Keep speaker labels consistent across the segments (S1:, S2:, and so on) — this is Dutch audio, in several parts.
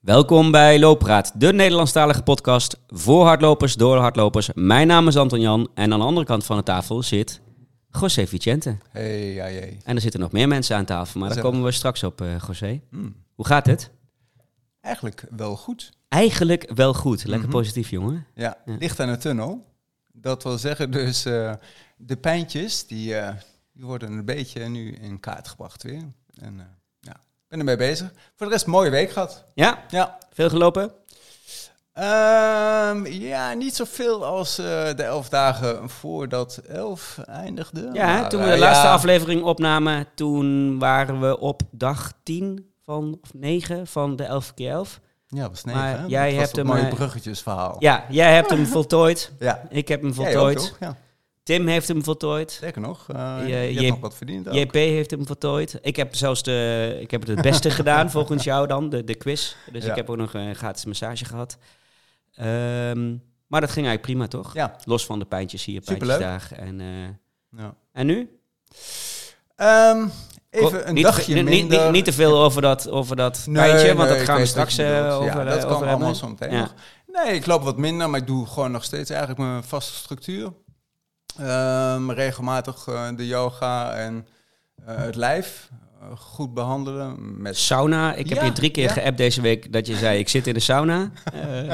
S1: Welkom bij Looppraat, de Nederlandstalige podcast voor hardlopers, door hardlopers. Mijn naam is Anton Jan en aan de andere kant van de tafel zit José Vicente.
S2: Hey, ja, hey.
S1: En er zitten nog meer mensen aan tafel, maar daar
S2: Gezellig.
S1: komen we straks op, eh José.
S2: Hmm.
S1: Hoe gaat het?
S2: Eigenlijk wel goed.
S1: Eigenlijk wel goed. Lekker
S2: Mhm.
S1: positief, jongen.
S2: Ja,
S1: Ja.
S2: licht aan de tunnel. Dat wil zeggen dus, eh, de pijntjes, die, eh, die worden een beetje nu in kaart gebracht weer. En eh, ja, ik ben ermee bezig. Voor de rest, mooie week gehad.
S1: Ja,
S2: Ja,
S1: veel gelopen?
S2: Ehm, ja niet zoveel als eh, de elf dagen voordat elf eindigde.
S1: Ja,
S2: Maar,
S1: toen we
S2: eh,
S1: de laatste
S2: ja,
S1: aflevering opnamen, toen waren we op dag 10 van, of 9 van de 11 keer 11.
S2: Ja, was negen.
S1: Maar
S2: hè?
S1: jij
S2: Dat was
S1: hebt
S2: dat
S1: hem,
S2: mooie
S1: eh,
S2: bruggetjesverhaal.
S1: Ja, jij hebt hem voltooid.
S2: ja.
S1: Ik heb hem
S2: Jij ook,
S1: voltooid.
S2: toch? Ja,
S1: Tim heeft hem voltooid.
S2: zeker nog. eh,
S1: Je-
S2: je,
S1: je-
S2: hebt nog wat verdiend. ook.
S1: JP heeft hem voltooid. Ik heb zelfs de, ik heb het, het beste gedaan, volgens jou dan, de, de quiz. Dus
S2: Ja.
S1: ik heb ook nog een gratis massage gehad. Ehm, maar dat ging eigenlijk prima, toch?
S2: Ja.
S1: Los van de pijntjes hier,
S2: Superleuk.
S1: pijntjesdag. En, eh,
S2: ja.
S1: en nu?
S2: Ehm,
S1: Ko-
S2: even een
S1: niet,
S2: dagje
S1: niet, niet,
S2: minder.
S1: niet, niet te veel over dat, over dat
S2: Nee,
S1: pijntje,
S2: nee,
S1: want dat
S2: ik
S1: gaan we
S2: weet
S1: straks
S2: wat je
S1: eh,
S2: bedoelt.
S1: over,
S2: Ja, dat
S1: over
S2: kan
S1: hebben.
S2: allemaal zometeen
S1: Ja.
S2: nog. Nee, ik loop wat minder, maar ik doe gewoon nog steeds eigenlijk mijn vaste structuur. Ehm, regelmatig eh, de yoga en eh, het lijf eh, goed behandelen. Met...
S1: Sauna, ik heb
S2: Ja,
S1: je drie keer
S2: ja.
S1: geappt deze week dat je zei, ik zit in de sauna. Eh,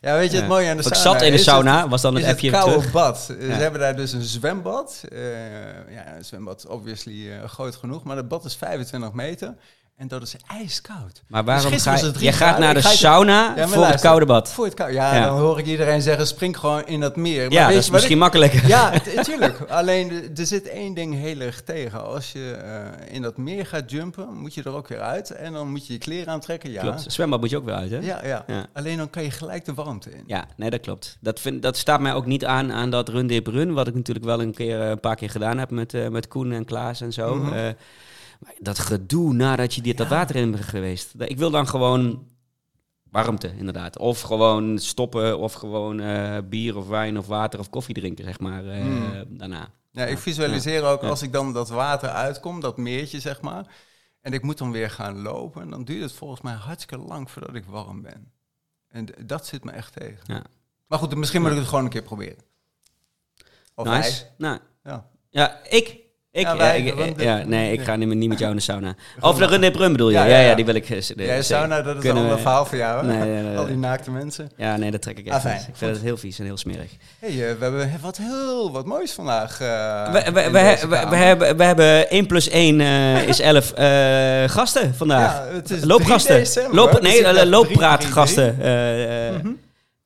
S2: Ja, weet je
S1: Ja.
S2: het mooie aan de
S1: want ik
S2: sauna?
S1: zat in de
S2: is het-
S1: sauna, was dan
S2: is
S1: een
S2: het
S1: appje weer
S2: koude
S1: terug.
S2: bad. Eh,
S1: Ja.
S2: Ze hebben daar dus een zwembad. Eh, ja, een zwembad obviously eh, groot genoeg, maar dat bad is 25 meter. En dat is ijskoud.
S1: Maar
S2: Dus
S1: waarom
S2: gisteren
S1: ga
S2: was
S1: je...
S2: het drie
S1: Je gaat
S2: graden.
S1: naar de
S2: Ik ga-
S1: sauna
S2: maar
S1: voor het
S2: luister.
S1: koude bad.
S2: Voor het kou. Ja,
S1: Ja.
S2: dan hoor ik iedereen zeggen: spring gewoon in dat meer. Maar
S1: Ja,
S2: weet
S1: dat is
S2: je wat ik-
S1: misschien makkelijker.
S2: Ja, natuurlijk. Alleen eh, er zit één ding heel erg tegen. Als je eh, in dat meer gaat jumpen, moet je er ook weer uit. En dan moet je je kleren aantrekken. Ja,
S1: Klopt. Zwembad moet je ook weer uit, hè?
S2: Ja, ja.
S1: Ja.
S2: Alleen dan kan je gelijk de warmte in.
S1: Ja, nee, dat klopt. Dat, vind, dat staat mij ook niet aan aan dat run dip run, wat ik natuurlijk wel een, keer, eh, een paar keer gedaan heb met, eh, met Koen en Klaas en zo.
S2: Mhm.
S1: Eh, maar dat gedoe nadat je dit dat
S2: Ja.
S1: water in bent geweest. Ik wil dan gewoon warmte, inderdaad. Of gewoon stoppen, of gewoon eh, bier of wijn of water of koffie drinken, zeg maar, eh,
S2: Mm.
S1: daarna.
S2: Ja, ik visualiseer ook als ik dan dat water uitkom, dat meertje zeg maar. En ik moet dan weer gaan lopen. Dan duurt het volgens mij hartstikke lang voordat ik warm ben. En d- dat zit me echt tegen.
S1: Ja.
S2: Maar goed, misschien moet ik het gewoon een keer proberen. Of
S1: nice. Nou,
S2: wij. Ja.
S1: Ja, ik. Ik,
S2: Ja,
S1: ja,
S2: wij,
S1: ik-
S2: want-
S1: ja, nee, ik ga niet, meer- niet met jou in de sauna.
S2: gaan
S1: Of de
S2: maar.
S1: run dip run bedoel je? Ja,
S2: Ja,
S1: ja,
S2: ja, ja.
S1: die wil ik. eh, s- de-
S2: Jij
S1: zeker.
S2: sauna, dat is een
S1: Kunnen
S2: ander
S1: we-
S2: verhaal voor jou. Hè?
S1: Nee, nee, nee,
S2: Al die
S1: nee.
S2: naakte mensen.
S1: Ja, nee, dat trek ik echt
S2: Ah, fijn.
S1: niet. Ik vind het heel vies en heel smerig.
S2: hey, eh, we hebben wat heel wat moois vandaag.
S1: we,
S2: eh,
S1: we,
S2: in
S1: we,
S2: deze
S1: we, we
S2: kamer.
S1: hebben, we hebben 1 plus 1 eh, is 11 eh, gasten vandaag.
S2: Ja, het is 3
S1: Loopgasten.
S2: december,
S1: Loop,
S2: dus ik
S1: nee,
S2: dacht
S1: eh,
S2: drie, Mhm.
S1: looppraatgasten. eh, eh.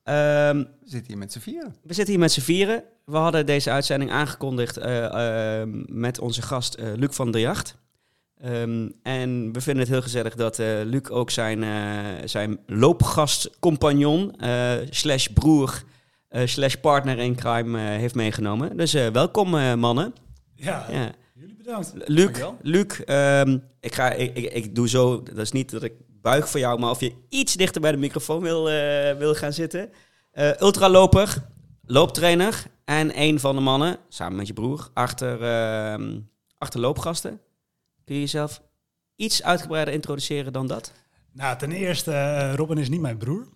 S1: Ehm,
S2: We zitten hier met z'n vieren.
S1: we zitten hier met z'n vieren. We hadden deze uitzending aangekondigd eh, eh, met onze gast eh, Luc van der Jacht. Ehm, en we vinden het heel gezellig dat eh, Luc ook zijn, eh, zijn loopgastcompagnon, eh, slash broer, eh, slash partner in crime eh, heeft meegenomen. Dus eh, welkom eh, mannen.
S3: Ja,
S1: Ja.
S3: jullie bedankt.
S1: Luc,
S3: Dankjewel.
S1: Luc ehm, ik, ga, ik, ik, ik doe zo, dat is niet dat ik buig voor jou, maar of je iets dichter bij de microfoon wil, eh, wil gaan zitten. Eh, ultraloper, looptrainer en een van de mannen, samen met je broer, achter, ehm, achter loopgasten. Kun je jezelf iets uitgebreider introduceren dan dat?
S3: Nou, ten eerste, eh, Robin is niet mijn broer.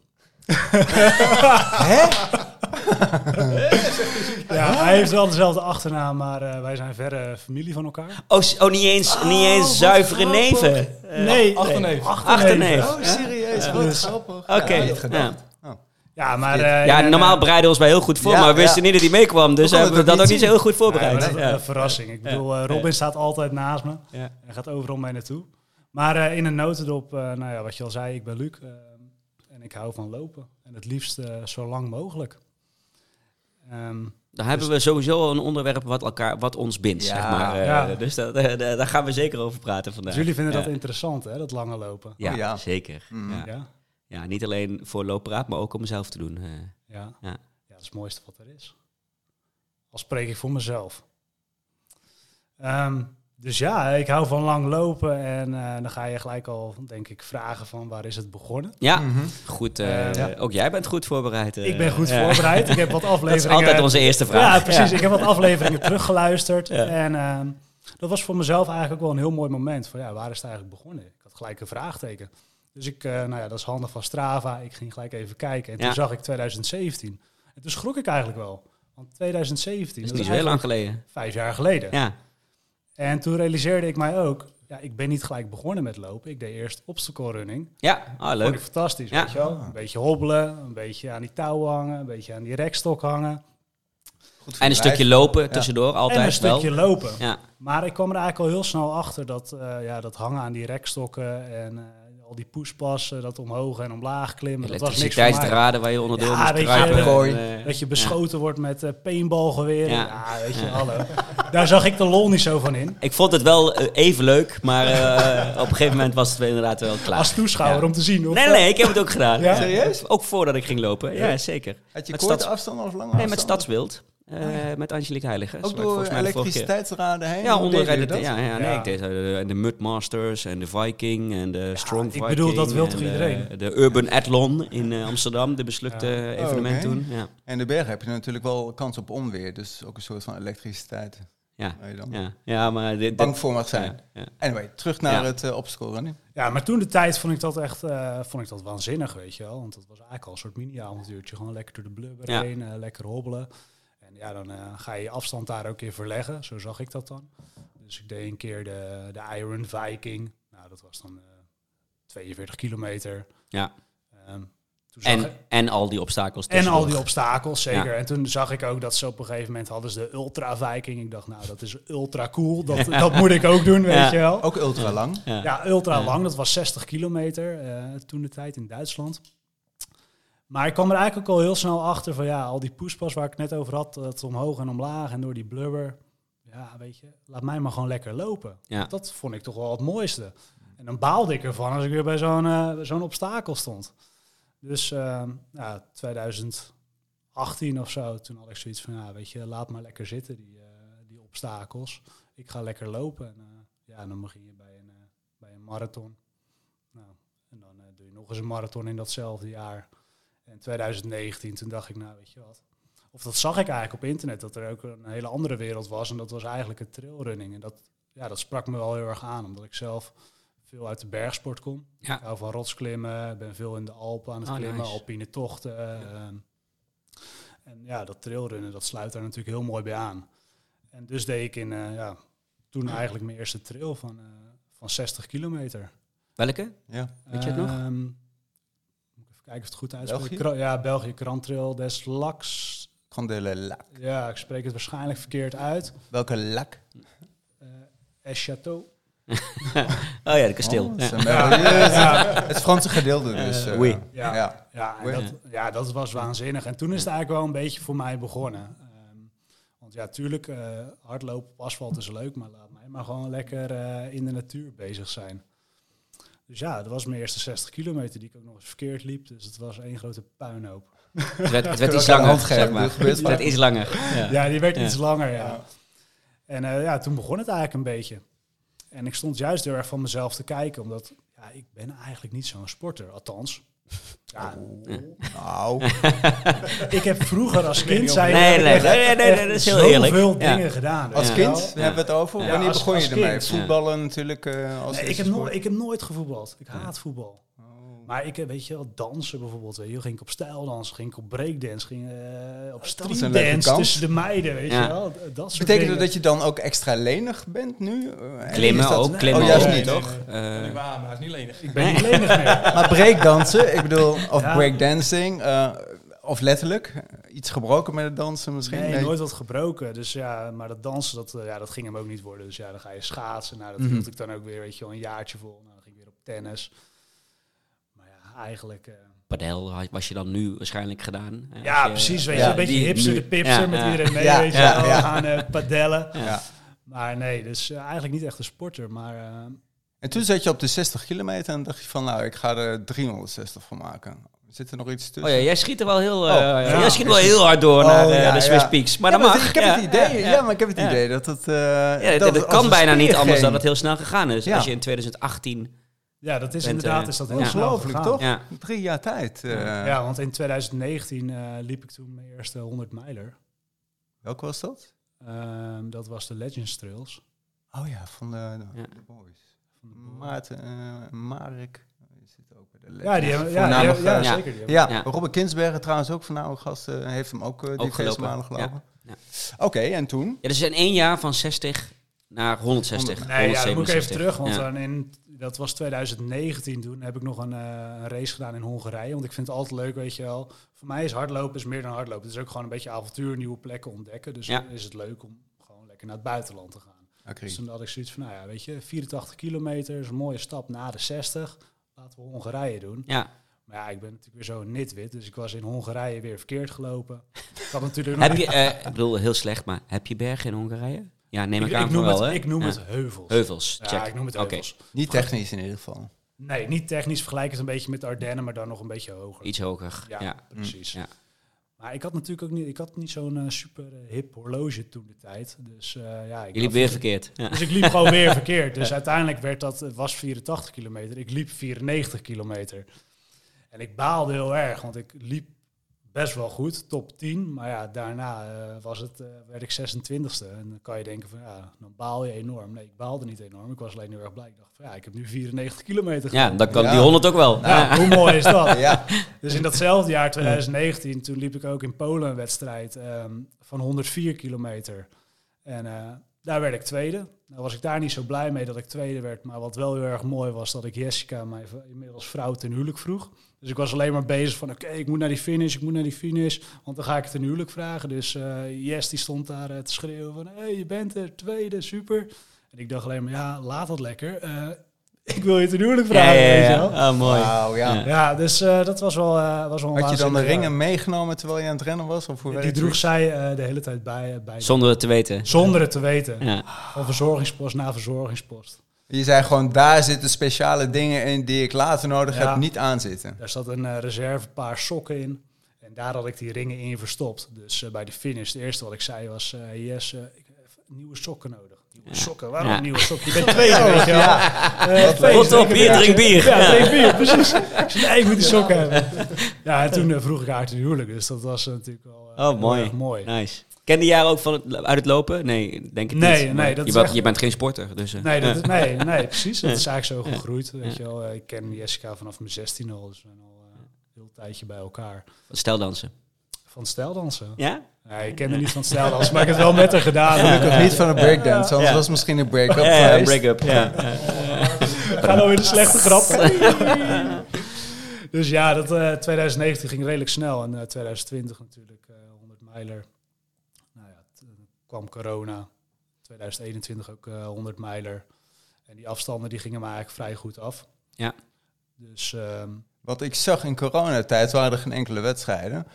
S3: Hè? ja, hij heeft wel dezelfde achternaam, maar eh, wij zijn verre familie van elkaar. Eh,
S1: Oh, s- oh niet eens, niet eens zuivere neven.
S3: nee,
S4: achterneef.
S1: Achterneef.
S3: Achterneef.
S2: Oh, serieus?
S3: Ja.
S2: Wat
S3: Dus-
S2: grappig.
S1: Oké,
S2: Ja, niet
S1: ja.
S2: gedacht.
S3: Ja, maar...
S2: Verkeerd.
S3: eh,
S1: Ja,
S3: en, eh,
S1: normaal bereiden we ons bij heel goed voor,
S2: Ja,
S1: maar we wisten
S2: ja.
S1: niet dat hij meekwam. Dus
S2: konden
S1: hebben we
S2: het
S1: dat ook
S2: niet
S1: niet zo heel goed voorbereid.
S3: Ja, maar dat-
S1: Ja.
S3: dat- verrassing. Ik bedoel, eh, Robin staat altijd naast me.
S1: Ja.
S3: Hij gaat overal mee naartoe. Maar eh, in een notendop, eh, nou ja, wat je al zei, ik ben Luc. eh, en ik hou van lopen. En het liefst eh, zo lang mogelijk. Ehm,
S1: Dan hebben we sowieso al een onderwerp wat, elkaar, wat ons bindt,
S2: Ja.
S1: zeg maar. Eh,
S3: Ja.
S1: Dus dat, eh, daar daar gaan we zeker over praten
S3: dus
S1: vandaag.
S3: jullie vinden
S1: ja.
S3: dat interessant, hè? Dat lange lopen.
S1: Ja,
S2: Oh, ja.
S1: zeker.
S2: Mm.
S1: Ja.
S3: Ja,
S1: Ja, niet alleen voor looppraat, maar ook om mezelf te doen. eh.
S3: ja.
S1: Ja.
S3: ja. dat is het mooiste wat er is. Al spreek ik voor mezelf. Ehm, dus ja, ik hou van lang lopen en eh, dan ga je gelijk al, denk ik, vragen van waar is het begonnen?
S1: Ja,
S2: Mhm.
S1: goed. eh,
S3: Eh, ja.
S1: Ook jij bent goed voorbereid. eh.
S3: ik ben goed
S1: Ja.
S3: voorbereid. Ik heb wat
S1: Dat is
S3: afleveringen.
S1: altijd onze eerste vraag.
S3: Ja, precies. Ik heb wat afleveringen teruggeluisterd.
S1: Ja.
S3: En ehm, dat was voor mezelf eigenlijk ook wel een heel mooi moment. Van ja, waar is het eigenlijk begonnen? Ik had gelijk een vraagteken. Dus ik, eh, nou ja, dat is handig van Strava. Ik ging gelijk even kijken. En
S1: Ja.
S3: toen zag ik 2017. En toen schrok ik eigenlijk wel. Want 2017,
S1: Dat is niet zo heel lang geleden.
S3: vijf jaar geleden.
S1: Ja,
S3: En toen realiseerde ik mij ook, ja, ik ben niet gelijk begonnen met lopen. Ik deed eerst obstacle running.
S1: ja. Ah,
S3: Vond
S1: leuk.
S3: ik fantastisch,
S1: Ja.
S3: weet je wel. Een beetje hobbelen, een beetje aan die touw hangen, een beetje aan die rekstok hangen.
S2: Goed voor
S1: En een
S2: je lijf.
S1: stukje lopen tussendoor,
S3: en een
S1: altijd wel.
S3: stukje lopen.
S1: Ja,
S3: Maar ik kwam er eigenlijk al heel snel achter dat, eh, ja, dat hangen aan die rekstokken en eh, al die pushpassen, dat omhoog en omlaag klimmen, dat was niks voor mij.
S1: elektriciteitsdraden waar je onderdoor
S3: Ja,
S1: moest
S3: weet je,
S1: kruipen.
S2: eh, Kooi.
S1: En, eh,
S3: Dat je beschoten wordt met eh paintballgeweren.
S1: Ja.
S3: Ja. weet je, hallo. Daar zag ik de lol niet zo van in.
S1: Ik vond het wel eh, even leuk, maar eh, op een gegeven moment was het wel inderdaad wel klaar.
S3: Als toeschouwer
S1: Ja.
S3: om te zien. Of,
S1: Nee, nee, ik heb het ook gedaan.
S3: Ja?
S2: Serieus?
S1: Ook voordat ik ging lopen, ja, zeker.
S2: Had je
S1: Met
S2: korte
S1: stads-
S2: afstand of lange
S1: Nee, met
S2: afstanden?
S1: Stadswild. Eh,
S3: Oh
S1: Met Angelique Heiligen.
S2: Ook
S1: Zoals ik
S2: door
S1: volgens mij de vorige keer-
S2: elektriciteitsraden heen?
S1: Ja,
S2: Hoe
S1: onder
S2: deden
S1: de,
S2: jullie
S1: ja, ja, nee,
S3: Ja.
S1: ik deed eh, de, de Mud Masters en de Viking en de Strong
S3: ik
S1: Viking.
S3: bedoel, dat wil
S1: en
S3: toch
S1: de- De,
S3: iedereen?
S1: Urban Athlon in eh, Amsterdam, de beslukte evenement
S2: Oh, oké.
S1: toen. Ja,
S2: En de berg heb je natuurlijk wel kans op onweer. Dus ook een soort van elektriciteit
S1: ja,
S2: waar je dan
S1: ja, ja maar dit... dit-
S2: Oh. bang voor mag zijn.
S1: ja, ja.
S2: Anyway, terug naar
S1: Ja.
S2: het eh, obstacle running.
S3: Ja, maar toen de tijd vond ik dat echt eh, vond ik dat waanzinnig, weet je wel. Want dat was eigenlijk al een soort mini-avontuurtje. Gewoon lekker door de blubber
S1: Ja.
S3: heen, eh, lekker hobbelen. En ja, dan eh, ga je je afstand daar ook in verleggen. Zo zag ik dat dan. Dus ik deed een keer de, de Iron Viking. Nou, dat was dan eh, 42 kilometer.
S1: Ja.
S3: Ehm, toen zag ik-
S1: En, en al die obstakels
S3: en al
S1: tussendoor.
S3: die obstakels, zeker. En toen zag ik ook dat ze op een gegeven moment hadden ze de Ultra Viking. Ik dacht, nou, dat is ultra cool. Dat, dat moet ik ook doen, weet
S1: Ja.
S3: je wel.
S2: Ook ultra lang.
S1: Ja.
S3: Ja, ultra lang. Dat was 60 kilometer eh, toen de tijd in Duitsland. Maar ik kwam er eigenlijk ook al heel snel achter van ja, al die poespas waar ik het net over had, dat omhoog en omlaag en door die blubber. Ja, weet je, laat mij maar gewoon lekker lopen.
S1: Ja.
S3: Dat vond ik toch wel het mooiste. En dan baalde ik ervan als ik weer bij zo'n eh, bij zo'n obstakel stond. Dus eh, ja, 2018 of zo, toen had ik zoiets van ja, weet je, laat maar lekker zitten die, eh, die obstakels. Ik ga lekker lopen. En, eh, ja, dan begin je bij een, eh, bij een marathon. Nou, en dan eh, doe je nog eens een marathon in datzelfde jaar. En 2019, toen dacht ik, nou weet je wat. Of dat zag ik eigenlijk op internet, dat er ook een hele andere wereld was. En dat was eigenlijk het trailrunning. En dat, ja, dat sprak me wel heel erg aan, omdat ik zelf veel uit de bergsport kom.
S1: Ja.
S3: Ik hou van rotsklimmen, ben veel in de Alpen aan het
S1: Ah,
S3: klimmen,
S1: nice.
S3: alpine tochten. ehm. en ja, dat trailrunnen, dat sluit daar natuurlijk heel mooi bij aan. En dus deed ik in, eh, ja, toen eigenlijk mijn eerste trail van, eh, van 60 kilometer.
S1: Welke?
S2: Ja.
S1: Weet je het nog?
S3: Ehm, moet ik even kijken of het goed uitspreek.
S2: België?
S3: Kra- ja, België, Krantrail des Lacs.
S2: Grandele lak.
S3: Ja, ik spreek het waarschijnlijk verkeerd uit.
S2: Welke lak?
S3: Eh es Château.
S1: Oh ja, de kasteel.
S2: Oh,
S1: Ja.
S2: dat is een België. Het Franse gedeelte dus.
S1: Eh,
S2: eh,
S1: oui.
S2: ja.
S3: Ja. Ja, en
S2: Mooi.
S3: dat, ja, dat was waanzinnig. En toen is het eigenlijk wel een beetje voor mij begonnen. Ehm, want ja, tuurlijk, eh, hardlopen op asfalt is leuk, maar laat mij maar gewoon lekker eh, in de natuur bezig zijn. Dus ja, dat was mijn eerste 60 kilometer die ik ook nog eens verkeerd liep. Dus het was één grote puinhoop.
S1: Het werd, het werd iets
S2: Welke
S1: langer,
S2: hand geven,
S1: zeg maar.
S2: dit gebeurt
S1: Het werd
S2: vaak.
S1: iets langer. Ja.
S3: Ja, die werd
S1: Ja.
S3: iets langer, ja.
S2: Ja.
S3: En eh, ja, toen begon het eigenlijk een beetje. En ik stond juist heel erg van mezelf te kijken, omdat ja, ik ben eigenlijk niet zo'n sporter, althans. Ja,
S2: Nou,
S3: ik heb vroeger als kind zijn
S1: Nee, nee, nee, nee, nee, nee, dat is heel eerlijk.
S3: veel
S1: Ja.
S3: dingen gedaan.
S2: als
S3: weet je
S2: kind
S3: wel.
S2: daar hebben we het over.
S3: Ja,
S2: Wanneer
S3: als-
S2: begon je
S3: als
S2: ermee?
S3: kind.
S2: Voetballen natuurlijk. eh, als
S3: Nee, ik,
S2: eerste
S3: heb nooit,
S2: sport.
S3: ik heb nooit gevoetbald. Ik haat voetbal.
S2: Oh.
S3: Maar ik heb, weet je wel, dansen bijvoorbeeld. Weet je, wel. ging ik op stijldans, ging ik op breakdance, ging eh, op
S2: een leuke
S3: streetdance
S2: kans.
S3: tussen de meiden, weet
S1: Ja.
S3: je wel. Dat soort
S2: Betekent dat
S3: dingen.
S2: dat je dan ook extra lenig bent nu? Eh, en
S1: Klimmen
S2: is dat-
S1: ook, klimmen
S2: Oh, juist
S1: ook.
S2: niet,
S4: Nee,
S2: toch?
S4: nee,
S1: Eh,
S4: Niet waar, maar hij is niet lenig.
S3: Ik ben niet lenig meer.
S2: Maar breakdansen, ik bedoel, of
S3: Ja.
S2: breakdancing, eh, of letterlijk, iets gebroken met het dansen misschien?
S3: Nee, nooit wat gebroken. Dus ja, maar dat dansen, dat, eh, ja, dat ging hem ook niet worden. Dus ja, dan ga je schaatsen. Nou, dat
S2: Mhm.
S3: hield ik dan ook weer, weet je wel, een jaartje vol. Nou, dan ging ik weer op tennis. Maar ja, eigenlijk... eh,
S1: padel had- was je dan nu waarschijnlijk gedaan. hè,
S3: ja,
S1: als je-
S3: precies, weet
S2: ja,
S3: je, een beetje
S1: die
S3: hipster,
S1: nu-
S3: de pipster
S1: ja,
S3: met
S1: ja.
S3: iedereen mee,
S2: Ja,
S3: weet je
S2: ja,
S3: wel,
S2: ja.
S3: gaan eh, padellen.
S2: Ja.
S3: Maar nee, dus eh, eigenlijk niet echt een sporter, maar... eh,
S2: En toen zat je op de 60 kilometer en dacht je van, nou, ik ga er 360 van maken. Zit er nog iets tussen?
S1: Oh ja, jij schiet er wel heel, eh,
S2: Dus, Oh,
S3: ja.
S1: jij schiet wel heel hard door
S2: Oh,
S1: naar eh,
S2: ja,
S1: de Swiss
S2: ja.
S1: Peaks. Maar
S2: Ja,
S1: dat mag.
S2: Ik heb
S1: ja.
S2: het idee, ja,
S1: Ja,
S2: maar ik heb het
S1: Ja.
S2: idee dat het... eh,
S1: Ja,
S2: dat
S1: dat,
S2: het
S1: dat
S2: als
S1: kan
S2: een
S1: bijna niet
S2: speer
S1: anders
S2: ging.
S1: dan dat heel snel gegaan is.
S2: Ja.
S1: Als je in 2018...
S3: ja, dat is
S1: Bent,
S3: inderdaad
S1: eh,
S3: is dat heel snel
S2: Ongelooflijk,
S3: gegaan.
S2: toch?
S1: Ja.
S2: Drie jaar tijd. eh,
S3: Ja, want in 2019 eh, liep ik toen mijn eerste 100 mijler.
S2: Welke was dat?
S3: Ehm, dat was de Legends Trails.
S2: Oh ja, van de, de
S1: Ja.
S2: boys.
S3: Van de Boer.
S2: Maarten, eh, Marek. zit ook bij de
S3: Ja, die hebben, ja, die
S2: Voornamelijk,
S3: hebben- ja,
S1: eh, ja.
S3: zeker. Die hebben.
S2: Ja,
S1: Ja.
S2: Robert Kinsbergen trouwens ook voornamelijk gast. eh, heeft hem ook eh die
S1: gelopen.
S2: malen gelopen.
S1: Ja,
S2: Oké, en toen?
S1: Ja, dus in één jaar van 60 naar 160.
S3: Nee, ja, dan moet ik even
S1: 167.
S3: terug. Want eh,
S1: Ja.
S3: dan in, dat was 2019 toen. Heb ik nog een, eh, een race gedaan in Hongarije. Want ik vind het altijd leuk, weet je wel. Voor mij is hardlopen is meer dan hardlopen. Het is ook gewoon een beetje avontuur, nieuwe plekken ontdekken. Dus
S1: Ja.
S3: dan is het leuk om gewoon lekker naar het buitenland te gaan. Dus
S2: Agri.
S3: toen had ik zoiets van, nou ja, weet je, 84 kilometer is een mooie stap na de 60. Laten we Hongarije doen.
S1: Ja.
S3: Maar ja, ik ben natuurlijk weer zo'n nitwit. Dus ik was in Hongarije weer verkeerd gelopen. Ik had natuurlijk nog
S1: Heb
S3: niet-
S1: je, eh, ik bedoel, heel slecht, maar heb je bergen in Hongarije? Ja, neem
S3: ik,
S1: ik,
S3: ik
S1: aan van
S3: noem,
S1: wel,
S3: het,
S1: hè?
S3: ik noem
S1: Ja.
S3: het heuvels.
S1: Heuvels, check.
S3: Ja, ik noem het
S1: Oké,
S3: heuvels.
S2: Niet technisch in ieder geval.
S3: Nee, niet technisch. Vergelijk het een beetje met de Ardennen, maar dan nog een beetje hoger.
S1: iets hoger. Ja. Mm,
S3: Ja, precies.
S1: ja.
S3: Maar ik had natuurlijk ook niet, ik had niet zo'n eh, super eh, hip horloge toen de tijd. Dus eh, ja, ik
S1: Je liep
S3: dacht-
S1: weer verkeerd. Ja.
S3: Dus ik liep gewoon weer verkeerd. Dus uiteindelijk werd dat, het was 84 kilometer. Ik liep 94 kilometer. En ik baalde heel erg, want ik liep best wel goed, top 10. Maar ja, daarna eh, was het, eh, werd ik 26e. En dan kan je denken van, ja, dan baal je enorm. Nee, ik baalde niet enorm. Ik was alleen heel erg blij. Ik dacht van, ja, ik heb nu 94 kilometer
S1: ja, dan kan
S2: Ja.
S1: die 100 ook wel.
S3: nou,
S1: ja.
S3: hoe mooi is dat?
S2: Ja.
S3: Dus in datzelfde jaar, 2019, toen liep ik ook in Polen een wedstrijd ehm, van 104 kilometer. En eh, daar werd ik tweede. Nou was ik daar niet zo blij mee dat ik tweede werd. Maar wat wel heel erg mooi was, dat ik Jessica, mijn v- inmiddels vrouw, ten huwelijk vroeg. Dus ik was alleen maar bezig van, oké, ik moet naar die finish, ik moet naar die finish. Want dan ga ik het ten huwelijk vragen. Dus eh Jess die stond daar eh, te schreeuwen van, hé, hey, je bent er, tweede, super. En ik dacht alleen maar, ja, laat dat lekker. Eh, ik wil je ten huwelijk
S1: Ja,
S3: vragen,
S1: ja,
S3: weet je
S1: ja.
S3: wel.
S1: Ah, mooi.
S2: Wauw, ja.
S1: Ja.
S3: Ja, dus eh, dat was wel, eh, was wel een
S2: Had je dan de
S3: waanzinnig
S2: ringen meegenomen terwijl je aan het rennen was? Of hoe
S3: jaar. Die
S2: werkt
S3: droeg
S2: het?
S3: zij eh, de hele tijd bij, eh, bij
S1: Zonder het te weten.
S3: zonder het te weten.
S1: Ja.
S3: Van verzorgingspost naar verzorgingspost.
S2: Je zei gewoon, daar zitten speciale dingen in die ik later nodig
S3: Ja.
S2: heb, niet aan zitten.
S3: Daar zat een eh, reserve paar sokken in. En daar had ik die ringen in verstopt. Dus eh, bij de finish, het eerste wat ik zei was... eh yes, eh, ik heb nieuwe sokken nodig. Nieuwe
S1: Ja.
S3: sokken? Waarom
S1: Ja.
S3: nieuwe sokken? Je bent tweede, weet je wel. Eh, feest,
S1: Rot op,
S3: lekker
S1: bier,
S3: drankje.
S1: drink bier.
S3: Ja, drink bier, precies. Ik zei, nee, ik moet die sokken hebben. Ja, en toen eh, vroeg ik haar ten huwelijk. Dus dat was eh, natuurlijk wel eh,
S1: Oh,
S3: heel
S1: mooi.
S3: erg mooi.
S1: Nice. Kende jij ook van het, uit het lopen? Nee, denk ik
S3: Nee,
S1: niet.
S3: nee,
S1: Maar
S3: dat
S1: je,
S3: is
S1: bent-
S3: echt-
S1: je bent geen sporter, dus... eh,
S3: Nee, dat,
S1: eh.
S3: is- nee, nee, precies. Dat is eigenlijk zo gegroeid. Weet je wel. Eh, Ik ken Jessica vanaf mijn 16 al. Dus we zijn al eh, een heel tijdje bij elkaar.
S1: Stel dansen.
S3: Van stijldansen.
S1: Ja?
S3: Nee, ik ken haar niet van stijldansen, maar ik heb het wel met haar gedaan.
S2: Gelukkig niet van een breakdance, anders
S1: Ja.
S2: was het misschien een break-up
S1: Ja, ja,
S2: geweest.
S1: break-up. Ja. ja.
S3: We gaan alweer de slechte grap. Dus ja, dat, eh, 2019 ging redelijk snel. En eh, 2020 natuurlijk, eh 100 mijler. Nou ja, t- kwam corona. 2021 ook eh 100 mijler. En die afstanden die gingen me eigenlijk vrij goed af.
S1: Ja.
S3: Dus ehm,
S2: Wat ik zag in coronatijd waren er geen enkele wedstrijden.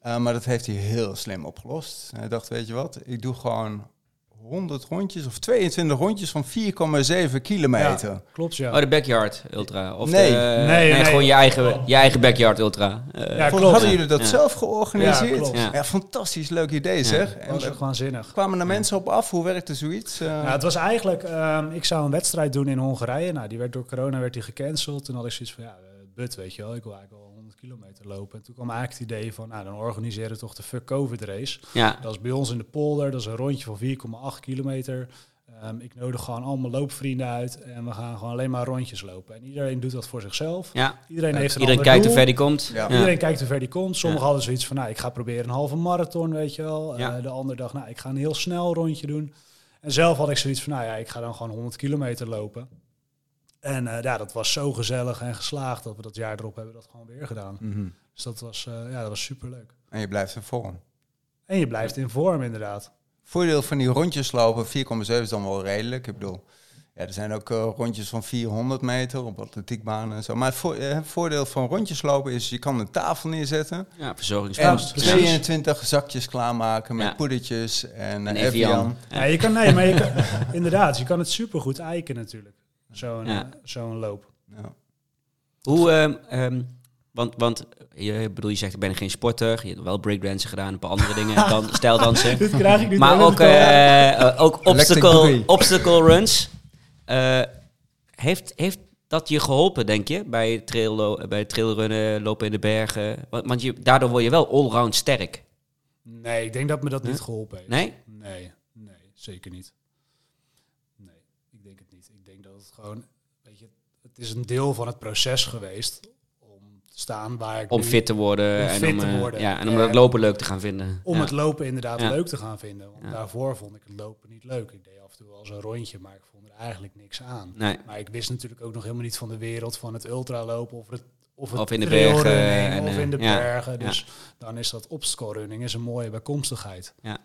S2: Eh, maar dat heeft hij heel slim opgelost. Hij dacht, weet je wat, ik doe gewoon 100 rondjes of 22 rondjes van 4,7 kilometer.
S3: Ja, klopt, ja.
S1: Oh, de backyard ultra. Of
S2: Nee.
S1: de-
S3: Nee,
S1: nee,
S3: nee.
S1: gewoon je eigen, je eigen backyard ultra. Eh,
S3: Ja,
S2: Volgens-
S3: klopt.
S2: Hadden jullie dat
S1: Ja.
S2: zelf georganiseerd?
S3: Ja,
S2: Ja,
S3: klopt.
S1: Ja.
S2: fantastisch leuk idee zeg. En
S3: Dat was
S2: er
S3: ook waanzinnig.
S2: kwamen er mensen op af? Hoe werkte zoiets? Eh,
S3: Nou, het was eigenlijk, ehm, ik zou een wedstrijd doen in Hongarije. Nou, die werd door corona werd die gecanceld. Toen had ik zoiets van, ja, eh, but, weet je wel, ik wil eigenlijk wel 100 kilometer lopen. En toen kwam eigenlijk het idee van, nou, dan organiseren we toch de fuck COVID race.
S1: ja.
S3: Dat is bij ons in de polder, dat is een rondje van 4,8 kilometer. Ehm, ik nodig gewoon allemaal loopvrienden uit en we gaan gewoon alleen maar rondjes lopen. En iedereen doet dat voor zichzelf.
S1: ja.
S3: Iedereen heeft een
S1: Iedereen
S3: ander
S1: kijkt hoe
S3: doel.
S1: ver die komt.
S2: Ja.
S1: Ja.
S3: Iedereen kijkt hoe ver die komt. Sommigen hadden zoiets van, nou, ik ga proberen een halve marathon, weet je wel. Eh,
S1: Ja.
S3: de andere dag, nou, ik ga een heel snel rondje doen. En zelf had ik zoiets van, nou ja, ik ga dan gewoon 100 kilometer lopen. En eh, ja, dat was zo gezellig en geslaagd dat we dat jaar erop hebben dat gewoon weer gedaan.
S2: mhm.
S3: Dus dat was, eh, ja, dat was superleuk.
S2: En je blijft in vorm.
S3: En je blijft in vorm, inderdaad.
S2: Voordeel van die rondjes lopen, 4,7 is dan wel redelijk. Ik bedoel, ja, er zijn ook eh, rondjes van 400 meter op atletiekbanen en zo. Maar het voor- eh, het voordeel van rondjes lopen is, je kan een tafel neerzetten.
S1: Ja,
S2: En
S1: verzorgingspost.
S3: precies.
S2: 22 zakjes klaarmaken met
S1: Ja.
S2: poedertjes en, eh,
S1: En
S2: en
S1: Evian.
S3: Ja. je kan, nee, maar je kan, inderdaad, je kan het supergoed eiken natuurlijk. Zo'n
S1: Ja.
S3: eh, zo'n loop.
S2: Ja.
S1: Hoe, ehm, ehm, want, want je, bedoel, je zegt ik ben geen sporter, je hebt wel breakdansen gedaan, een paar andere dingen, dan stijldansen.
S3: Dit krijg ik nu
S1: Maar
S3: door.
S1: ook, eh, eh, ook obstacle,
S2: boogie.
S1: obstacle runs. Eh, heeft, heeft dat je geholpen, denk je, bij, traillo- bij trailrunnen, lopen in de bergen? Want, want je, daardoor word je wel allround sterk.
S3: Nee, ik denk dat me dat niet
S1: Huh?
S3: geholpen heeft.
S1: Nee?
S3: Nee, nee, zeker niet. Nee, ik denk het niet. Ik denk dat het gewoon, weet je, het het is een deel van het proces geweest om te staan waar ik
S1: Om
S3: nu-
S1: fit te worden.
S3: Om
S1: en
S3: fit
S1: om,
S3: te
S1: eh,
S3: worden.
S1: Ja, en om
S3: Eh,
S1: dat lopen leuk te gaan vinden.
S3: om
S1: Ja.
S3: het lopen inderdaad
S1: Ja.
S3: leuk te gaan vinden. Want
S1: Ja.
S3: daarvoor vond ik het lopen niet leuk. Ik deed af en toe wel eens een rondje, maar ik vond er eigenlijk niks aan.
S1: Nee.
S3: Maar ik wist natuurlijk ook nog helemaal niet van de wereld van het ultralopen of het of, het
S1: Of in de
S3: trailrunning
S1: bergen en,
S3: of
S1: eh,
S3: in de
S1: ja,
S3: bergen. Dus dan is dat obstacle-running is een mooie bijkomstigheid.
S1: Ja.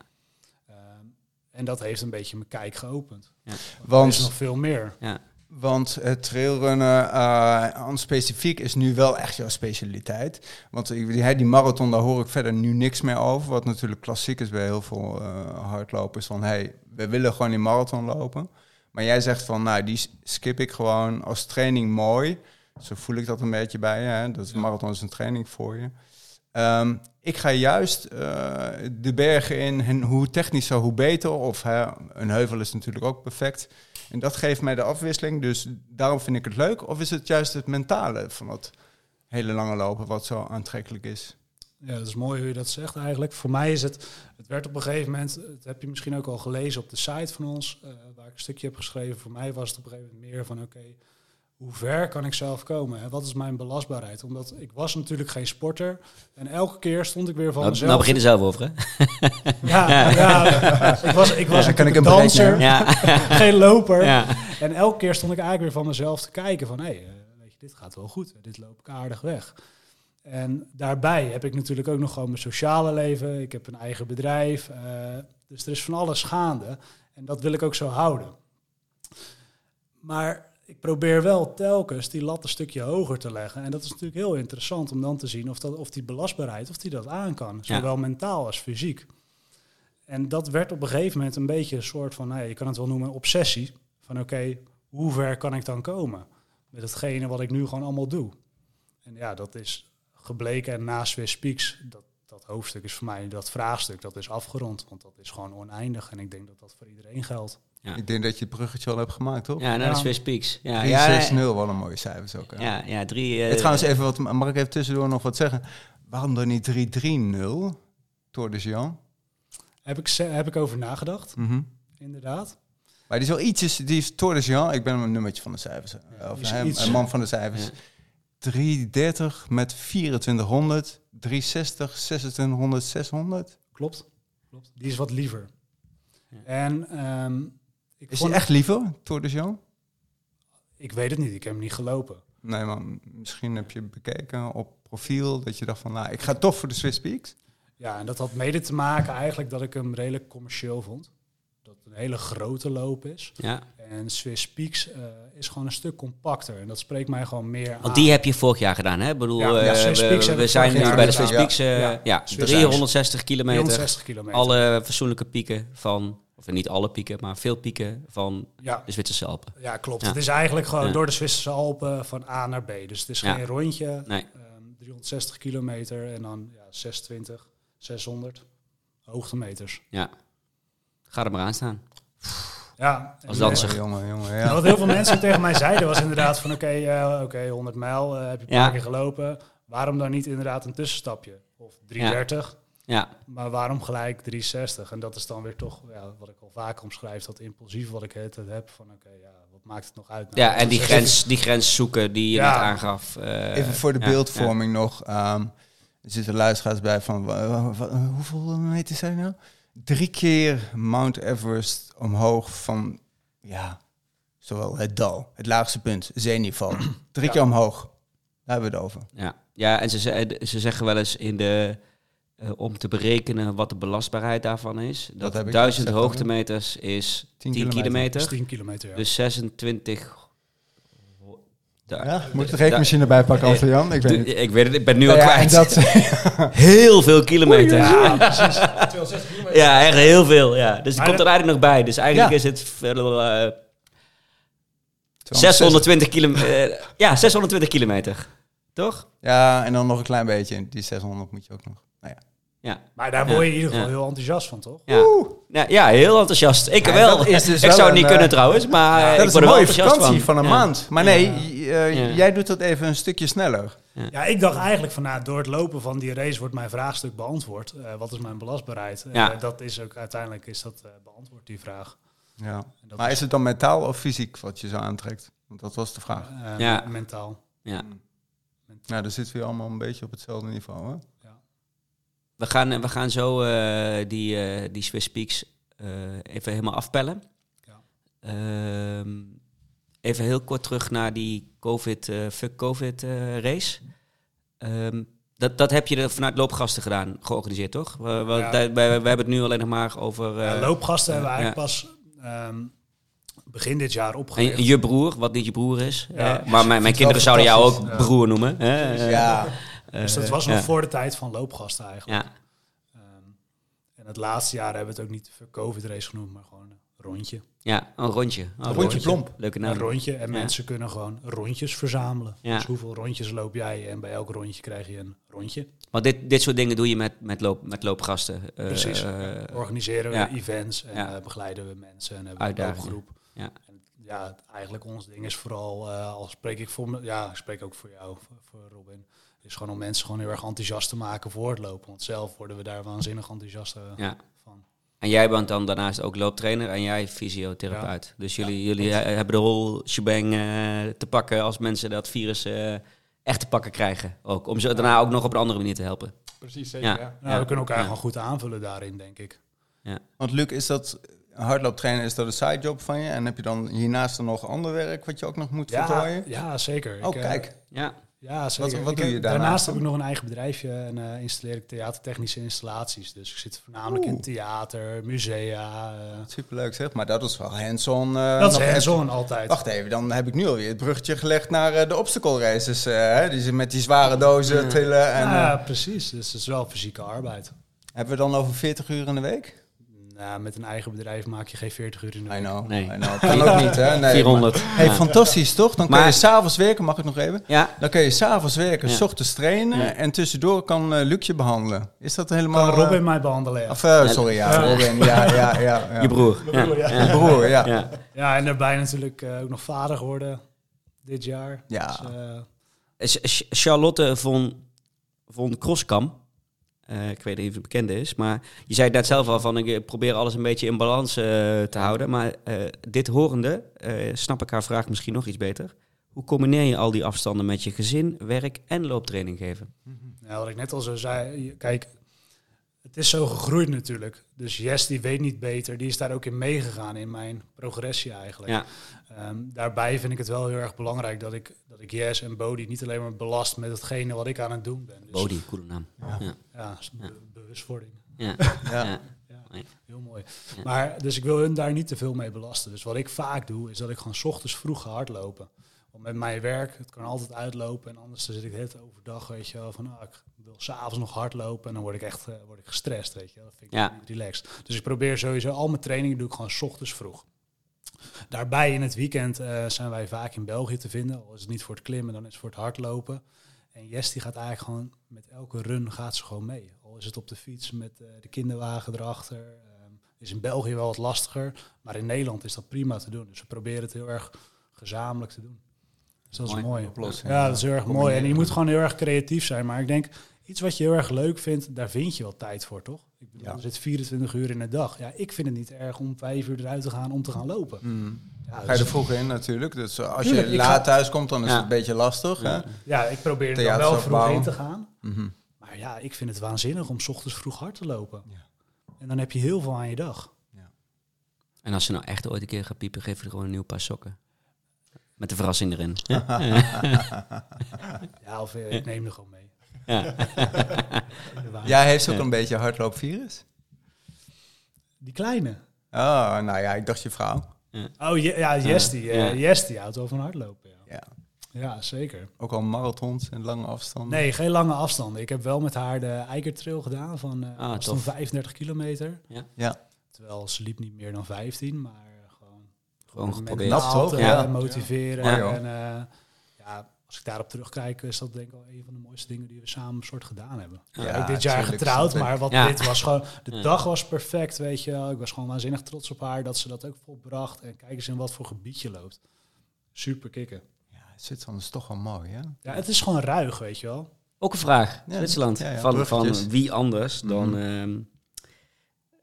S3: Ehm, en dat heeft een beetje mijn kijk geopend.
S1: Ja.
S3: Want er
S2: Want-
S3: is nog veel meer.
S2: Want het trailrunnen eh, aan specifiek is nu wel echt jouw specialiteit. Want ik- die, die marathon, daar hoor ik verder nu niks meer over. Wat natuurlijk klassiek is bij heel veel eh, hardlopers. Van, hey, we willen gewoon die marathon lopen. Maar jij zegt van, nou, die s- skip ik gewoon als training mooi. Zo voel ik dat een beetje bij je. Hè? Dat marathon is een training voor je. Ehm, ik ga juist eh, de bergen in. En hoe technischer, hoe beter. Of hè, een heuvel is natuurlijk ook perfect. En dat geeft mij de afwisseling, dus daarom vind ik het leuk. Of is het juist het mentale van dat hele lange lopen wat zo aantrekkelijk is?
S3: Ja, dat is mooi hoe je dat zegt eigenlijk. Voor mij is het, het werd op een gegeven moment, dat heb je misschien ook al gelezen op de site van ons, eh, waar ik een stukje heb geschreven. Voor mij was het op een gegeven moment meer van, oké, hoe ver kan ik zelf komen? Hè? Wat is mijn belastbaarheid? Omdat ik was natuurlijk geen sporter en elke keer stond ik weer van
S1: Nou,
S3: mezelf.
S1: nou begin je zelf over, hè?
S3: Ja, ja, ik was, ik was
S2: Ja, kan ik
S3: natuurlijk een
S2: een break
S3: danser,
S2: nemen?
S1: Ja.
S3: geen loper.
S1: ja.
S3: En elke keer stond ik eigenlijk weer van mezelf te kijken van... hé, hey, eh, weet je, dit gaat wel goed. Dit loop ik aardig weg. En daarbij heb ik natuurlijk ook nog gewoon mijn sociale leven. Ik heb een eigen bedrijf. eh, dus er is van alles gaande. En dat wil ik ook zo houden. Maar ik probeer wel telkens die lat een stukje hoger te leggen. En dat is natuurlijk heel interessant om dan te zien of, dat, of die belastbaarheid, of die dat aan kan. Zowel mentaal als fysiek. En dat werd op een gegeven moment een beetje een soort van, nou ja, je kan het wel noemen, een obsessie. Van oké, hoe ver kan ik dan komen met hetgene wat ik nu gewoon allemaal doe? En ja, dat is gebleken en na Swiss Peaks, dat, dat hoofdstuk is voor mij, dat vraagstuk, dat is afgerond. Want dat is gewoon oneindig en ik denk dat dat voor iedereen geldt.
S1: Ja.
S2: Ik denk dat je het bruggetje al hebt gemaakt, toch?
S1: ja, naar
S3: Ja.
S1: de Swiss Peaks. Ja,
S2: 3,
S1: ja,
S2: 6,
S1: ja,
S2: 0, wat een mooie cijfers ook. Hè?
S1: ja, ja, drie... eh,
S2: En trouwens, even wat, mag ik even tussendoor nog wat zeggen? Waarom dan niet 3, 3, 0? Tour de Jean.
S3: Heb ik, ze- heb ik over nagedacht, inderdaad.
S2: Maar die is wel ietsjes, die is Tour de Jean, ik ben een nummertje van de cijfers. eh,
S3: die
S2: Of
S3: is
S2: hem,
S3: iets-
S2: een man van de cijfers.
S1: Ja.
S2: 330 met 2400, 360, 2600, 600.
S3: Klopt. Klopt. Die is wat liever.
S1: Ja.
S3: En ehm, ik,
S2: Is
S3: vond-
S2: die echt liever, Tour de Jean?
S3: ik weet het niet, ik heb hem niet gelopen.
S2: Nee, maar misschien heb je bekeken op profiel dat je dacht van, nou, ik ga toch voor de Swiss Peaks.
S3: Ja, en dat had mede te maken eigenlijk dat ik hem redelijk commercieel vond. Dat het een hele grote loop is.
S1: ja.
S3: En Swiss Peaks eh, is gewoon een stuk compacter. En dat spreekt mij gewoon meer aan.
S1: Want die heb je vorig jaar gedaan, hè? Ik bedoel,
S3: Ja, ja,
S1: eh,
S3: Swiss Peaks
S1: we,
S3: heb
S1: we
S3: ik
S1: zijn
S3: vorig
S1: nu
S3: jaar
S1: bij de
S2: gedaan.
S1: Swiss Peaks. eh,
S3: Ja.
S1: ja,
S3: Swiss
S1: 360 kilometer.
S3: 360 kilometer.
S1: Alle fatsoenlijke pieken van... Of niet alle pieken, maar veel pieken van
S3: Ja,
S1: de Zwitserse Alpen.
S3: ja klopt.
S1: Ja.
S3: Het is eigenlijk gewoon
S1: Ja.
S3: door de Zwitserse Alpen van A naar B. Dus het is
S1: Ja.
S3: geen rondje.
S1: Nee.
S3: Ehm, 360 kilometer en dan ja, 620, 600 hoogtemeters.
S1: Ga er maar aan staan.
S3: Ja, en- eh,
S1: Als danser.
S2: Jongen, jongen, jongen,
S3: Ja,
S2: ja.
S3: wat heel veel mensen tegen mij zeiden was inderdaad van oké, eh, oké, 100 mijl eh, heb je een paar
S1: Ja.
S3: keer gelopen. Waarom dan niet inderdaad een tussenstapje? Of 330,
S1: Ja,
S3: maar waarom gelijk 360? En dat is dan weer toch ja, wat ik al vaak omschrijf, dat impulsief wat ik het heb. Van oké, ja, wat maakt het nog uit? Nou,
S1: ja en die
S3: 360
S1: grens, die grens zoeken die je
S3: Ja.
S1: net aangaf. eh,
S2: dus Even voor de
S1: ja,
S2: beeldvorming nog. ehm, er zitten luisteraars bij van, wa- wa- wa- hoeveel meter zijn er nou? Drie keer Mount Everest omhoog van, ja, zowel het dal, het laagste punt, zeeniveau. Drie
S3: Ja.
S2: keer omhoog. Daar hebben we het over.
S1: Ja, ja en ze, ze, ze zeggen wel eens in de, eh, om te berekenen wat de belastbaarheid daarvan is. Dat,
S2: heb ik
S1: duizend
S2: gezegd,
S1: hoogtemeters is 10 kilometer.
S3: is 10 kilometer. Ja.
S1: Dus 26... Da-
S2: Ja, moet ik de rekenmachine erbij pakken,
S1: Ja.
S2: Jan? Ik weet
S1: Du-
S2: niet.
S1: ik weet het, ik ben nu al
S2: Nou ja, en
S1: kwijt.
S2: dat,
S1: Heel veel kilometers.
S3: ja, precies.
S1: Ja, echt heel veel. Ja. Dus die
S3: Maar
S1: komt er
S3: dat-
S1: eigenlijk nog bij. Dus eigenlijk
S2: Ja.
S1: is het veel, eh, 620 kilometer. eh, ja, 620 kilometer. Toch?
S2: Ja, en dan nog een klein beetje. Die 600 moet je ook nog. Nou ja.
S1: Ja.
S3: Maar daar word je in ieder geval
S1: Ja.
S3: heel enthousiast van, toch?
S1: Ja. Ja, ja, heel enthousiast. Ik
S2: Ja,
S1: wel.
S2: dat is dus
S1: ik
S2: wel
S1: zou het
S2: een,
S1: niet
S2: eh,
S1: kunnen trouwens, maar eh,
S2: dat
S1: ik
S2: is een
S1: word er wel
S2: mooie
S1: enthousiast
S2: vakantie van, een
S1: Ja.
S2: maand. Maar nee,
S3: Ja.
S2: j- eh,
S1: Ja.
S2: jij doet dat even een stukje sneller.
S3: Ja, ik dacht eigenlijk van nou, door het lopen van die race wordt mijn vraagstuk beantwoord. Eh, wat is mijn belastbaarheid? Eh,
S1: Ja.
S3: dat is ook uiteindelijk is dat eh, beantwoord, die vraag.
S2: Ja.
S3: En dat
S2: Maar is het dan mentaal of fysiek wat je zo aantrekt? Want dat was de vraag.
S3: Eh,
S1: Ja.
S3: Mentaal.
S1: Ja.
S2: Nou, daar zitten we allemaal een beetje op hetzelfde niveau, hè?
S1: We gaan, we gaan zo eh, die, eh, die Swiss Peaks eh, even helemaal afpellen.
S3: Ja.
S1: Ehm, even heel kort terug naar die COVID, eh, fuck COVID eh, race. Ehm, dat, dat heb je er vanuit loopgasten gedaan, georganiseerd, toch? We, we,
S3: Ja.
S1: daar- we, we hebben het nu alleen nog maar over... eh,
S3: Ja, loopgasten hebben we
S1: ja.
S3: eigenlijk pas ehm, begin dit jaar opgericht.
S1: en, en je broer, wat niet je broer is.
S3: Ja.
S1: hè? Maar mijn, mijn
S3: Vind ik wel
S1: kinderen zouden jou ook
S3: fantastisch. Ja.
S1: broer noemen. Hè? Eh,
S3: dus dat was
S1: ja.
S3: nog voor de tijd van loopgasten eigenlijk.
S1: Ja,
S3: Ehm, en het laatste jaar hebben we het ook niet de COVID-race genoemd, maar gewoon een rondje.
S1: ja, een rondje. Oh,
S2: Een rondje plomp.
S1: Leuke
S3: een
S1: naam.
S3: rondje. En
S1: Ja.
S3: mensen kunnen gewoon rondjes verzamelen.
S1: Ja.
S3: Dus hoeveel rondjes loop jij? En bij elk rondje krijg je een rondje.
S1: Want dit, dit soort dingen doe je met, met, loop, met loopgasten. Eh,
S3: Precies.
S1: eh,
S3: Organiseren we
S1: ja.
S3: events en
S1: Ja.
S3: eh, begeleiden we mensen en hebben we een
S1: Uitdagingen.
S3: groep.
S1: Ja.
S3: En ja, het- eigenlijk ons ding is vooral, eh, al spreek ik voor me, ja, ik spreek ook voor jou, voor, voor Robin, is gewoon om mensen gewoon heel erg enthousiast te maken voor het lopen. Want zelf worden we daar waanzinnig enthousiast eh,
S1: ja.
S3: van.
S1: En jij bent dan daarnaast ook looptrainer en jij fysiotherapeut. Dus jullie, jullie eh, hebben de whole shebang eh, te pakken als mensen dat virus eh, echt te pakken krijgen. Ook, om ze daarna ook nog op een andere manier te helpen.
S4: Precies, zeker.
S1: Ja.
S4: Ja.
S3: Nou,
S1: Ja.
S3: we kunnen elkaar
S1: Ja.
S3: gewoon goed aanvullen daarin, denk ik.
S2: Want Luc, is dat hardlooptrainen, is dat een sidejob van je? En heb je dan hiernaast dan nog ander werk wat je ook nog moet
S3: Ja,
S2: voltooien?
S3: ja, zeker.
S2: Oh,
S3: Ik, eh,
S2: kijk.
S1: Ja,
S3: Ja, zeker.
S2: wat
S3: Ik
S2: doe
S3: heb-
S2: je daarnaast
S3: daarnaast heb
S2: dan?
S3: ik nog een eigen bedrijfje en eh, installeer ik theatertechnische installaties. Dus ik zit voornamelijk in
S2: Oeh.
S3: theater, musea. eh.
S2: Superleuk zeg, maar dat is wel hands-on. eh,
S3: dat is
S2: nog echt-
S3: hands-on altijd.
S2: Wacht even, dan heb ik nu alweer het bruggetje gelegd naar eh, de obstacle races. eh, hè, die ze met die zware dozen tillen. En,
S3: ja,
S2: eh,
S3: precies. Dus het is wel fysieke arbeid.
S2: hebben we dan over 40 uur in de week?
S3: Nou, met een eigen bedrijf maak je geen 40 uur in de
S2: I
S3: week.
S2: know,
S1: Nee.
S2: I know. Kan ook niet, hè? Nee,
S1: 400.
S2: maar- Hey,
S1: Ja.
S2: fantastisch, toch? Dan kun
S1: Maar-
S2: je s'avonds werken, mag ik nog even?
S1: Ja,
S2: Dan kun je s'avonds werken,
S1: Ja.
S2: s ochtends trainen
S1: Ja.
S2: en tussendoor kan eh, Luc je behandelen. Is dat helemaal...
S3: Kan
S2: eh,
S3: Robin mij behandelen, ja.
S2: Of, eh, sorry, ja, Robin. Ja, ja, ja, ja.
S1: je broer.
S3: Mijn broer, ja.
S2: Je broer, ja. ja.
S1: Ja.
S3: Ja, en daarbij natuurlijk eh, ook nog vader geworden dit jaar.
S2: Ja.
S3: Dus, eh,
S1: Ch- Ch- Charlotte von, von Kroskam. Eh, ik weet niet of het bekende is, maar je zei het net zelf al van ik probeer alles een beetje in balans eh, te houden. Maar eh, dit horende, eh, snap ik haar vraag misschien nog iets beter. Hoe combineer je al die afstanden met je gezin, werk en looptraining geven?
S3: Ja, Nou, wat ik net al zo zei, je- kijk, het is zo gegroeid natuurlijk. Dus Jess, die weet niet beter, die is daar ook in meegegaan in mijn progressie eigenlijk.
S1: Ja.
S3: Ehm, daarbij vind ik het wel heel erg belangrijk dat ik, dat ik Jess en Bodie niet alleen maar belast met hetgene wat ik aan het doen ben. Dus,
S1: Bodie, coole naam. Ja, ja.
S3: Ja, is be- bewustwording.
S1: ja.
S3: Ja,
S1: Ja.
S3: heel mooi.
S1: Ja.
S3: Maar, dus ik wil hun daar niet te veel mee belasten. Dus wat ik vaak doe, is dat ik gewoon 's ochtends vroeg ga hardlopen. Want met mijn werk, het kan altijd uitlopen. En anders dan zit ik de hele tijd overdag, weet je wel, van ah, ik wil s'avonds nog hardlopen. En dan word ik echt eh, word ik gestrest, weet je wel. Dat vind ik
S1: Ja.
S3: niet relaxed. Dus ik probeer sowieso, al mijn trainingen doe ik gewoon 's ochtends vroeg. Daarbij in het weekend eh, zijn wij vaak in België te vinden. Al is het niet voor het klimmen, dan is het voor het hardlopen. En Jess die gaat eigenlijk gewoon met elke run gaat ze gewoon mee. Al is het op de fiets met eh, de kinderwagen erachter. Ehm, is in België wel wat lastiger, maar in Nederland is dat prima te doen. Dus we proberen het heel erg gezamenlijk te doen. Dus dat
S1: Mooi.
S3: is mooi.
S2: Oplossing.
S3: Ja, dat is heel erg mooi. En je moet gewoon heel erg creatief zijn. Maar ik denk, iets wat je heel erg leuk vindt, daar vind je wel tijd voor, toch? Ik bedoel,
S2: Ja.
S3: Er zit 24 uur in de dag. Ja, ik vind het niet erg om vijf uur eruit te gaan om te gaan lopen.
S2: Mm.
S3: Ja,
S2: Ga je
S3: dus-
S2: er vroeg in natuurlijk. Dus eh, als
S3: Tuurlijk,
S2: je
S3: ik
S2: laat
S3: ga-
S2: thuis komt, dan is
S1: Ja.
S2: het een beetje lastig. Hè?
S3: ja ik probeer er dan
S2: Theater
S3: wel vroeg
S2: opbouwen.
S3: heen te gaan.
S2: Mhm.
S3: Maar ja, ik vind het waanzinnig om 's ochtends vroeg hard te lopen.
S2: Ja.
S3: En dan heb je heel veel aan je dag.
S1: En als ze nou echt ooit een keer gaat piepen, geef je er gewoon een nieuw paar sokken. Met de verrassing erin.
S3: Ja, of eh, ik neem er gewoon mee.
S1: Ja.
S2: Jij heeft ook
S1: Ja.
S2: een beetje hardloopvirus?
S3: Die kleine.
S2: Oh, nou ja, ik dacht je vrouw.
S3: Oh, je- ja, Yes, die, eh,
S1: Ja.
S3: Yes, die houdt wel van hardlopen. Ja.
S2: Ja.
S3: ja, zeker.
S2: Ook al marathons en lange afstanden.
S3: Hm. Nee, geen lange afstanden. Ik heb wel met haar de Eikertrail gedaan van eh
S1: Ah,
S3: was dan
S1: tof.
S3: 35 kilometer.
S2: Ja.
S3: Terwijl ze liep niet meer dan 15, maar eh, gewoon,
S1: Gewoon geprobeerd.
S3: mentaal
S2: Knap, toch?
S3: te,
S1: Ja.
S3: eh, motiveren.
S2: Ja, joh.
S3: en, eh, ja, als ik daarop terugkijk, is dat denk ik wel een van de mooiste dingen die we samen soort gedaan hebben.
S1: Ja,
S3: Ja, ook dit jaar
S2: tuurlijk,
S3: getrouwd,
S2: snap ik.
S3: maar wat
S1: Ja.
S3: dit was gewoon... De
S1: Ja.
S3: dag was perfect, weet je wel. Ik was gewoon waanzinnig trots op haar dat ze dat ook volbracht. En kijk eens in wat voor gebied je loopt. Super kicken.
S2: Ja, het zit dan is toch wel mooi, hè?
S3: Ja, het is gewoon ruig, weet je wel.
S1: Ook een vraag,
S2: Ja, Mhm.
S1: Zwitserland.
S2: ja, ja,
S1: van, van
S2: bruggetjes.
S1: wie anders dan...
S2: Mhm.
S1: ehm,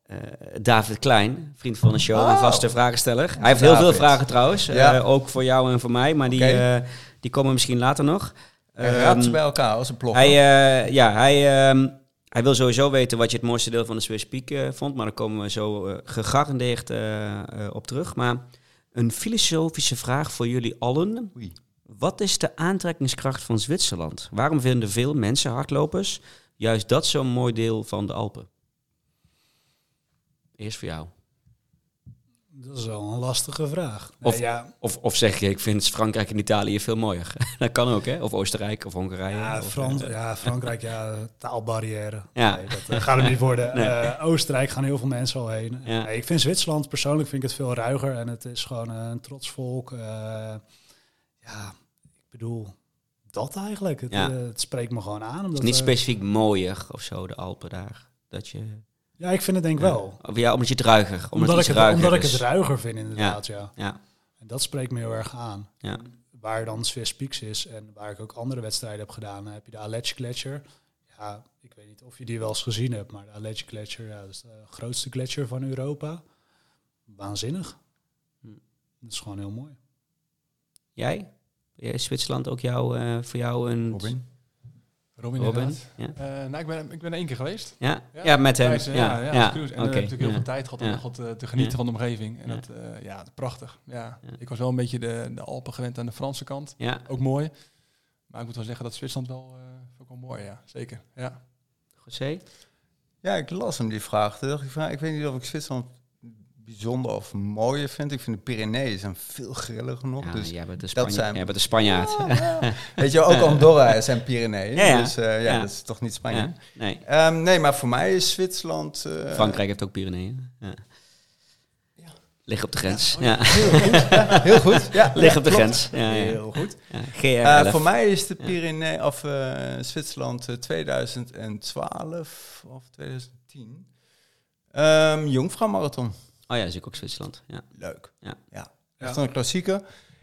S1: eh, David Klein, vriend van de show en
S2: Oh.
S1: vaste vragensteller. Hij heeft heel veel
S2: David.
S1: vragen trouwens,
S2: Ja.
S1: eh, ook voor jou en voor mij, maar die,
S2: Oké.
S1: eh, die komen misschien later nog.
S2: Hij raapt ze
S1: Ehm,
S2: bij elkaar als een plok.
S1: hij, eh, ja, hij, ehm, hij wil sowieso weten wat je het mooiste deel van de Swiss Peak eh, vond. Maar daar komen we zo eh, gegarandeerd eh, eh, op terug. Maar een filosofische vraag voor jullie allen.
S2: Oei.
S1: Wat is de aantrekkingskracht van Zwitserland? Waarom vinden veel mensen hardlopers juist dat zo'n mooi deel van de Alpen? Eerst voor jou.
S3: Dat is wel een lastige vraag.
S1: Of-
S3: Nee, ja,
S1: Of, of zeg je, ik vind Frankrijk en Italië veel mooier. dat kan ook, hè? Of Oostenrijk of Hongarije.
S3: ja,
S1: of,
S3: Frans,
S1: eh,
S3: ja, Frankrijk, ja, taalbarrière.
S1: Ja.
S3: Nee, dat eh, gaat hem niet worden.
S1: Nee.
S3: Eh, Oostenrijk gaan heel veel mensen al heen.
S1: Ja.
S3: Nee, ik vind Zwitserland persoonlijk vind ik het veel ruiger. En het is gewoon eh, een trots volk. Eh, ja, ik bedoel, dat eigenlijk. Het,
S1: Ja.
S3: eh, het spreekt me gewoon aan.
S1: Het
S3: Omdat,
S1: is niet
S3: eh,
S1: specifiek mooier of zo, de Alpen daar. Dat je... eh,
S3: ja, ik vind het denk ik wel.
S1: Of Ja, omdat je het ruiger. Omdat,
S3: Omdat,
S1: het
S3: ik,
S1: iets
S3: het,
S1: ruiger
S3: omdat ik
S1: is.
S3: het ruiger vind inderdaad, ja.
S1: Ja,
S3: En dat spreekt me heel erg aan.
S1: ja.
S3: Waar dan Swiss Peaks is en waar ik ook andere wedstrijden heb gedaan, dan heb je de Aletsch Gletscher. Ja, ik weet niet of je die wel eens gezien hebt, maar de Aletsch Gletscher, ja, dat is de grootste gletsjer van Europa. Waanzinnig.
S1: Hm.
S3: Dat is gewoon heel mooi.
S1: Jij? Is Zwitserland ook jou, eh, voor jou een...
S2: Robin.
S4: Robin,
S1: Robin?
S4: inderdaad.
S1: Ja.
S4: Eh, nou, ik ben, ik ben er één keer geweest.
S1: Ja? Ja,
S4: Ja,
S1: met hem.
S4: Reizen,
S1: ja, ja,
S4: ja, als cruise. En
S1: oké,
S4: dan heb ik natuurlijk heel
S1: ja.
S4: veel tijd gehad om
S1: Ja.
S4: nog wat eh, te genieten
S1: Ja.
S4: van de omgeving. En
S1: Ja.
S4: dat, eh, ja, prachtig. Ja.
S1: Ja.
S4: Ik was wel een beetje de, de Alpen gewend aan de Franse kant.
S1: Ja,
S4: Ook mooi. Maar ik moet wel zeggen dat Zwitserland wel, eh, ook wel mooi, ja. Zeker, ja.
S1: José?
S2: Ja, ik las hem die vraag. Toen dacht ik, van, nou, ik weet niet of ik Zwitserland bijzonder of mooier vind. Ik vind de Pyreneeën zijn veel grilliger nog.
S1: Ja,
S2: dus
S1: jij bent een
S2: dat zijn-
S1: Spanjaard. Jij bent een Spanjaard.
S2: Weet je, ook Andorra zijn Pyreneeën.
S1: Ja, ja.
S2: Dus eh, ja,
S1: Ja.
S2: dat is toch niet Spanje.
S1: Ja, nee,
S2: Ehm, nee, maar voor mij is Zwitserland... eh,
S1: Frankrijk heeft ook Pyreneeën. Ja. Lig op de grens. Ja.
S2: Heel goed. Ja,
S1: Lig op de
S2: klopt.
S1: grens. Ja, ja.
S2: Heel goed.
S1: Ja.
S2: Eh,
S1: GR11.
S2: voor mij is de Pyrenee of eh, Zwitserland eh, 2012 of 2010. Ehm Jongvrouw Marathon.
S1: Oh ja, dat is ook Zwitserland. Ja.
S2: Leuk.
S1: Ja.
S2: ja. Echt een klassieker.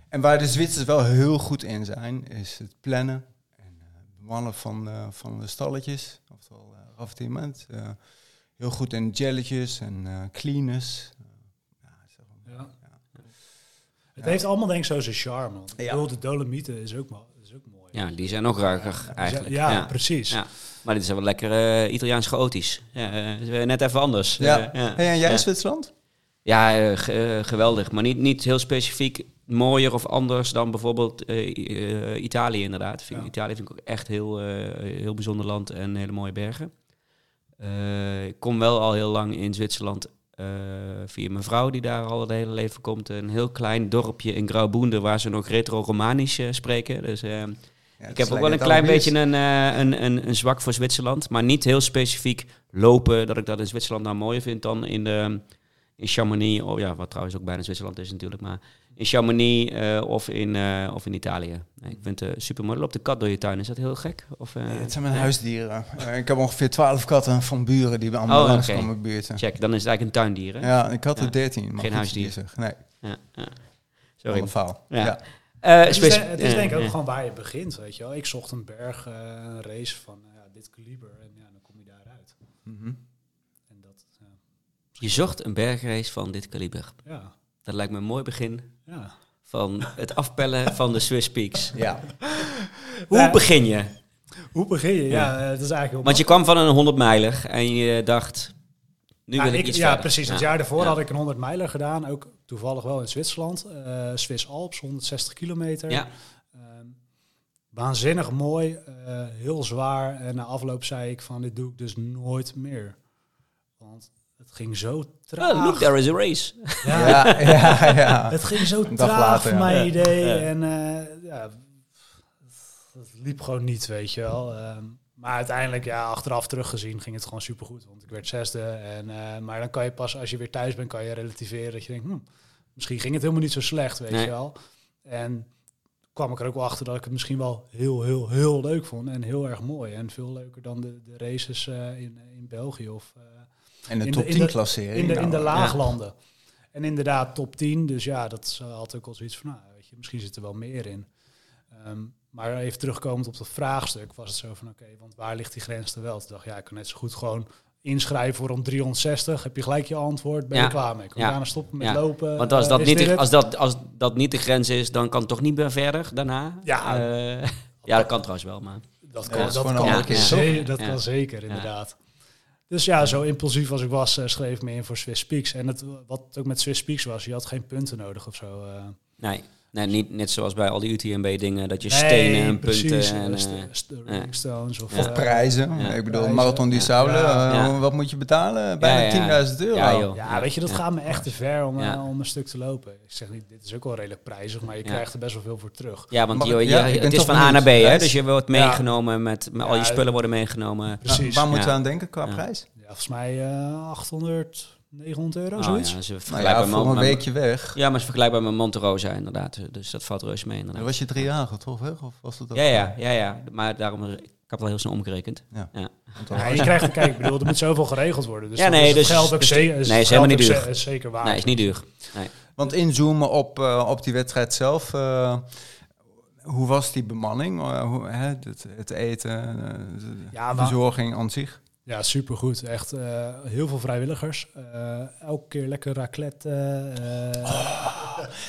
S2: En waar de Zwitsers wel heel goed in zijn, is het plannen. En eh, het bemannen van, eh, van de stalletjes. Oftewel eh raffinement. Eh, heel goed in jelletjes en eh cleaners. Eh, ja, zeg maar.
S3: Ja. Het
S2: Ja.
S3: heeft allemaal denk ik zo zijn charme. Want ik
S2: Ja.
S3: bedoel, de Dolomieten is ook, mo- is ook mooi.
S1: ja, die zijn ook ruiger eigenlijk.
S3: Ja,
S1: ja.
S3: precies.
S1: Ja. Maar dit is wel lekker eh, Italiaans chaotisch. Ja, eh, is weer net even anders.
S2: Ja.
S1: Eh, ja.
S2: Hey, en jij
S1: Ja.
S2: Zwitserland?
S1: Ja, eh, ge- eh, geweldig. Maar niet, niet heel specifiek mooier of anders dan bijvoorbeeld eh, I- eh, Italië inderdaad. Vind, ik-
S3: Ja.
S1: Italië vind ik ook echt heel, eh, heel bijzonder land en hele mooie bergen. Eh, ik kom wel al heel lang in Zwitserland eh, via mijn vrouw die daar al het hele leven komt. Een heel klein dorpje in Grauboende waar ze nog retro-Romanisch eh, spreken. Dus eh,
S2: Ja,
S1: ik
S2: dat
S1: heb
S2: is
S1: ook wel een
S2: lekker
S1: klein
S2: Alberts.
S1: beetje een, eh, een, een, een zwak voor Zwitserland. Maar niet heel specifiek lopen, dat ik dat in Zwitserland nou mooier vind dan in, de, in Chamonix. Oh ja, wat trouwens ook bijna Zwitserland is natuurlijk. Maar in Chamonix eh, of, in, eh, of in Italië. Nee, ik vind het super mooi. Loopt de kat door je tuin, is dat heel gek? Of, eh,
S2: Ja, het zijn mijn huisdieren. Eh, ik heb ongeveer 12 katten van buren die bij allemaal
S1: Oh,
S2: langs
S1: oké.
S2: komen buurten.
S1: Check, dan is het eigenlijk een tuindier. hè?
S2: Ja, ik had er
S1: Ja.
S2: 13. Maar
S1: Geen
S2: goed, die
S1: huisdier.
S2: is er. Nee,
S1: Ja, ja.
S2: Sorry.
S1: Sorry.
S2: faal.
S1: Ja.
S2: Ja.
S1: Eh,
S3: Het is,
S1: spec-
S3: denk- het is
S1: eh,
S3: denk ik ook
S1: eh.
S3: gewoon waar je begint, weet je wel. Ik zocht een berg, eh, een race van eh, ja, dit kaliber en ja, dan kom je daaruit.
S2: Mhm.
S3: En dat, ja.
S1: Je zocht een bergrace van dit kaliber.
S3: ja,
S1: Dat lijkt me een mooi begin
S3: ja.
S1: van het afpellen van de Swiss Peaks.
S2: ja.
S1: Hoe
S3: Nou,
S1: begin je?
S3: Hoe begin je? Ja, eh, dat is eigenlijk heel
S1: Want je kwam van een 100 mijler en je dacht, nu
S3: Nou,
S1: wil ik,
S3: ik-
S1: iets
S3: Ja,
S1: verder.
S3: precies. Het
S1: Ja.
S3: jaar daarvoor
S1: Ja.
S3: had ik een 100 mijler gedaan, ook toevallig wel in Zwitserland. eh Swiss Alps, 160 kilometer.
S1: Ja.
S3: Ehm, waanzinnig mooi, eh, heel zwaar. En na afloop zei ik van, dit doe ik dus nooit meer. Want het ging zo traag.
S1: Oh, look, there is a race.
S3: Ja,
S2: Ja, ja, ja.
S3: Het ging zo
S2: Een dag
S3: traag
S2: later,
S3: voor
S2: ja.
S3: mijn
S1: Ja.
S3: idee.
S1: Ja.
S3: En eh, ja, dat liep gewoon niet, weet je wel. Ehm, maar uiteindelijk, ja, achteraf teruggezien ging het gewoon supergoed. Want ik werd zesde. En, eh, maar dan kan je pas, als je weer thuis bent, kan je relativeren. Dat je denkt, hm, misschien ging het helemaal niet zo slecht, weet
S1: Nee.
S3: je wel. En kwam ik er ook wel achter dat ik het misschien wel heel, heel, heel leuk vond. En heel erg mooi. En veel leuker dan de, de races eh, in, in België of... eh,
S2: En de
S3: In
S2: top
S3: de- in
S2: 10
S3: de-
S2: klassering.
S3: in de, in de
S2: nou,
S3: laaglanden. En inderdaad, top 10. Dus ja, dat is, eh, had ook al zoiets van, nou, weet je, misschien zit er wel meer in. Ehm, maar even terugkomend op dat vraagstuk was het zo van, oké, want waar ligt die grens er wel? Toen dacht ik, ja, ik kan net zo goed gewoon inschrijven voor om 360, heb je gelijk je antwoord, ben
S1: Ja.
S3: je klaar mee. Kun je
S1: Ja.
S3: daarna stoppen met
S1: Ja.
S3: lopen?
S1: Want als
S3: eh,
S1: dat,
S3: is
S1: niet
S3: dit
S1: de,
S3: het?
S1: als, dat, als dat niet de grens is, dan kan het toch niet meer verder daarna?
S3: Ja.
S1: Eh, ja, dat kan trouwens wel, maar...
S3: Dat
S2: Ja,
S3: kan,
S2: dat is
S3: dat
S2: gewoon
S3: kan,
S2: een andere
S1: keer.
S3: ze-
S1: Ja.
S3: dat
S1: Ja.
S3: kan zeker, inderdaad. Dus ja, zo impulsief als ik was, eh, schreef ik me in voor Swiss Speaks. En het, wat ook met Swiss Speaks was, je had geen punten nodig of zo. eh.
S1: Nee, nee niet, net zoals bij al die UTMB-dingen, dat je
S3: Nee,
S1: stenen en
S3: precies,
S1: punten...
S3: eh,
S1: En,
S3: st-
S1: eh,
S3: st-
S1: ja.
S3: Rolling Stones of...
S1: Ja.
S3: eh,
S2: Prijzen.
S1: Ja.
S2: Ik bedoel,
S3: Prijzen.
S2: Marathon die
S3: Ja.
S2: Saulen.
S1: Ja.
S2: eh, Wat moet je betalen? Bijna
S1: ja.
S2: 10.000 euro.
S1: Ja, joh.
S3: Ja, weet je, dat
S1: Ja.
S3: gaat me echt te ver om, eh,
S1: Ja.
S3: om een stuk te lopen. Ik zeg niet, dit is ook wel redelijk prijzig, maar je
S1: Ja.
S3: krijgt er best wel veel voor terug.
S1: ja, want
S2: Mag
S1: je,
S2: ik-
S1: je-
S2: ja, ik ben
S1: het is
S2: toch
S1: van A naar B,
S2: benieuwd.
S1: hè?
S2: Prijs?
S1: Dus je wordt
S3: Ja.
S1: meegenomen met... met al je
S3: Ja,
S1: spullen worden meegenomen.
S2: Nou,
S3: Precies.
S2: waar moeten
S1: Ja.
S2: we aan denken qua
S1: Ja.
S2: prijs?
S3: Ja, volgens mij eh, 800, 900 euro,
S1: Oh,
S3: zoiets.
S1: ja, ze
S2: Nou ja,
S1: vergelijkbaar
S2: voor
S1: met-
S2: een weekje weg.
S1: Ja, maar ze vergelijkbaar met Monte Rosa inderdaad. Dus dat valt reuze mee
S2: Dan
S1: inderdaad.
S2: was je drie jaar, toch? hè? Of was dat ook-
S1: Ja, ja, ja, ja. Maar daarom... eh, Ik heb wel heel snel omgerekend.
S2: Want dan-
S3: Ja, je krijgt, kijk, ik bedoel, er moet zoveel geregeld worden. Dus
S1: Ja,
S3: ja,
S1: nee,
S3: nee, is
S1: dus-
S3: het geld ook
S1: dus-
S3: zeker,
S1: nee,
S3: het
S1: is
S3: geld
S1: helemaal niet
S3: ook
S1: duur.
S3: ze- zeker
S2: Ah,
S3: waard.
S1: Nee, is niet duur.
S2: Want inzoomen op, eh, op die wedstrijd zelf. eh, hoe was die bemanning? Eh, hoe, hè, het, het eten, eh, de
S3: Ja, maar-
S2: verzorging aan zich.
S3: Ja, supergoed. Echt eh, heel veel vrijwilligers. Eh, elke keer lekker raclette. eh,
S1: Oh.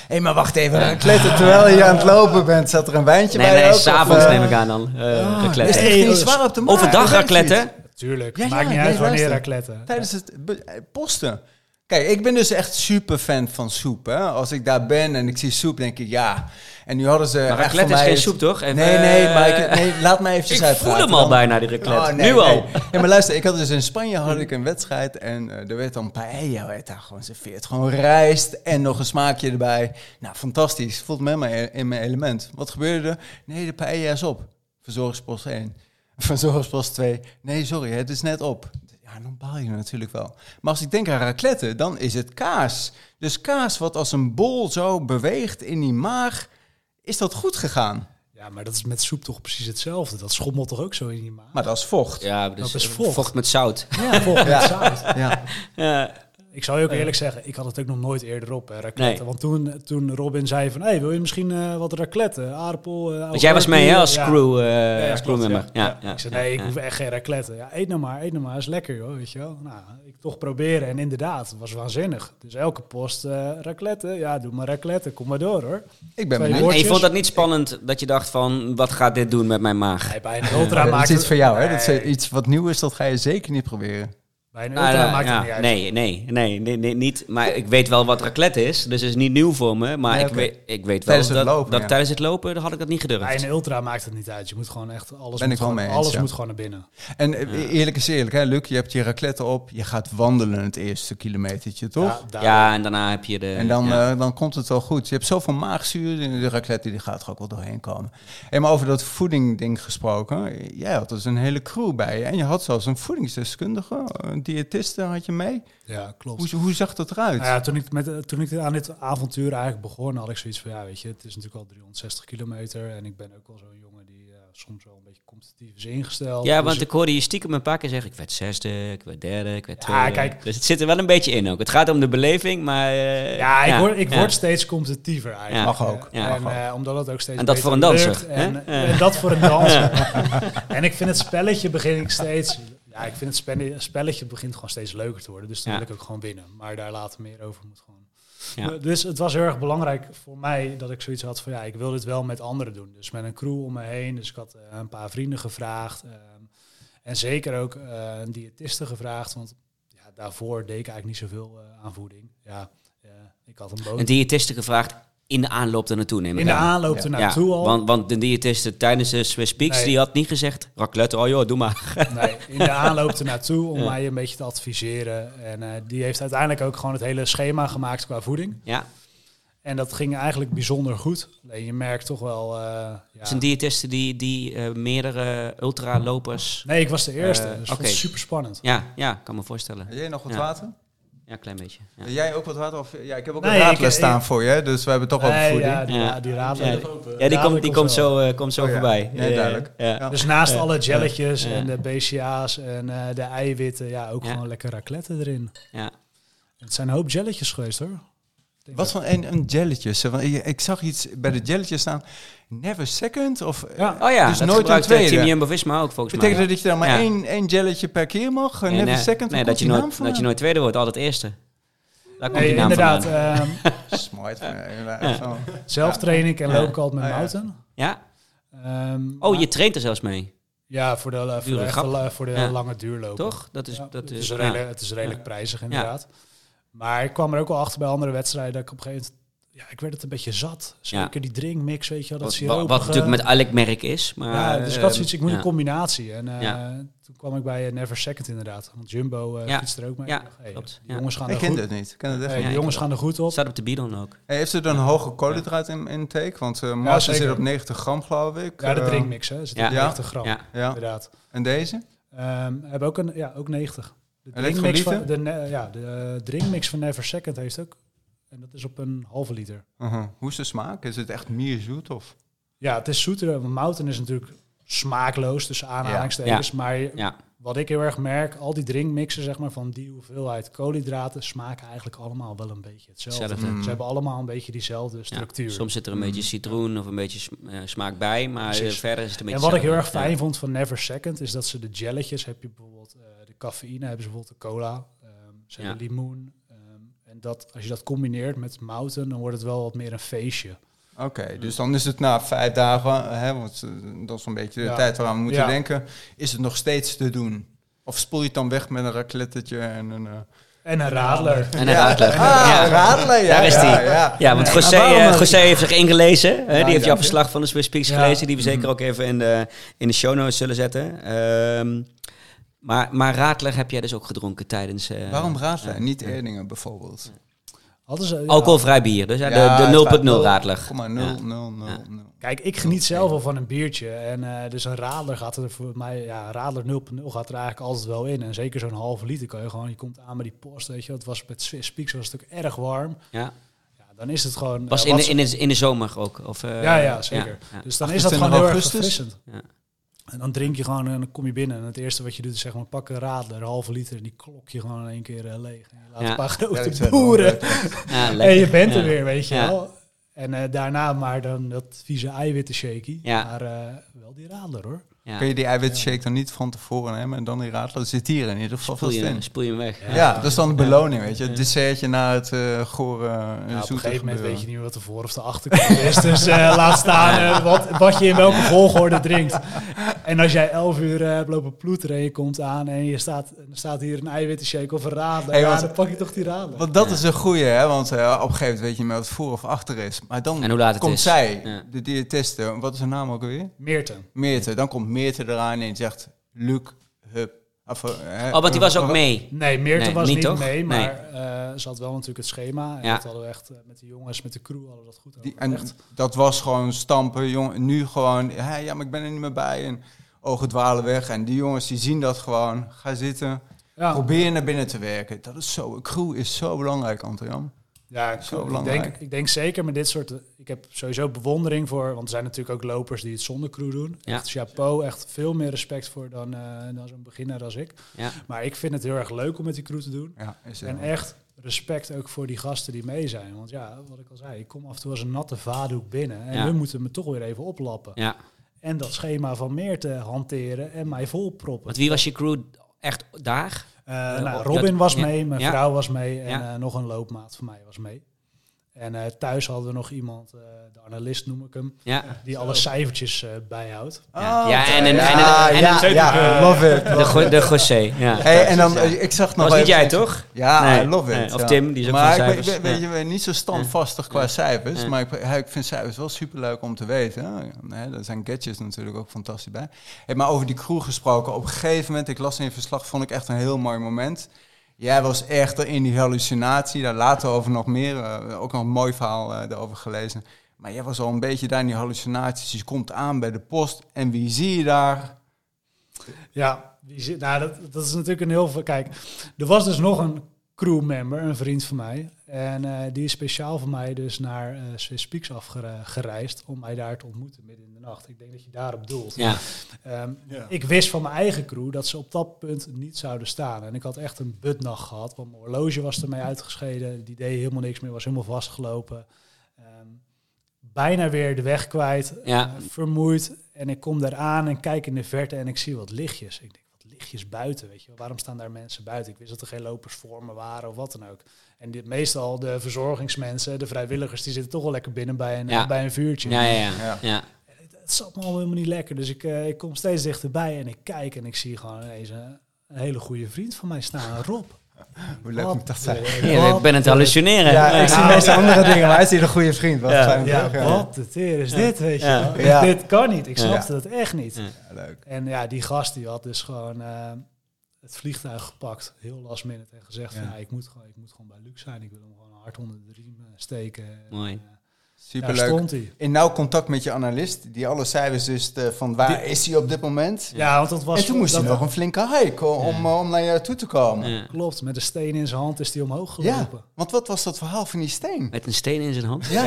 S2: Hé, maar wacht even. Eh, Kletten, terwijl je aan het lopen bent, zat er een wijntje
S1: Nee,
S2: bij
S1: nee,
S2: ook, of,
S1: s'avonds
S2: eh, Ah,
S1: neem ik aan dan. eh
S2: Is
S1: raclette.
S2: het
S3: Nee,
S2: echt niet
S3: dus-
S2: zwaar op de maag?
S1: Overdag
S2: Weet ik
S1: raclette.
S2: niet.
S3: tuurlijk.
S2: Ja,
S3: Maakt
S2: ja,
S3: niet
S2: nee,
S3: uit wanneer
S2: luister.
S3: raclette.
S2: Tijdens het be- eh, posten. Kijk, ik ben dus echt super fan van soep. Hè? Als ik daar ben en ik zie soep, denk ik ja. En nu hadden ze.
S1: Maar
S2: echt
S1: raclette
S2: voor
S1: is
S2: mij
S1: geen
S2: het-
S1: soep, toch? Even,
S2: Nee, nee, maar
S1: eh,
S2: ik, nee, laat mij eventjes
S1: Ik
S2: uitpraten
S1: voel hem al
S2: dan.
S1: bijna, die raclette.
S2: Oh, nee,
S1: nu al.
S2: nee. Ja, maar luister, ik had dus in Spanje had ik een wedstrijd en eh, er werd dan paella, werd daar gewoon serveerd. Gewoon rijst en nog een smaakje erbij. Nou, fantastisch. Voelt me helemaal in- in mijn element. Wat gebeurde er? Nee, de paella is op. Verzorgingspost 1. Verzorgingspost 2. Nee, sorry, het is net op. Ja, dan baal je natuurlijk wel. Maar als ik denk aan raclette, dan is het kaas. Dus kaas wat als een bol zo beweegt in die maag, is dat goed gegaan.
S3: Ja, maar dat is met soep toch precies hetzelfde. Dat schommelt toch ook zo in je maag?
S2: Maar dat is vocht.
S1: Ja, dus
S3: Dat is
S1: vocht.
S3: vocht.
S1: met zout.
S3: Ja, volgens
S2: Ja.
S3: zout.
S2: Ja.
S1: Eh,
S2: Oh,
S3: Ik zal je ook eerlijk zeggen, ik had het ook nog nooit eerder op, hè, raclette.
S1: Nee.
S3: Want toen, toen Robin zei van, hey, wil je misschien eh, wat raclette? Aardappel? eh,
S1: Want jij was mee, hè, als
S3: ja.
S1: crew, eh
S3: Ja, ja,
S1: als
S3: klopt,
S1: crewmember. Ja. Ja,
S3: ik zei,
S1: ja,
S3: nee, ik
S1: ja.
S3: hoef echt geen raclette. Ja, eet nou maar, eet nou maar. Is lekker, joh, weet je wel. Nou, ik toch proberen. En inderdaad, het was waanzinnig. Dus elke post, eh raclette. Ja, doe maar raclette. Kom maar door, hoor.
S2: Ik ben
S3: Twee
S2: benieuwd.
S1: En je
S3: Woordjes?
S1: vond dat niet spannend dat je dacht van, wat gaat dit doen met mijn maag?
S3: Nee, bij een ultra
S2: dat
S3: maakt
S2: is iets voor jou, hè? Dat is
S3: Nee,
S2: iets wat nieuw is, dat ga je zeker niet proberen.
S3: Bij een
S1: Nou,
S3: ultra
S1: ja,
S3: maakt
S1: ja,
S3: het niet uit.
S1: nee, nee, nee, nee, nee, niet. Maar ik weet wel wat raclette is, dus het is niet nieuw voor me. Maar
S2: Nee,
S1: ik,
S2: oké.
S1: weet, ik weet wel
S2: Tijdens
S1: dat,
S2: het lopen,
S1: dat
S2: ja.
S1: tijdens het lopen dan had ik dat niet
S3: Bij
S1: gedurfd.
S3: een ultra maakt het niet uit. Je moet gewoon echt alles,
S2: Ben
S3: moet,
S2: ik wel
S3: gewoon,
S2: mee eens,
S3: alles
S2: ja.
S3: moet gewoon naar binnen.
S2: En eh, eerlijk is eerlijk, hè, Luc, je hebt je raclette op, je gaat wandelen het eerste kilometertje, toch?
S3: Ja, daar-
S1: Ja, en daarna heb je de...
S2: En dan,
S1: ja.
S2: eh, dan komt het wel goed. Je hebt zoveel maagzuur, in de raclette die gaat er ook wel doorheen komen. En maar over dat voedingding gesproken, jij had dus een hele crew bij je. En je had zelfs een voedingsdeskundige, een diëtiste had je mee.
S3: ja, klopt.
S2: Hoe, hoe zag dat eruit?
S3: Nou ja, toen ik, met, toen ik aan dit avontuur eigenlijk begon, had ik zoiets van, ja, weet je, het is natuurlijk al 360 kilometer en ik ben ook wel zo'n jongen die eh, soms wel een beetje competitief is ingesteld.
S1: Ja,
S3: Dus
S1: want
S3: ik-
S1: ik hoorde je stiekem een paar keer zeggen... ik werd zesde, ik werd derde, ik werd
S3: Ja,
S1: tweede.
S3: kijk.
S1: Dus het zit er wel een beetje in ook. Het gaat om de beleving, maar... eh,
S3: ja, ik, word, ik
S1: ja.
S3: word steeds competitiever eigenlijk.
S1: Ja.
S2: Mag ook.
S1: Ja.
S3: en, eh, omdat het ook steeds
S1: En dat
S3: beter
S1: voor een danser,
S3: lukt. En,
S1: hè? Ja.
S3: en dat voor een danser. en ik vind het spelletje begin ik steeds... Ja, ik vind het spe- spelletje begint gewoon steeds leuker te worden. Dus dan
S1: Ja.
S3: wil ik ook gewoon winnen. Maar daar later meer over moet gewoon.
S1: Ja.
S3: Eh, Dus het was heel erg belangrijk voor mij dat ik zoiets had van... ja, ik wil dit wel met anderen doen. Dus met een crew om me heen. Dus ik had eh, een paar vrienden gevraagd. ehm, en zeker ook eh, een diëtiste gevraagd. Want ja, daarvoor deed ik eigenlijk niet zoveel eh, aan voeding. Ja, eh, ik had een boot.
S1: Een diëtiste gevraagd in de aanloop er naartoe nemen.
S3: In de aanloop
S2: Ja.
S3: ernaartoe al.
S1: Want, want de diëtiste tijdens de Swiss Peaks,
S3: Nee.
S1: die had niet gezegd... raclette, oh joh, doe maar.
S3: Nee, in de aanloop ernaartoe om
S1: Ja.
S3: mij een beetje te adviseren. En eh, die heeft uiteindelijk ook gewoon het hele schema gemaakt qua voeding.
S1: Ja,
S3: En dat ging eigenlijk bijzonder goed. Alleen je merkt toch wel... eh,
S1: het is
S3: ja.
S1: een diëtiste die, die eh, meerdere ultralopers...
S3: Nee, ik was de eerste.
S2: Eh,
S3: dus dat
S1: oké.
S3: was super spannend.
S1: Ja, ja, kan me voorstellen.
S2: Wil jij nog wat
S1: Ja.
S2: water?
S1: Ja, een klein beetje. Ja.
S2: Wil jij ook wat water? Of, ja, ik heb ook
S3: Nee,
S2: een raadles
S3: ik-
S2: staan
S3: ik-
S2: voor je, hè, dus we hebben het toch over voeding.
S3: ja, die,
S1: Ja.
S3: ja, die raden.
S1: Ja, Ja, die, komt, die komt zo, eh, komt zo
S2: Oh ja.
S1: voorbij.
S2: Ja, duidelijk.
S1: Ja, ja.
S2: Ja.
S3: Dus naast alle jelletjes
S1: Ja.
S3: en de BCA's en eh, de eiwitten, ja, ook
S1: Ja.
S3: gewoon lekker raclette erin.
S1: Ja.
S3: Het zijn een hoop jelletjes geweest hoor. denk
S2: Wat
S3: dat-
S2: van een, een jelletje? Want ik, ik zag iets bij de jelletjes staan. Never second of... eh,
S3: Ja.
S1: Oh ja,
S2: Dus
S1: dat
S2: nooit een
S1: gebruikt eh,
S2: tweede.
S1: Team Jumbo-Visma ook volgens mij.
S2: Betekent dat dat je dan maar
S1: Ja.
S2: één, één jelletje per keer mag? Eh,
S1: Nee,
S2: never
S1: nee,
S2: second?
S1: Nee, dat je, nooit, dat je nooit tweede wordt, altijd eerste. Daar komt
S3: Nee,
S1: Oh, die naam
S3: inderdaad.
S1: vandaan.
S3: ehm,
S2: Smart.
S1: Ja.
S3: zelf train ik en
S1: Ja.
S3: loop ik altijd met
S2: Ah, ja.
S3: mouten.
S1: Ja?
S3: Ehm,
S1: Oh,
S3: maar-
S1: je traint er zelfs mee,
S3: Ja, voor de, eh, voor de,
S1: Dure
S3: echte
S1: grap.
S3: la- voor de
S1: Ja.
S3: lange duurlopen.
S1: toch? Dus Dat is,
S3: Ja,
S1: dat
S3: het,
S1: is,
S3: is
S1: ja.
S3: redelijk, het is redelijk prijzig inderdaad. Maar ik kwam er ook wel achter bij andere wedstrijden dat ik op een gegeven moment... Ja, ik werd het een beetje zat. Zeker die drinkmix, weet je wel, dat
S1: Wat,
S3: siroopige.
S1: wat, wat natuurlijk met elk merk is, maar...
S3: Ja, dus ik
S1: eh,
S3: had zoiets, ik moet
S1: ja.
S3: een combinatie. En eh,
S1: Ja.
S3: toen kwam ik bij eh, Never Second inderdaad. Want Jumbo eh
S1: Ja.
S3: fietst er ook mee.
S1: Ja,
S3: Ik dacht, hey,
S1: klopt.
S3: die
S1: Ja.
S3: jongens gaan
S2: Ik
S3: er
S2: ken
S3: goed,
S2: het niet. Ik ken het echt
S1: Ja,
S3: hey,
S2: niet.
S3: die
S1: ik
S3: jongens
S1: ook.
S3: gaan er goed op.
S1: Staat op de bidon ook.
S2: Hey, heeft het een hoge koolhydraat in, intake? Want eh
S3: Ja,
S2: Mars
S3: zeker.
S2: zit op 90 gram, geloof ik.
S3: Ja, de
S2: Eh,
S3: drinkmix, hè. Zit
S1: Ja.
S3: op 90 gram,
S1: Ja.
S2: Ja.
S3: inderdaad.
S2: En deze?
S3: Ehm, hebben ook een, ja, ook 90. De drinkmix
S2: Elektrolyten?
S3: van, de, ne- ja, de eh, drinkmix van Never Second heeft ook. En dat is op een halve liter.
S2: Uh-huh. Hoe is de smaak? Is het echt meer zoet? Of?
S3: Ja, het is zoeter. Want mouten is natuurlijk smaakloos, tussen aanhalingstekens. Maar je-
S1: Ja.
S3: wat ik heel erg merk, al die drinkmixen zeg maar, van die hoeveelheid koolhydraten smaken eigenlijk allemaal wel een beetje hetzelfde.
S1: Hetzelfde.
S2: Mm.
S3: Ze hebben allemaal een beetje diezelfde
S1: Ja,
S3: structuur.
S1: soms zit er een
S2: Mm.
S1: beetje citroen of een beetje sm- eh, smaak bij, maar eh,
S3: Precies.
S1: verder is het een beetje...
S3: en wat ik heel erg
S1: hetzelfde.
S3: fijn vond van Never Second is dat ze de jelletjes, heb je bijvoorbeeld eh, de cafeïne, hebben ze bijvoorbeeld de cola, ehm ze
S1: Ja.
S3: hebben limoen. ehm, en dat, als je dat combineert met mouten, dan wordt het wel wat meer een feestje.
S2: Oké, dus dan is het na vijf dagen, hè, want eh, dat is een beetje de
S3: Ja.
S2: tijd waaraan we moeten
S3: Ja.
S2: denken, is het nog steeds te doen? Of spoel je het dan weg met een raclettetje en een... eh,
S3: En een radler.
S1: En een radler.
S2: Ah,
S1: ja.
S2: radelen, ja.
S1: Daar is die.
S2: Ja, ja.
S1: Ja, want
S2: Nee,
S1: José,
S2: maar waarom
S1: eh,
S2: dan?
S1: José heeft zich ingelezen. hè?
S2: Ja,
S1: die heeft
S2: ja.
S1: jouw verslag van de Swiss Peaks
S3: Ja. Mhm.
S1: gelezen. Die we zeker ook even in de, in de show notes zullen zetten. Ehm, maar, maar Radler heb jij dus ook gedronken tijdens... eh,
S2: Waarom radelen?
S1: eh,
S2: Niet Erdingen bijvoorbeeld.
S3: Hadden ze, ja.
S1: Alcoholvrij bier. Dus ja, de-
S2: Ja,
S1: de, 0.0
S2: uiteraard.
S1: Radler.
S2: 0,0000.
S1: Ja.
S3: Kijk, ik geniet zelf al van een biertje. En eh, dus een radler gaat er voor mij, ja, een radler 0.0 gaat er eigenlijk altijd wel in. En zeker zo'n halve liter kan je gewoon, je komt aan met die post, weet je. wel. Het was met Swiss Peaks was het ook erg warm.
S1: Ja.
S3: Ja, dan is het gewoon...
S1: Was
S3: eh,
S1: in
S3: wat
S1: de,
S3: ze-
S1: in, de, in de zomer ook. Of, eh,
S3: Ja, ja, zeker.
S1: ja.
S3: Dus dan is dat
S2: 28
S3: gewoon heel erg
S2: augustus.
S3: verfrissend.
S1: Ja.
S3: En dan drink je gewoon en dan kom je binnen. En het eerste wat je doet is zeg maar pak een radler, een halve liter. En die klok je gewoon in één keer eh, leeg. En je laat
S1: Ja.
S3: een paar
S2: Ja, ik
S3: grote
S2: zeg eh, wel,
S3: boeren.
S1: Ja,
S3: En
S1: lekker.
S3: je bent er
S1: Ja.
S3: weer, weet je
S1: Ja.
S3: wel. En eh, daarna maar dan dat vieze eiwitten shaky.
S1: Ja.
S3: Maar eh, wel die radler hoor.
S1: Ja.
S2: Kun je die eiwitshake dan niet van tevoren nemen en dan die radelen? Dat zit hier in ieder geval
S1: Spoel
S2: vast
S1: je,
S2: in.
S1: spoel je hem weg.
S2: Ja, dat is dan de beloning, weet je. Het dessertje na het eh gore eh,
S3: Ja, op een
S2: zoete
S3: gegeven moment
S2: gebeuren.
S3: weet je niet meer wat de voor- of de achterkant is. Dus eh, laat staan eh, wat, wat je in welke volgorde drinkt. En als jij 11 uur eh, hebt lopen ploeteren en je komt aan en je staat, en er staat hier een eiwitten shake of een radler.
S2: Hey,
S3: ja,
S2: want-
S3: dan pak je toch die radler.
S2: Want dat is een goeie, hè? Want eh, op een gegeven moment weet je niet meer wat voor of achter is. Maar dan
S1: En hoe laat het
S2: komt
S1: is.
S2: zij,
S1: Ja.
S2: de diëtiste, wat is haar naam ook alweer?
S3: Meerten.
S2: Meerte. Dan komt Meerte eraan en die zegt, Luc, hup. Of, eh, hè,
S1: Oh, want die was ook
S2: eh,
S1: mee.
S3: Nee, Meerten
S1: Nee,
S3: was
S1: niet
S3: niet,
S1: toch? Nee.
S3: mee, maar eh, ze had wel natuurlijk het schema. En
S1: Ja.
S3: dat hadden we echt eh, met de jongens, met de crew, hadden we dat goed
S2: Die, en
S3: overlegd.
S2: dat was gewoon stampen, jongen. Nu gewoon, hè, ja, maar ik ben er niet meer bij. En ogen dwalen weg. En die jongens, die zien dat gewoon. Ga zitten.
S3: Ja,
S2: Probeer naar binnen te werken. Dat is zo, crew is zo belangrijk, Antojan.
S3: ja ik,
S2: Zo
S3: ik,
S2: belangrijk.
S3: denk, ik denk zeker met dit soort... eh, Ik heb sowieso bewondering voor... Want er zijn natuurlijk ook lopers die het zonder crew doen.
S1: Ja.
S3: Echt chapeau, echt veel meer respect voor dan, eh, dan zo'n beginner als ik.
S1: Ja.
S3: Maar ik vind het heel erg leuk om met die crew te doen.
S2: Ja, is het
S3: En
S2: wel.
S3: echt respect ook voor die gasten die mee zijn. Want ja, wat ik al zei, ik kom af en toe als een natte vaaddoek binnen. En
S1: Ja.
S3: we moeten me toch weer even oplappen.
S1: Ja.
S3: En dat schema van meer te hanteren en mij volproppen.
S1: Want wie was je crew echt daar?
S3: Eh,
S1: Eh,
S3: nou,
S1: op-
S3: Robin
S1: dat-
S3: was
S1: ja,
S3: mee, mijn
S1: ja.
S3: vrouw was mee en
S1: Ja.
S3: eh, nog een loopmaat van mij was mee. En eh, thuis hadden we nog iemand, eh, de analist noem ik hem,
S1: Ja.
S3: die alle cijfertjes eh, bijhoudt.
S1: Ja. Ja, en een-
S2: ja,
S1: en een- en
S2: ja,
S1: een-
S3: eh,
S2: ja, love it.
S1: De, go- de José. Ja.
S2: Hey, Eh, en dan,
S1: Ja.
S2: ik
S1: Dat was
S2: zag nog wel
S1: niet
S2: even-
S1: jij, toch?
S2: Ja,
S1: Nee,
S2: I love it.
S1: nee, of
S2: ja.
S1: Tim, die is ook
S2: maar
S1: van
S2: ik ben-
S1: cijfers.
S2: ben-
S1: Ja.
S2: weet je, niet zo standvastig qua cijfers,
S1: Ja.
S2: maar ik, ja, ik vind cijfers wel superleuk om te weten. Nee, daar zijn gadgets natuurlijk ook fantastisch bij. Hey, maar over die crew gesproken, op een gegeven moment, ik las in je verslag, vond ik echt een heel mooi moment. Jij was echt in die hallucinatie, daar later over nog meer, eh, ook nog een mooi verhaal eh, daarover gelezen. Maar jij was al een beetje daar in die hallucinaties. dus Je komt aan bij de post en wie zie je daar?
S3: Ja, die zit, nou, dat, dat is natuurlijk een heel veel. Kijk, er was dus nog een crewmember, een vriend van mij. En eh, die is speciaal voor mij dus naar eh Swiss Peaks afgereisd om mij daar te ontmoeten midden in de nacht. Ik denk dat je daarop doelt.
S1: Ja.
S3: Ehm,
S4: Ja.
S3: ik wist van mijn eigen crew dat ze op dat punt niet zouden staan. En ik had echt een butnacht gehad, want mijn horloge was ermee uitgescheden. Die deed helemaal niks meer, was helemaal vastgelopen. Ehm, bijna weer de weg kwijt,
S1: Ja.
S3: eh, vermoeid. En ik kom daar aan en kijk in de verte en ik zie wat lichtjes. Ik denk, wat lichtjes buiten, weet je wel. Waarom staan daar mensen buiten? Ik wist dat er geen lopers voor me waren of wat dan ook. En dit, meestal de verzorgingsmensen, de vrijwilligers, die zitten toch wel lekker binnen bij een,
S1: Ja.
S3: bij een vuurtje
S1: Ja, ja, ja.
S2: Ja.
S1: ja.
S3: het zat me al helemaal niet lekker. Dus ik, eh, ik kom steeds dichterbij en ik kijk en ik zie gewoon ineens een, een hele goede vriend van mij staan, Rob.
S2: Hoe leuk moet dat zijn?
S1: ik ben aan het hallucineren.
S5: Ja, ik zie
S1: Ja.
S5: meestal andere dingen, maar hij is hier een goede vriend. Wat
S1: Ja.
S5: fijn.
S3: Ja,
S5: Ja,
S3: wat de teer is dit, weet je
S1: Ja.
S3: wel?
S5: Ja.
S3: Dit kan niet. Ik
S1: Ja.
S3: snapte dat echt niet.
S1: Ja.
S2: Ja, leuk.
S3: En ja, die gast die had dus gewoon eh, het vliegtuig gepakt, heel last minute, en gezegd van
S2: Ja.
S3: ja, ik moet gewoon, ik moet gewoon bij Luc zijn. Ik wil hem gewoon hard onder de riem eh, steken. En,
S1: Mooi.
S3: eh, daar
S2: Superleuk.
S3: stond hij.
S2: in nauw contact met je analist, die alle cijfers dus eh, van waar is hij op dit moment.
S3: Ja, want dat was...
S2: en toen moest
S3: dat-
S2: hij nog een flinke hike om, om, eh, om naar jou toe te komen. Ja.
S1: Ja.
S3: Klopt, met een steen in zijn hand is hij omhoog gelopen.
S2: want wat was dat verhaal van die steen?
S1: Met een steen in zijn hand.
S2: Ja,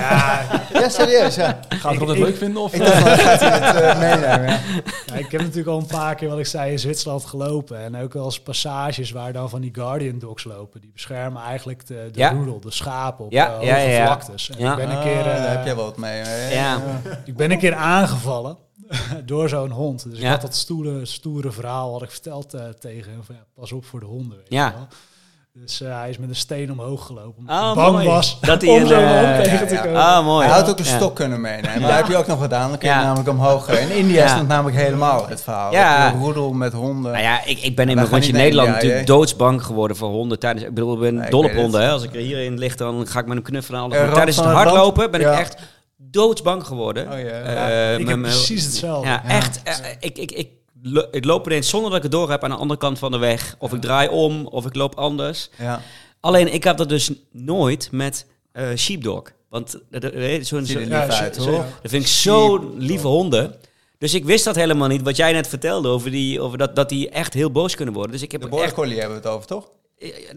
S2: ja serieus, ja.
S4: Gaat Rob dat
S3: ik-
S4: leuk vinden? Of, eh?
S2: Ik dacht, dat gaat hij het eh, meenemen. ja.
S3: Ja, ik heb natuurlijk al een paar keer, wat ik zei, in Zwitserland gelopen. En ook wel eens passages waar dan van die guardian dogs lopen. Die beschermen eigenlijk de, de
S1: Ja.
S3: roedel, de schapen op
S1: Ja,
S3: ja, hoge
S1: ja, ja, ja.
S3: vlaktes. En
S1: Ja.
S3: ik, ben een keer,
S2: Ah, daar
S3: eh,
S2: heb jij wel wat mee. hè?
S1: Ja.
S3: ik ben een keer aangevallen door zo'n hond. Dus
S1: Ja.
S3: ik had dat stoere, stoere verhaal had ik verteld eh, tegen hem. Van, ja, pas op voor de honden, weet
S1: Ja.
S3: je wel. Dus eh, hij is met een steen omhoog gelopen. Omdat
S1: Ah,
S3: hij bang
S1: mooi.
S3: was
S1: Dat hij
S3: om
S1: een,
S3: zo'n
S1: eh,
S3: hond tegen te
S2: ja, ja.
S3: komen.
S1: Ah, mooi.
S2: Hij had ook een
S1: Ja.
S2: stok kunnen meenemen.
S1: Ja.
S2: Maar heb je ook nog gedaan. Dan kun je
S1: Ja.
S2: namelijk omhoog. eh, In India
S1: Ja.
S2: is dat namelijk helemaal het verhaal.
S1: Ja.
S2: Een roedel met honden.
S1: Nou ja, ik, ik ben in
S2: Wij
S1: mijn
S2: gaan
S1: rondje
S2: niet naar
S1: Nederland
S2: India,
S1: natuurlijk doodsbang geworden voor honden. Tijdens, ik bedoel, ik ben
S2: Ja, ik
S1: dol op
S2: weet het.
S1: honden. Hè. Als ik er hierin lig, dan ga ik met hem knuffelen en alles.
S2: Eh,
S1: Maar
S2: Rand
S1: tijdens het
S2: van het Land?
S1: hardlopen ben ik
S2: Ja.
S1: echt doodsbang geworden.
S2: Oh, ja.
S1: Eh,
S3: Ja, ik
S1: met
S3: heb
S1: mijn-
S3: precies
S2: Oh,
S3: hetzelfde.
S1: Ja, echt. eh, ik, ik, ik, lo- ik loop ineens zonder dat ik het door heb aan de andere kant van de weg. Of ik draai om, of ik loop anders.
S2: Ja.
S1: Alleen, ik heb dat dus nooit met eh, sheepdog. Want eh, eh, eh, zo'n...
S2: Ziet er
S1: zo'n-
S2: lief
S3: ja,
S2: uit,
S3: zo-
S2: hoor.
S3: zo-
S1: dat vind ik zo lieve honden. Dus ik wist dat helemaal niet, wat jij net vertelde over, die, over dat, dat die echt heel boos kunnen worden. Dus ik heb
S2: De
S1: echt,
S2: border collie hebben we het over, toch?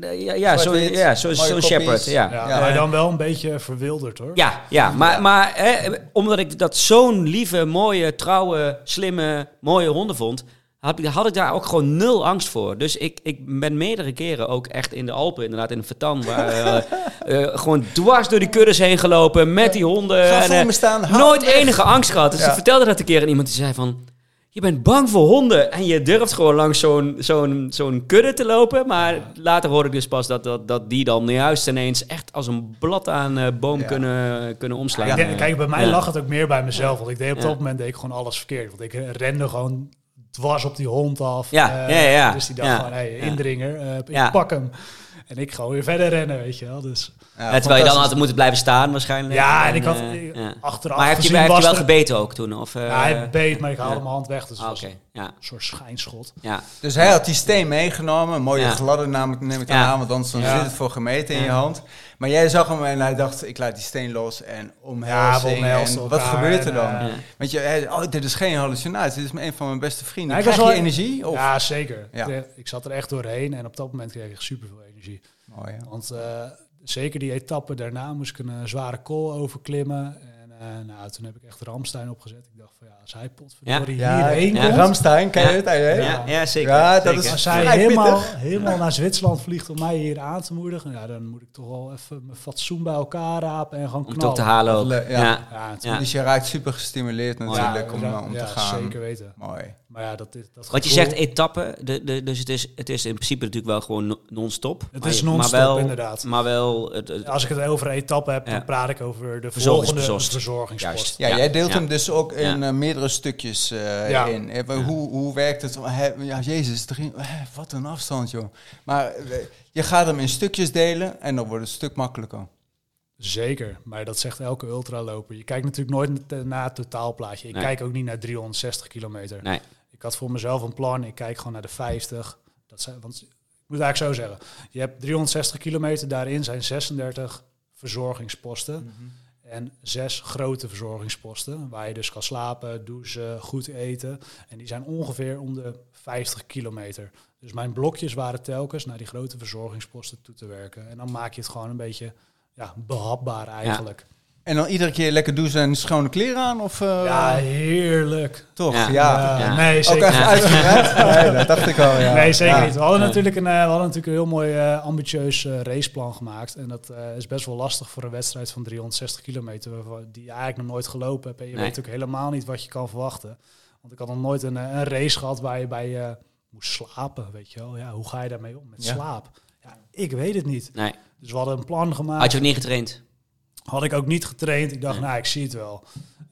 S1: ja, ja, ja, zo,
S2: Zwart-wit,
S1: ja zo,
S2: mooie
S1: zo'n
S2: kopjes.
S1: shepherd. Ja, ja.
S3: Ja,
S2: Ja.
S3: maar dan wel een beetje verwilderd hoor.
S1: ja, maar, maar hè, omdat ik dat zo'n lieve, mooie, trouwe, slimme, mooie honden vond... Had ik, had ik daar ook gewoon nul angst voor. Dus ik, ik ben meerdere keren ook echt in de Alpen, inderdaad in de Vertan... Waar, eh, eh, gewoon dwars door die kuddes heen gelopen met die honden.
S2: Ga
S1: en,
S2: voor
S1: eh,
S2: me staan. haal
S1: nooit
S2: hem weg.
S1: enige angst gehad. Dus
S2: Ja.
S1: ik vertelde dat een keer aan iemand die zei van... Je bent bang voor honden en je durft gewoon langs zo'n zo'n zo'n kudde te lopen. Maar later hoorde ik dus pas dat, dat, dat die dan juist ineens echt als een blad aan eh, boom
S2: Ja.
S1: kunnen, kunnen omslaan.
S3: Ik denk- kijk, bij mij
S1: Ja.
S3: lag het ook meer bij mezelf. Want ik deed op
S1: Ja.
S3: dat moment deed ik gewoon alles verkeerd. Want ik eh, rende gewoon dwars op die hond af.
S1: Ja,
S3: eh,
S1: ja, ja.
S3: Dus die dacht
S1: Ja.
S3: gewoon, hey,
S1: Ja.
S3: indringer, eh, ik
S1: Ja.
S3: pak hem. En ik ga weer verder rennen, weet je wel. Dus,
S2: Ja,
S1: Ja, terwijl je dan
S2: fantastisch.
S1: had moeten blijven staan waarschijnlijk.
S3: ja, en ik had
S1: eh,
S3: eh,
S1: ja.
S3: achteraf
S1: Maar heeft je,
S3: gezien
S1: heeft je
S3: was
S1: wel
S3: er-
S1: gebeten ook toen? Of, eh,
S3: Ja, hij beet, maar ik haalde
S1: ja.
S3: mijn hand weg. Dus het
S1: ah,
S3: was
S1: Oké, ja.
S3: een soort schijnschot.
S1: ja.
S2: Dus hij had die steen meegenomen, een mooie
S1: Ja.
S2: gladde namelijk neem ik dan
S1: Ja.
S2: aan, want anders dan
S3: Ja.
S2: zit het voor gemeten in
S1: Ja.
S2: je hand. Maar jij zag hem en hij dacht, ik laat die steen los en
S3: Ja, we
S2: omhelzing.
S3: omhelzen
S2: en wat
S3: elkaar
S2: gebeurt er
S3: en,
S2: dan?
S3: eh,
S1: ja.
S2: Want je, hij- oh, dit is geen hallucinatie, dit is een van mijn beste vrienden.
S3: Ja, ik
S2: Krijg
S3: was
S2: je
S3: wel-
S2: energie? Of?
S3: Ja, zeker.
S2: Ja.
S3: Ik, ik zat er echt doorheen. En op dat moment kreeg ik super veel energie.
S2: Mooi, ja.
S3: Want eh, zeker die etappe daarna moest ik een eh, zware kool overklimmen. En eh, nou, toen heb ik echt Ramstein opgezet. Ik dacht van ja, als hij potverdorie
S2: Ja,
S3: hierheen
S1: ja.
S3: komt.
S2: Ramstein, ken je
S1: Ja.
S2: het? Hij- hè?
S1: Ja, ja, zeker.
S2: Ja, dat
S1: zeker.
S2: is-
S3: Als hij
S2: Vrij
S3: helemaal,
S2: pittig.
S3: helemaal naar Zwitserland vliegt om mij hier aan te moedigen. Ja, dan moet ik toch wel even mijn fatsoen bij elkaar rapen en gewoon
S1: Om
S3: knallen.
S1: het op te halen ook.
S2: Le- ja.
S1: Ja.
S3: Ja, toen-
S1: Ja.
S2: Dus je raakt super gestimuleerd natuurlijk om,
S3: ja,
S2: eh, om
S3: ja,
S2: te gaan.
S3: zeker weten.
S2: Mooi.
S3: Maar ja, dat is... Dat
S1: Want je
S3: gevoel-
S1: zegt etappe, de, de, dus het is, het is in principe natuurlijk wel gewoon no- non-stop.
S3: Het
S1: Maar
S3: is
S1: je-
S3: non-stop,
S1: maar wel,
S3: inderdaad.
S1: Maar wel... Het, het-
S3: Als ik het over etappen heb,
S1: Ja.
S3: dan praat ik over de volgende
S1: Verzorgingspost.
S3: verzorgingspost.
S1: Juist.
S2: Ja,
S1: Ja,
S2: jij deelt
S1: ja.
S2: hem dus ook in
S1: Ja.
S2: eh, meerdere stukjes eh,
S3: Ja.
S2: in. Eh, wa- Hoe, hoe werkt het? Hè, Ja, jezus, er ging- hè, wat een afstand, joh. Maar eh, je gaat hem in stukjes delen en dan wordt het een stuk makkelijker.
S3: Zeker, maar dat zegt elke ultraloper. Je kijkt natuurlijk nooit te- naar het totaalplaatje. Ik
S1: Nee.
S3: kijk ook niet naar 360 kilometer.
S1: Nee.
S3: Ik had voor mezelf een plan. Ik kijk gewoon naar de 50. Dat zijn, want ik moet het eigenlijk zo zeggen. Je hebt 360 kilometer, daarin zijn 36 verzorgingsposten. En zes grote verzorgingsposten, waar je dus kan slapen, douchen, goed eten. En die zijn ongeveer om de 50 kilometer. Dus mijn blokjes waren telkens naar die grote verzorgingsposten toe te werken. En dan maak je het gewoon een beetje ja, behapbaar eigenlijk.
S2: En dan iedere keer lekker douchen en schone kleren aan? Of, eh,
S3: Ja, heerlijk.
S2: Toch?
S1: Ja.
S2: Ja.
S3: Ja,
S1: Ja.
S3: Nee,
S2: Ook
S3: zeker
S2: even uitgebreid? Nee, dat dacht ik al, ja.
S3: nee, zeker
S2: Ja.
S3: niet. We hadden,
S1: Nee.
S3: natuurlijk een, eh, we hadden natuurlijk een heel mooi eh, ambitieus eh, raceplan gemaakt. En dat eh, is best wel lastig voor een wedstrijd van 360 kilometer, waarvan- die je eigenlijk nog nooit gelopen hebt. En je
S1: Nee.
S3: weet ook helemaal niet wat je kan verwachten. Want ik had nog nooit een, eh, een race gehad waar je bij eh, moest slapen, weet je wel. Ja, hoe ga je daarmee om met
S2: Ja.
S3: slaap? Ja, ik weet het niet.
S1: Nee.
S3: Dus we hadden een plan gemaakt.
S1: Had je ook niet getraind?
S3: Had ik ook niet getraind. Ik dacht,
S1: Nee.
S3: nou, ik zie het wel.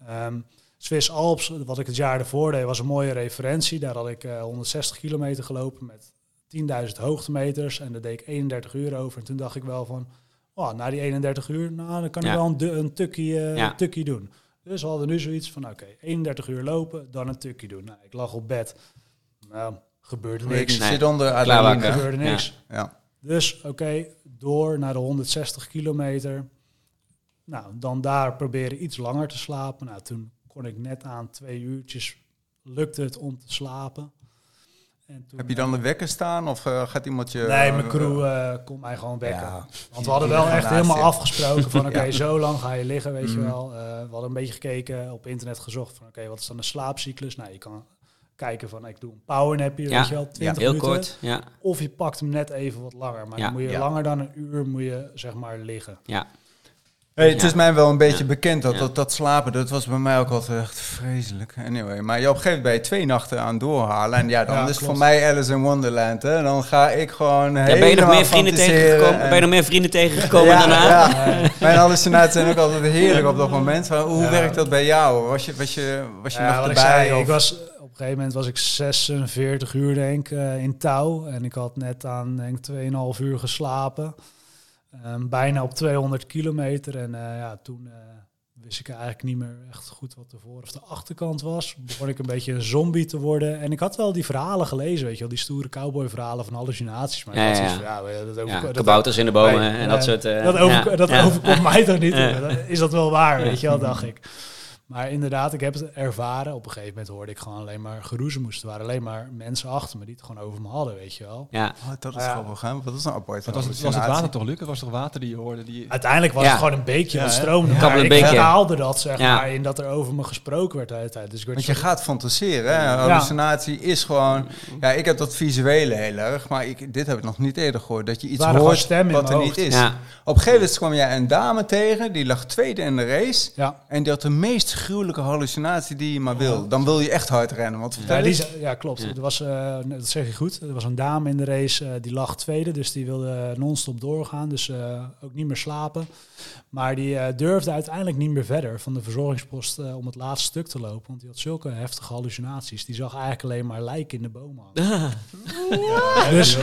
S3: Ehm Swiss Alps, wat ik het jaar ervoor deed, was een mooie referentie. Daar had ik eh, 160 kilometer gelopen met 10.000 hoogtemeters. En daar deed ik 31 uur over. En toen dacht ik wel van, oh, na die 31 uur, nou, dan kan ik
S1: Ja.
S3: wel een, du- een, tukkie, eh,
S1: Ja.
S3: een tukkie doen. Dus we hadden nu zoiets van, oké, 31 uur lopen, dan een tukkie doen. Nou, ik lag op bed. Nou, gebeurde
S2: Ik
S3: niks.
S1: Nee.
S2: zit onder
S1: Klaarwakker.
S2: adrenaline.
S3: Gebeurde
S1: Ja.
S3: niks.
S2: Ja.
S3: Dus oké, door naar de 160 kilometer. Nou, dan daar proberen iets langer te slapen. Nou, toen kon ik net aan twee uurtjes, lukte het om te slapen. En toen,
S2: Heb je dan de wekker staan of eh, gaat iemand je...
S3: Nee, mijn crew eh kon mij gewoon wekken.
S2: Ja.
S3: Want we hadden wel
S2: Ja,
S3: echt
S2: naast
S3: helemaal
S2: je.
S3: afgesproken van oké,
S2: Ja.
S3: zo lang ga je liggen, weet je
S2: Mhm.
S3: wel. Eh, we hadden een beetje gekeken, op internet gezocht van oké, wat is dan de slaapcyclus? Nou, je kan kijken van ik doe een powernap hier,
S1: Ja.
S3: weet je wel, 20
S1: Heel
S3: minuten.
S1: kort. Ja.
S3: Of je pakt hem net even wat langer. Maar
S1: Ja.
S3: dan moet je
S2: Ja.
S3: langer dan een uur moet je, zeg maar, liggen.
S2: Hey, het
S1: Ja.
S2: is mij wel een beetje
S1: Ja.
S2: bekend dat,
S1: Ja.
S2: dat dat slapen, dat was bij mij ook altijd echt vreselijk. Anyway, maar ja, op een gegeven moment ben je twee nachten aan doorhalen. En ja, dan
S3: Ja,
S2: is het
S3: klopt.
S2: voor mij Alice in Wonderland. Hè. Dan ga ik gewoon
S1: Ja, ben je nog
S2: helemaal
S1: meer vrienden
S2: fantaseren
S1: tegengekomen?
S2: en-
S1: Ben je nog meer vrienden tegengekomen
S2: ja,
S1: daarna?
S2: Ja. Mijn hallucinaties zijn ook altijd heerlijk op dat moment. Maar hoe
S3: Ja.
S2: werkt dat bij jou? Was je, was je, was je
S3: Ja,
S2: nog
S3: Eh, wat ik
S2: erbij?
S3: zei,
S2: of-
S3: ik was, op een gegeven moment was ik 46 uur, denk ik, eh, in touw. En ik had net aan, denk ik, 2,5 uur geslapen. Ehm, bijna op 200 kilometer. En eh, ja, toen eh, wist ik eigenlijk niet meer echt goed wat de voor- of de achterkant was. Begon ik een beetje een zombie te worden. En ik had wel die verhalen gelezen, weet je wel. Die stoere cowboy-verhalen van hallucinaties. Maar ik
S1: Ja,
S3: had
S1: ja,
S3: zoiets van, ja, dat
S1: Ja,
S3: overko- dat-
S1: kabouters in de bomen
S3: Nee,
S1: en dat
S3: eh,
S1: soort... eh,
S3: dat over,
S1: ja,
S3: dat
S1: ja.
S3: overkomt mij toch niet?
S1: Ja.
S3: Dan Is dat wel waar,
S1: Ja.
S3: weet je wel, dacht ik. Maar inderdaad, ik heb het ervaren. Op een gegeven moment hoorde ik gewoon alleen maar geroezemoes. Er waren alleen maar mensen achter me die het gewoon over me hadden, weet je wel.
S1: Ja,
S2: Oh, dat is
S3: Ja.
S2: grappig, hè? Wat is een apart
S4: Dat was, het- was het water toch, Luc? Het was toch water die je hoorde? Die...
S3: Uiteindelijk was
S1: Ja.
S3: het gewoon een beekje
S2: Ja,
S3: wat
S2: hè?
S3: stroomde.
S1: Ja.
S3: Maar
S1: Kabbelend
S3: ik
S1: beekje.
S3: herhaalde dat, zeg
S1: Ja.
S3: maar, in dat er over me gesproken werd de hele tijd. Dus ik werd
S2: Want je
S3: zo-
S2: gaat fantaseren. Hè? Hallucinatie is gewoon. Ja, ik heb dat visuele heel erg, maar ik, dit heb ik nog niet eerder gehoord. Dat je iets
S3: waren gewoon
S2: hoort
S3: stemmen in
S2: wat
S3: mijn
S2: er
S3: hoofd.
S2: niet is.
S1: ja.
S2: Op een gegeven moment kwam jij een dame tegen, die lag tweede in de race.
S3: Ja.
S2: En die had de meest gruwelijke hallucinatie die je maar wil. Dan wil je echt hard rennen. Want vertel
S3: Ja, die,
S2: eens.
S3: ze- ja klopt.
S1: Ja.
S3: Er was, eh, dat zeg je goed. Er was een dame in de race eh, die lag tweede, dus die wilde non-stop doorgaan, dus eh, ook niet meer slapen. Maar die eh, durfde uiteindelijk niet meer verder van de verzorgingspost eh, om het laatste stuk te lopen, want die had zulke heftige hallucinaties. Die zag eigenlijk alleen maar lijken in de bomen. hangen.
S1: Ah.
S3: Ja, dus,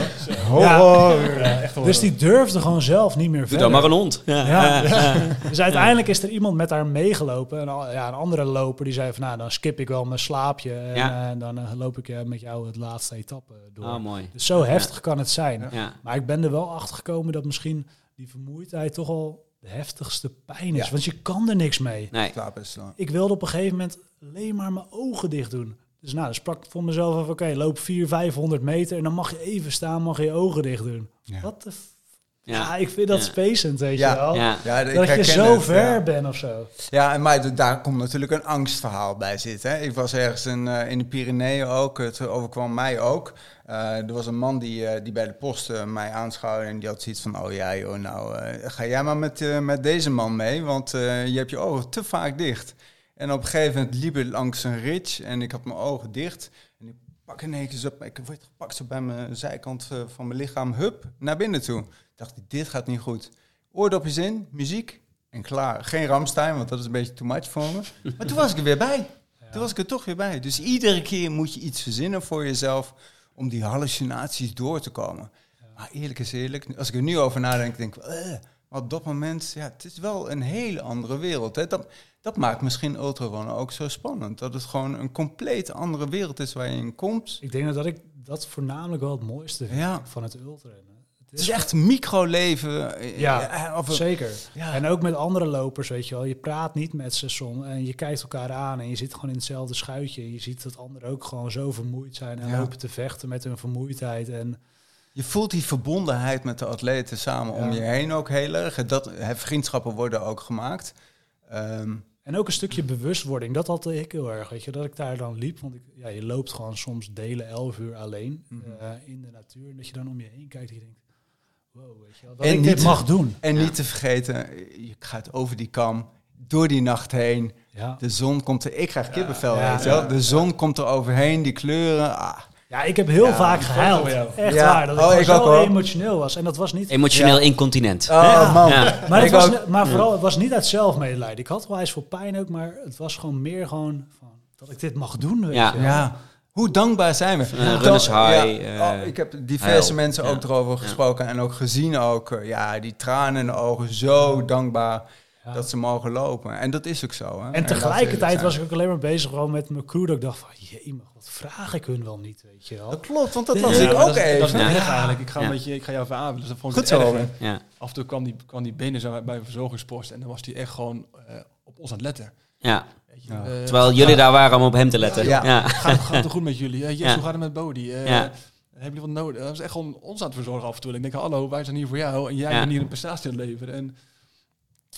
S2: Horror.
S3: dus die durfde gewoon zelf niet meer
S1: Doe
S3: verder.
S1: dan maar een hond. Ja.
S3: Ja. Dus uiteindelijk is er iemand met haar meegelopen. En al- ja, een andere loper die zei van nou, dan skip ik wel mijn slaapje. En
S1: Ja.
S3: eh, dan eh, loop ik eh, met jou het laatste etappe door.
S1: Ah, mooi.
S3: dus zo heftig kan het zijn.
S1: Ja.
S3: Maar ik ben er wel achter gekomen dat misschien die vermoeidheid toch al de heftigste pijn is.
S2: Ja.
S3: Want je kan er niks mee.
S1: Nee.
S2: Slaap is dan.
S3: Ik wilde op een gegeven moment alleen maar mijn ogen dicht doen. Dus nou, dan sprak ik voor mezelf af, oké, loop 400, 500 meter en dan mag je even staan, mag je je ogen dicht doen.
S2: Ja.
S3: Wat de... f- Ja.
S1: Ja.
S3: ik vind dat
S1: Ja.
S3: spacend, weet
S2: Ja.
S3: je wel.
S1: Ja.
S2: Ja, ik
S3: Dat je
S2: herken
S3: zo
S2: het,
S3: ver
S2: ja.
S3: bent of zo.
S2: Ja, en maar d- daar komt natuurlijk een angstverhaal bij zitten. hè. Ik was ergens in, eh, in de Pyreneeën ook, het overkwam mij ook. Eh, er was een man die, eh, die bij de post eh, mij aanschouwde en die had zoiets van... oh ja joh, nou eh, ga jij maar met, eh, met deze man mee, want eh, je hebt je ogen te vaak dicht. En op een gegeven moment liep ik langs een ridge en ik had mijn ogen dicht. En ik pak in één keer zo, ik word gepakt zo bij mijn zijkant eh, van mijn lichaam, hup, naar binnen toe. Ik dacht, dit gaat niet goed. Oordopjes in, muziek en klaar. Geen Ramstein, want dat is een beetje too much voor me. Maar toen was ik er weer bij. Toen was ik er toch weer bij. Dus iedere keer moet je iets verzinnen voor jezelf om die hallucinaties door te komen. Maar eerlijk is eerlijk, als ik er nu over nadenk, denk ik, eh, maar op dat moment, ja, het is wel een hele andere wereld. Hè? Dat, dat maakt misschien ultrarunnen ook zo spannend. Dat het gewoon een compleet andere wereld is waar je in komt.
S3: Ik denk dat ik dat voornamelijk wel het mooiste vind
S2: Ja.
S3: van het ultrarennen. Het
S2: Het is echt microleven. eh,
S3: Ja,
S2: eh, of-
S3: Zeker.
S2: ja.
S3: En ook met andere lopers, weet je wel. Je praat niet met ze soms. En je kijkt elkaar aan en je zit gewoon in hetzelfde schuitje. En je ziet dat anderen ook gewoon zo vermoeid zijn. En
S2: Ja.
S3: lopen te vechten met hun vermoeidheid. En
S2: Je voelt die verbondenheid met de atleten samen om
S3: Ja.
S2: je heen ook heel erg. Dat, hè, vriendschappen worden ook gemaakt. Ehm,
S3: En ook een stukje bewustwording, dat had ik heel erg. Weet je, dat ik daar dan liep, want ik, ja, je loopt gewoon soms delen elf uur alleen
S2: Mhm.
S3: eh, in de natuur. En dat je dan om je heen kijkt en je denkt, wow, weet je wel, dat
S2: En
S3: ik
S2: niet-
S3: dit mag doen.
S2: en
S1: Ja.
S2: niet te vergeten, je gaat over die kam, door die nacht heen.
S3: Ja.
S2: De zon komt er. Ik krijg kippenvel,
S3: Ja.
S2: weet je wel.
S3: Ja.
S2: De zon komt er overheen, die kleuren. Ah.
S3: ja, ik heb heel
S2: Ja,
S3: vaak
S4: foto
S3: gehuild.
S4: van jou.
S3: Echt
S2: Ja.
S3: waar, dat ik,
S2: Oh,
S3: gewoon
S2: ik
S3: zo
S2: ook, hoor.
S3: emotioneel was. En dat was niet...
S1: Emotioneel incontinent.
S2: Oh man.
S1: Ja.
S3: Maar, het
S2: Ik
S3: was,
S2: ook.
S3: ne- maar vooral, het was niet uit zelfmedelijden. Ik had wel eens veel pijn ook, maar het was gewoon meer gewoon van, dat ik dit mag doen, weet
S1: Ja.
S3: je wel.
S2: Ja. Hoe dankbaar zijn we?
S1: Eh, runners
S2: Dan-
S1: high,
S2: ja.
S1: eh,
S2: Oh, ik heb diverse
S1: heil.
S2: mensen ook
S1: Ja.
S2: erover gesproken en ook gezien. Ook, eh, ja, die tranen in de ogen. Zo dankbaar
S3: Ja.
S2: dat ze mogen lopen. En dat is ook zo. Hè?
S3: En
S2: laten we
S3: tegelijkertijd
S2: eerlijk
S3: was
S2: zijn.
S3: ik ook alleen maar bezig gewoon met mijn crew. Dat ik dacht van, jee, wat vraag ik hun wel niet, weet je wel.
S2: Dat Oh, klopt, want dat
S3: Ja.
S2: was
S3: Ja,
S2: ik
S4: maar
S2: ook
S4: dat, is- Dat is
S2: even.
S4: mijn weg eigenlijk. Ik ga,
S1: Ja.
S4: een beetje, ik ga jou even aan. Dus dat vond ik
S2: Goed
S4: het
S2: zo.
S4: erg.
S2: hè.
S1: Ja.
S4: Af en toe kwam die, kwam die binnen zo bij een verzorgingspost en dan was die echt gewoon eh, op ons aan het letten.
S1: Ja.
S4: Weet je.
S2: Ja.
S4: Eh,
S1: Terwijl
S4: ja,
S1: jullie daar waren om op hem te letten. Ja.
S2: Ja.
S4: Gaat het, gaat het goed met jullie? Eh, yes,
S1: Ja.
S4: hoe gaat het met Bodie? Eh,
S1: Ja.
S4: Hebben jullie wat nodig? Dat is echt gewoon ons aan het verzorgen af en toe. En ik denk, hallo, wij zijn hier voor jou en jij
S1: Ja.
S4: bent hier een prestatie aan het leveren. En,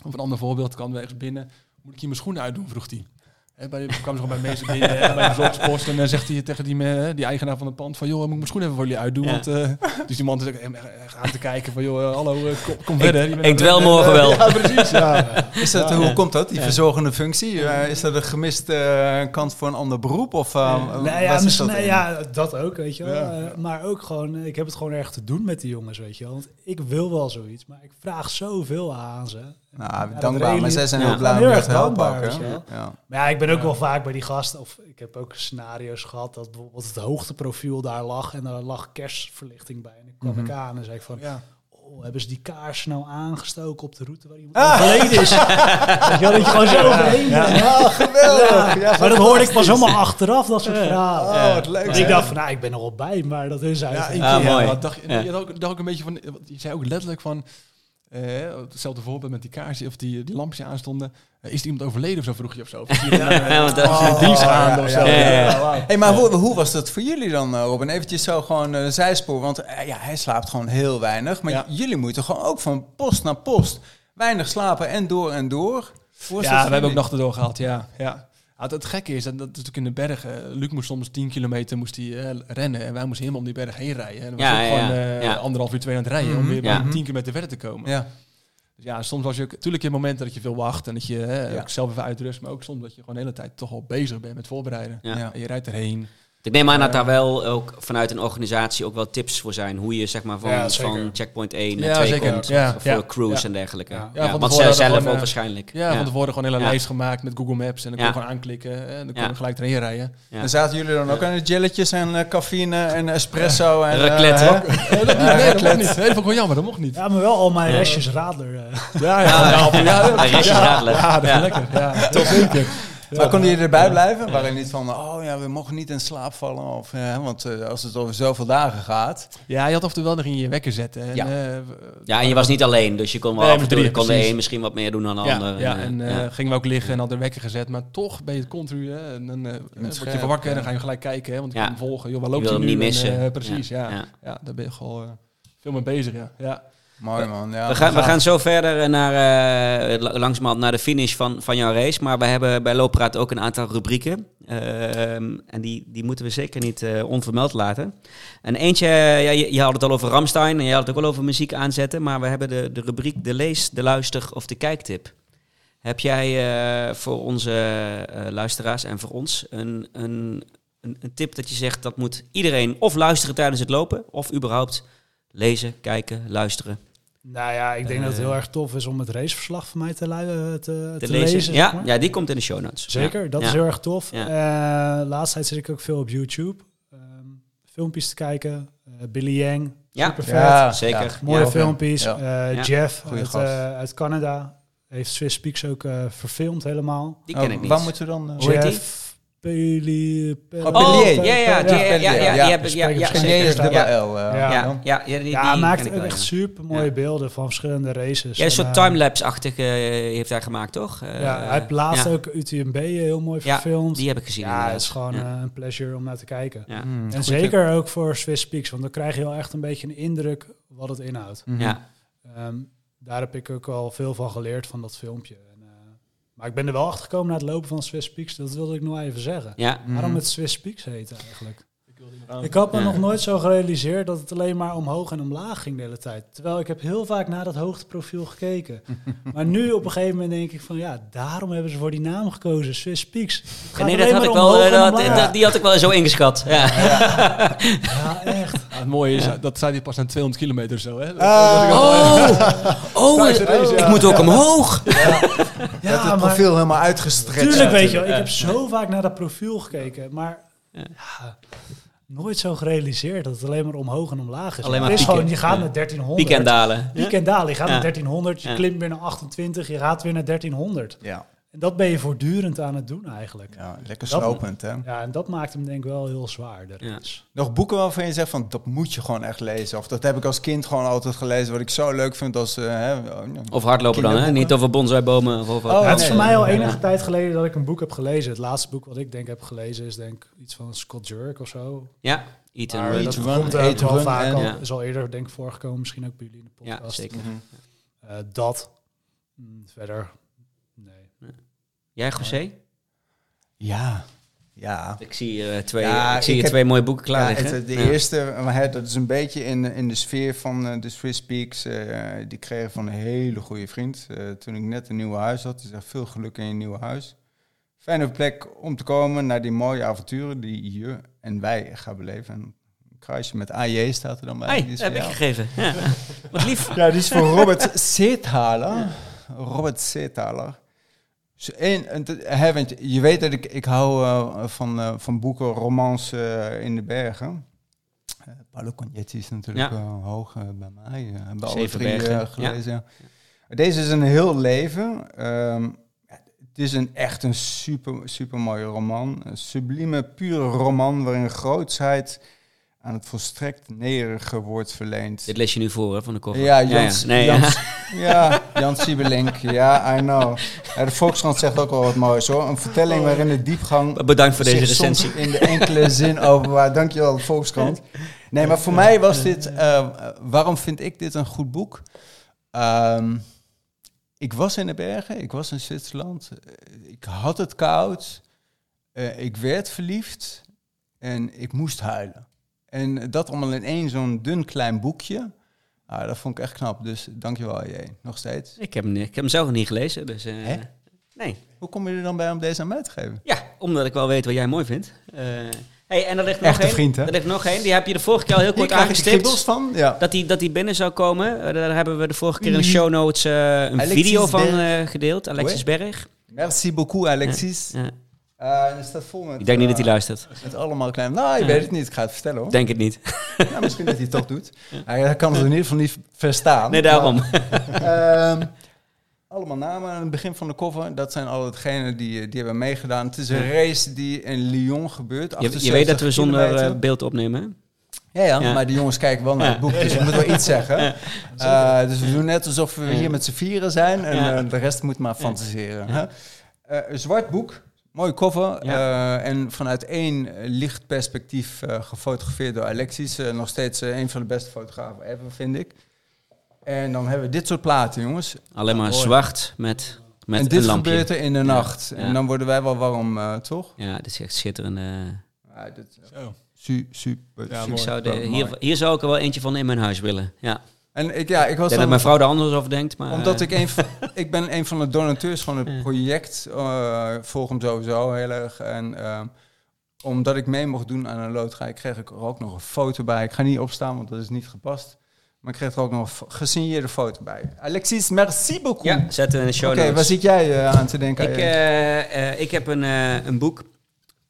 S4: of een ander voorbeeld kan ergens binnen. Moet ik hier mijn schoenen uitdoen, vroeg hij. Hè, Bij, kwam ze gewoon bij mensen binnen, hè, bij de verzorgingspost. En dan zegt hij tegen die, me- die eigenaar van het pand van... joh, moet ik mijn schoenen even voor jullie uitdoen?
S1: Ja.
S4: Want, eh, dus die man is ook echt echt aan te kijken van... joh, eh, hallo, eh, kom, kom verder. Je bent aan
S1: Ik
S4: het
S1: dwel
S4: rennen.
S1: morgen wel.
S4: Ja, precies. Ja.
S2: Is dat, hoe komt dat, die verzorgende functie? Eh, is dat een gemiste eh, kans voor een ander beroep? Of, eh, waar
S3: Nou ja,
S2: zit
S3: misschien,
S2: dat
S3: nou
S2: in?
S3: ja, dat ook, weet je wel.
S2: Ja.
S3: Eh, maar ook gewoon, eh, ik heb het gewoon erg te doen met die jongens, weet je wel. Want ik wil wel zoiets, maar ik vraag zoveel aan ze.
S2: Nou,
S3: dat
S2: dankbaar, maar
S3: reali-
S2: zij zijn
S1: Ja.
S2: heel blij om
S3: Heel
S2: je
S3: erg
S2: te helpen.
S3: dankbaar,
S2: ook,
S3: weet
S2: hè?
S3: je wel.
S2: Ja.
S3: Maar ja, ik ben ook wel vaak bij die gasten, of ik heb ook scenario's gehad dat bijvoorbeeld het hoogteprofiel daar lag en daar lag kerstverlichting bij. En dan kwam ik aan en zei ik van,
S4: Ja.
S3: oh, hebben ze die kaars nou aangestoken op de route waar iemand overleden is? Weet je wel, dat je gewoon zo overheen bent.
S2: Ah, geweldig! Ja,
S3: Maar dat hoorde ik pas allemaal achteraf, dat soort verhalen.
S2: Oh, wat leuk.
S3: Dus
S2: hè?
S3: ik dacht van, nou, ik ben er al bij, maar dat is
S4: Ja,
S3: eigenlijk...
S4: ik,
S1: Ah,
S4: ja,
S1: mooi.
S4: wat dacht,
S1: Ja.
S4: Je dacht ook, dacht ook een beetje van, want je zei ook letterlijk van, eh, hetzelfde voorbeeld met die kaarsen of die, die lampjes aanstonden. Eh, is er iemand overleden of zo vroeg je of zo? Of zie je een, eh,
S1: want dat-
S2: Oh.
S4: zie je een dienst gaande of zo?
S1: ja, ja, ja.
S2: Hey, maar hoe, hoe was dat voor jullie dan, eh, Robin? Eventjes zo gewoon eh, zijspoor, want eh, ja, hij slaapt gewoon heel weinig. Maar
S4: Ja.
S2: j- jullie moeten gewoon ook van post naar post weinig slapen en door en door. Hoe was dat voor
S4: Ja, we hebben ook
S2: jullie?
S4: nachten doorgehaald, ja. ja. Ja, Het, het gekke is, en dat is natuurlijk in de bergen. Eh, Luc moest soms 10 kilometer moest hij, eh, rennen en wij moesten helemaal om die berg heen rijden. En dan was
S1: Ja,
S4: ook
S1: ja,
S4: gewoon
S1: ja.
S4: eh,
S1: Ja.
S4: anderhalf uur, twee aan het rijden om
S2: Mhm.
S4: weer
S1: Ja.
S4: bij 10 kilometer verder te komen.
S2: Ja.
S4: Dus ja, soms was je ook... Tuurlijk in momenten dat je veel wacht en dat je hè,
S2: Ja.
S4: ook zelf even uitrust. Maar ook soms dat je gewoon de hele tijd toch al bezig bent met voorbereiden.
S1: Ja.
S2: Ja.
S4: En je rijdt erheen.
S1: Dus Ik neem aan dat daar wel ook vanuit een organisatie ook wel tips voor zijn. Hoe je zeg maar van,
S3: Ja, zeker.
S1: van checkpoint 1 en
S4: Ja,
S1: 2
S4: zeker.
S1: komt.
S4: Ja,
S1: Voor
S4: ja.
S1: crews
S4: Ja.
S1: en dergelijke.
S3: Ja,
S1: Ja,
S4: van tevoren
S1: want
S4: hadden
S1: zij
S4: we
S1: zelf
S4: gewoon,
S1: ook
S4: eh,
S1: waarschijnlijk.
S4: Ja, van tevoren gewoon een hele
S1: Ja.
S4: lijst gemaakt met Google Maps. En dan kon
S1: Ja.
S4: je gewoon aanklikken hè, en dan kon
S1: Ja.
S4: je gelijk erheen rijden.
S1: Ja.
S2: En zaten jullie dan ook aan de jelletjes en eh, cafeïne en espresso en... eh,
S1: Raclette, hè?
S4: Nee, dat, niet, nee, dat mocht niet. Nee, dat vond ik wel jammer, dat mocht niet.
S3: Ja, maar wel al mijn restjes radler. eh.
S4: Ja, ja, ja. ja, ja,
S1: Hij restjes radelen.
S4: Ja, dat is
S1: Ja.
S4: lekker. Ja, toch zeker.
S2: Maar konden jullie erbij blijven? Waren jullie niet van, oh ja, we mogen niet in slaap vallen? Of, eh, want eh, als het over zoveel dagen gaat...
S4: Ja, je had oftewel nog in je wekker zetten. En,
S1: Ja.
S4: eh, w-
S1: Ja, en je was niet alleen. Dus je kon wel
S4: Nee,
S1: af en
S4: met
S1: toe,
S4: drieën,
S1: kon de
S4: precies.
S1: een misschien wat meer doen dan de
S4: ja,
S1: ander.
S4: ja,
S1: eh,
S4: en eh,
S1: ja.
S4: gingen we ook liggen en hadden de wekker gezet. Maar toch ben je het continu. Hè, en dan eh, word je
S2: scherp,
S4: even wakker
S2: ja.
S4: en dan ga je gelijk kijken. Hè, want je
S1: Ja.
S4: kan hem volgen. Joh, waar
S1: Je
S4: loopt
S1: wil
S4: hij
S1: hem
S4: nu?
S1: niet
S4: En,
S1: missen.
S4: eh, precies, ja. Ja.
S1: ja.
S4: daar ben je gewoon eh, veel mee bezig. Ja. Ja.
S2: Mooi man, ja.
S1: We gaan, we gaan zo verder eh, naar, eh, la- langzamerhand naar de finish van, van jouw race. Maar we hebben bij Looppraat ook een aantal rubrieken. Ehm, en die, die moeten we zeker niet eh, onvermeld laten. En eentje, eh, ja, je, je had het al over Ramstein en je had het ook al over muziek aanzetten. Maar we hebben de, de rubriek de lees, de luister of de kijktip. Heb jij eh, voor onze eh, luisteraars en voor ons een, een, een, een tip dat je zegt dat moet iedereen of luisteren tijdens het lopen of überhaupt lezen, kijken, luisteren?
S3: Nou ja, ik denk dat het heel erg tof is om het raceverslag van mij te, lu- eh, te,
S1: te
S3: te
S1: lezen.
S3: lezen. zeg
S1: ja,
S3: maar.
S1: ja, die komt in de show notes.
S3: Zeker, dat
S1: Ja.
S3: is heel erg tof.
S1: Ja.
S3: Eh laatst tijd zit ik ook veel op YouTube. Ehm, filmpjes te kijken. Eh, Billy Yang,
S1: Ja.
S3: super vet.
S2: Ja,
S1: Zeker.
S2: ja.
S3: Mooie
S1: Ja.
S3: filmpjes.
S2: Ja.
S3: Eh,
S1: Ja.
S3: Jeff
S2: Goeie
S3: uit,
S2: gast.
S3: eh, uit Canada heeft Swiss Speaks ook eh, verfilmd helemaal.
S1: Die ken ik
S2: Oh,
S1: niet.
S2: Waar moeten we dan... eh,
S1: Hoe heet die?
S3: Jeff Peli...
S2: Pellier.
S1: Oh, ja, ja, die- ja, ja, ja,
S2: Ja,
S1: die heb ik- ja,
S3: spreek ik
S1: ja,
S3: waarschijnlijk
S1: zeker.
S2: Genier is dubbel L. eh.
S3: Ja.
S1: Ja,
S2: dan.
S1: ja, ja, die,
S3: Ja, hij
S1: die
S3: maakt
S1: ken ik
S3: ook
S1: wel,
S3: echt
S1: ja.
S3: super mooie
S1: Ja.
S3: beelden van verschillende races.
S1: Ja, een
S3: En,
S1: soort
S3: eh,
S1: timelapse-achtig eh, heeft hij gemaakt, toch? Eh,
S3: Ja, hij heeft laatst
S1: ja,
S3: ook UTMB heel mooi
S1: Ja,
S3: verfilmd.
S1: Die heb ik gezien.
S3: ja,
S1: inderdaad.
S3: het is gewoon mm.
S1: Ja.
S3: eh, een pleasure om naar te kijken.
S1: Ja.
S2: Hmm.
S3: En zeker ook voor Swiss Peaks, want dan krijg je wel echt een beetje een indruk wat het inhoudt.
S2: Mhm.
S1: Ja.
S3: Ehm, daar heb ik ook al veel van geleerd van dat filmpje. En, eh, maar ik ben er wel achter gekomen na het lopen van Swiss Peaks, dat wilde ik nog even zeggen.
S1: Ja.
S2: Mhm.
S3: Waarom het Swiss Peaks heet eigenlijk.
S4: Ik wilde iemand aan-
S3: Ik had me
S1: Ja.
S3: nog nooit zo gerealiseerd dat het alleen maar omhoog en omlaag ging de hele tijd. Terwijl ik heb heel vaak naar dat hoogteprofiel gekeken. maar nu op een gegeven moment denk ik van ja, daarom hebben ze voor die naam gekozen, Swiss Peaks. Het gaat
S1: Nee, dat
S3: alleen
S1: had
S3: maar
S1: ik wel,
S3: omhoog
S1: eh,
S3: en
S1: dat,
S3: omlaag.
S1: dat- die had ik wel zo ingeschat. Ja.
S3: Ja, echt.
S4: Ja, Ah, het mooie is, dat staat hier pas na 200 kilometer zo. Hè?
S1: Oh, oh,
S4: Tijdens de race,
S1: ik
S4: ja.
S1: moet ook omhoog.
S3: Ja,
S5: dat het
S3: maar-
S5: profiel helemaal uitgestrekt
S3: Tuurlijk,
S5: zat.
S3: weet je wel. Ik heb zo vaak naar dat profiel gekeken, maar
S1: Ja.
S3: ja, nooit zo gerealiseerd dat het alleen maar omhoog en omlaag is.
S1: Alleen maar
S3: het is
S1: pieken.
S3: gewoon, je gaat
S1: Ja.
S3: naar 1300.
S1: Piek en dalen.
S3: Piek en dalen. Je gaat
S1: Ja.
S3: naar 1300, je
S1: Ja.
S3: klimt weer naar 28, je gaat weer naar 1300.
S2: Ja.
S3: En dat ben je voortdurend aan het doen eigenlijk. Ja,
S2: ja, lekker
S3: Dat-
S2: slopend, hè?
S3: en dat maakt hem denk ik wel heel zwaar. de
S1: Ja.
S3: race.
S2: Nog boeken waarvan je zegt van dat moet je gewoon echt lezen. Of dat heb ik als kind gewoon altijd gelezen. Wat ik zo leuk vind als. eh, hè,
S1: Of hardlopen dan, hè?
S2: Kinderboeken.
S1: Niet over bonsaibomen of over...
S2: Oh,
S3: Ja, het is
S2: nee.
S3: voor mij al
S2: Ja.
S3: enige tijd geleden dat ik een boek heb gelezen. Het laatste boek wat ik denk heb gelezen is denk ik iets van Scott Jurk of zo.
S1: Ja, eat and
S3: Maar
S1: run.
S3: dat
S2: to run,
S3: komt eh,
S2: eat
S3: ook
S2: to
S3: wel
S2: run
S3: vaak
S2: en-
S3: al.
S1: Ja.
S3: Is al eerder denk ik voorgekomen, misschien ook bij jullie in de podcast.
S1: Ja, zeker.
S2: Mhm.
S3: Eh, dat. Mm, verder. Nee.
S1: Jij, José?
S2: Ja. Ja.
S1: Ik zie je twee,
S2: Ja,
S1: ik zie
S2: ik
S1: je
S2: heb-
S1: twee mooie boeken klaar
S2: Ja,
S1: liggen.
S2: het- de
S1: Ja.
S2: eerste, maar hè, dat is een beetje in, in de sfeer van eh, de Swiss Peaks. eh, die kregen van een hele goede vriend. Eh, toen ik net een nieuw huis had, die zei veel geluk in je nieuwe huis. Fijne plek om te komen naar die mooie avonturen die je en wij gaan beleven. En een kruisje met AJ staat er dan bij.
S1: Hey,
S2: Die
S1: dat
S2: is
S1: heb
S2: voor
S1: ik
S2: jou.
S1: gegeven. Ja. Wat lief.
S2: Ja, die is voor Robert Zeethaler. Robert Zeethaler. Dus één, en te- hè, want je weet dat ik, ik hou eh, van, eh, van boeken, romans eh, in de bergen. Eh, Paolo Cognetti is natuurlijk
S1: Ja.
S2: eh, hoog eh, bij mij. eh, hebben alle
S1: Zeven
S2: drie eh,
S1: bergen, ja.
S2: gelezen. ja. Deze is een heel leven. Ehm, ja, het is een, echt een super, super mooie roman. Een sublieme, pure roman waarin grootsheid aan het volstrekt nederige wordt verleend.
S1: Dit lees je nu voor, hè, van de koffer.
S2: Ja, Jans,
S1: Nee, ja.
S2: Jans, ja. Jan Siebelink. Ja, I know. Ja, de Volkskrant zegt ook wel wat moois hoor. Een vertelling waarin de diepgang...
S1: Bedankt voor deze
S2: zich soms
S1: recensie.
S2: in de enkele zin overwaart. Dankjewel, de Volkskrant. Nee, maar voor mij was dit... eh, waarom vind ik dit een goed boek? Ehm, ik was in de bergen. Ik was in Zwitserland. eh, Ik had het koud. eh, ik werd verliefd. En ik moest huilen. En dat allemaal in één zo'n dun klein boekje. Ah, dat vond ik echt knap. Dus dankjewel, J. Nog steeds.
S1: Ik heb, hem, ik heb hem zelf nog niet gelezen, dus... eh,
S2: Hè?
S1: Nee.
S2: Hoe kom je er dan bij om deze aan mij te geven?
S1: Ja, omdat ik wel weet wat jij mooi vindt. Eh, hey, en er ligt nog
S2: Echte
S1: één.
S2: vriend, hè?
S1: Er ligt nog één. Die heb je de vorige keer al heel
S2: Hier
S1: kort
S2: krijg ik kriebels
S1: aangestipt.
S2: van. Ja.
S1: Dat die, dat die binnen zou komen. Eh, daar hebben we de vorige keer in de show notes eh, een
S2: Alexis
S1: video van
S2: Berg.
S1: eh, gedeeld. Alexis Berg.
S2: Merci beaucoup, Alexis.
S1: Ja.
S2: Eh, en er staat vol met,
S1: Ik denk niet dat hij
S2: eh, oh,
S1: luistert.
S2: met allemaal klein. Nou, je
S1: Ja.
S2: weet het niet. Ik ga het vertellen
S1: Ik
S2: hoor.
S1: denk het niet.
S2: Nou, misschien dat hij het toch doet. Hij kan het in ieder geval niet verstaan.
S1: Nee, daarom.
S2: Ehm, allemaal namen aan het begin van de koffer. Dat zijn al degenen die, eh, die hebben meegedaan. Het is een race die in Lyon gebeurt.
S1: Je, je weet dat we
S2: 78
S1: zonder eh,
S2: kilometer.
S1: beeld opnemen. hè?
S2: Ja, ja,
S1: Ja.
S2: maar die jongens kijken wel naar
S1: Ja.
S2: het boek, dus we moeten wel iets zeggen. Eh, dus we doen net alsof we hier met z'n vieren zijn en
S1: Ja.
S2: eh, de rest moet maar fantaseren. hè. Eh, een zwart boek, mooi cover eh, en vanuit één eh, licht perspectief eh, gefotografeerd door Alexis. Eh, nog steeds eh, een van de beste fotografen ever, vind ik. En dan hebben we dit soort platen, jongens.
S1: Alleen maar
S2: Ah, mooi.
S1: zwart met, met
S2: en dit
S1: een lampje.
S2: gebeurt er in de nacht.
S1: Ja.
S2: En dan worden wij wel warm, eh, toch?
S1: Ja, dit is echt schitterend. eh.
S2: Ja, dit is echt
S4: Zo.
S2: su- super,
S4: Ja,
S1: ik
S2: super
S4: mooi.
S1: zou de,
S2: mooi.
S1: hier, hier zou ik er wel eentje van in mijn huis willen. Ja. Ik
S2: En ik, ja, ik was
S1: denk dat
S2: dan-
S1: mijn vrouw er anders over denkt. Maar,
S2: Omdat
S1: eh,
S2: ik een van, ik ben een van de donateurs van het project. eh volg hem sowieso heel erg. En ehm, omdat ik mee mocht doen aan een loterij, kreeg ik er ook nog een foto bij. Ik ga niet opstaan, want dat is niet gepast. Maar ik kreeg er ook nog een fo- gesigneerde foto bij. Alexis, merci beaucoup.
S1: Ja, zetten we in de show
S2: Oké,
S1: notes.
S2: waar zit jij eh, aan te denken?
S1: Ik,
S2: Arjen?
S1: eh, eh, ik heb een, eh, een boek,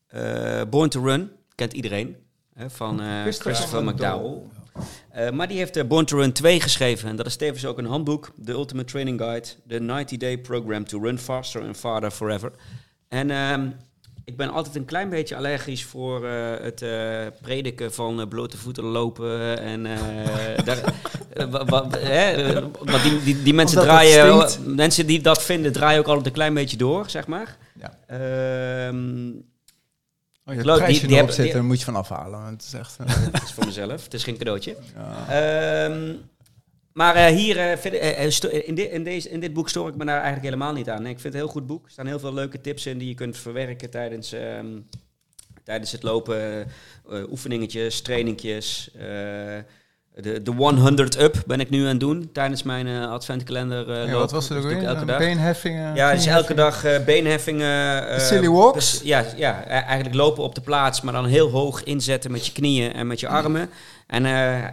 S1: eh, Born to Run, kent iedereen, hè, van eh,
S2: Christopher
S1: Christopher
S2: McDowell.
S1: McDowell. Eh, maar die heeft eh, Born to Run 2 geschreven. En dat is tevens ook een handboek, The Ultimate Training Guide, The 90-Day Program to Run Faster and Farther Forever. En ehm, Ik ben altijd een klein beetje allergisch voor eh, het eh, prediken van eh, blote voeten lopen. En eh, daar, eh, wa- wa- hè, eh, want die, die, die mensen
S5: Omdat het
S1: draaien.
S5: stinkt.
S1: mensen die dat vinden, draaien ook altijd een klein beetje door, zeg maar.
S2: Ja.
S1: Ehm,
S2: Oh,
S1: Leuk,
S2: je hebt
S1: die-
S2: prijsje
S1: die
S2: erop
S1: hebben-
S2: zitten,
S1: die-
S2: daar moet je van afhalen. want Het is echt... eh,
S1: dat is voor mezelf, het is geen cadeautje.
S2: ja.
S1: Ehm, maar eh, hier, eh, verder, eh, eh, sto- in, di- in, deze, in dit boek stoor ik me daar eigenlijk helemaal niet aan. Ik vind het een heel goed boek. Er staan heel veel leuke tips in die je kunt verwerken tijdens, ehm, tijdens het lopen. Eh, oefeningetjes, trainingjes. eh, de, de 100 up ben ik nu aan het doen tijdens mijn eh, adventkalender. eh,
S2: Ja,
S1: loop.
S2: wat was er
S1: Dat
S2: ook
S1: doe ik
S2: weer?
S1: Elke
S2: Een
S1: dag.
S5: eh,
S2: Beenheffingen?
S1: Ja, dus elke dag eh, beenheffingen. eh,
S5: Silly walks?
S1: dus ja, ja, e- eigenlijk lopen op de plaats, maar dan heel hoog inzetten met je knieën en met je armen. En eh, eh,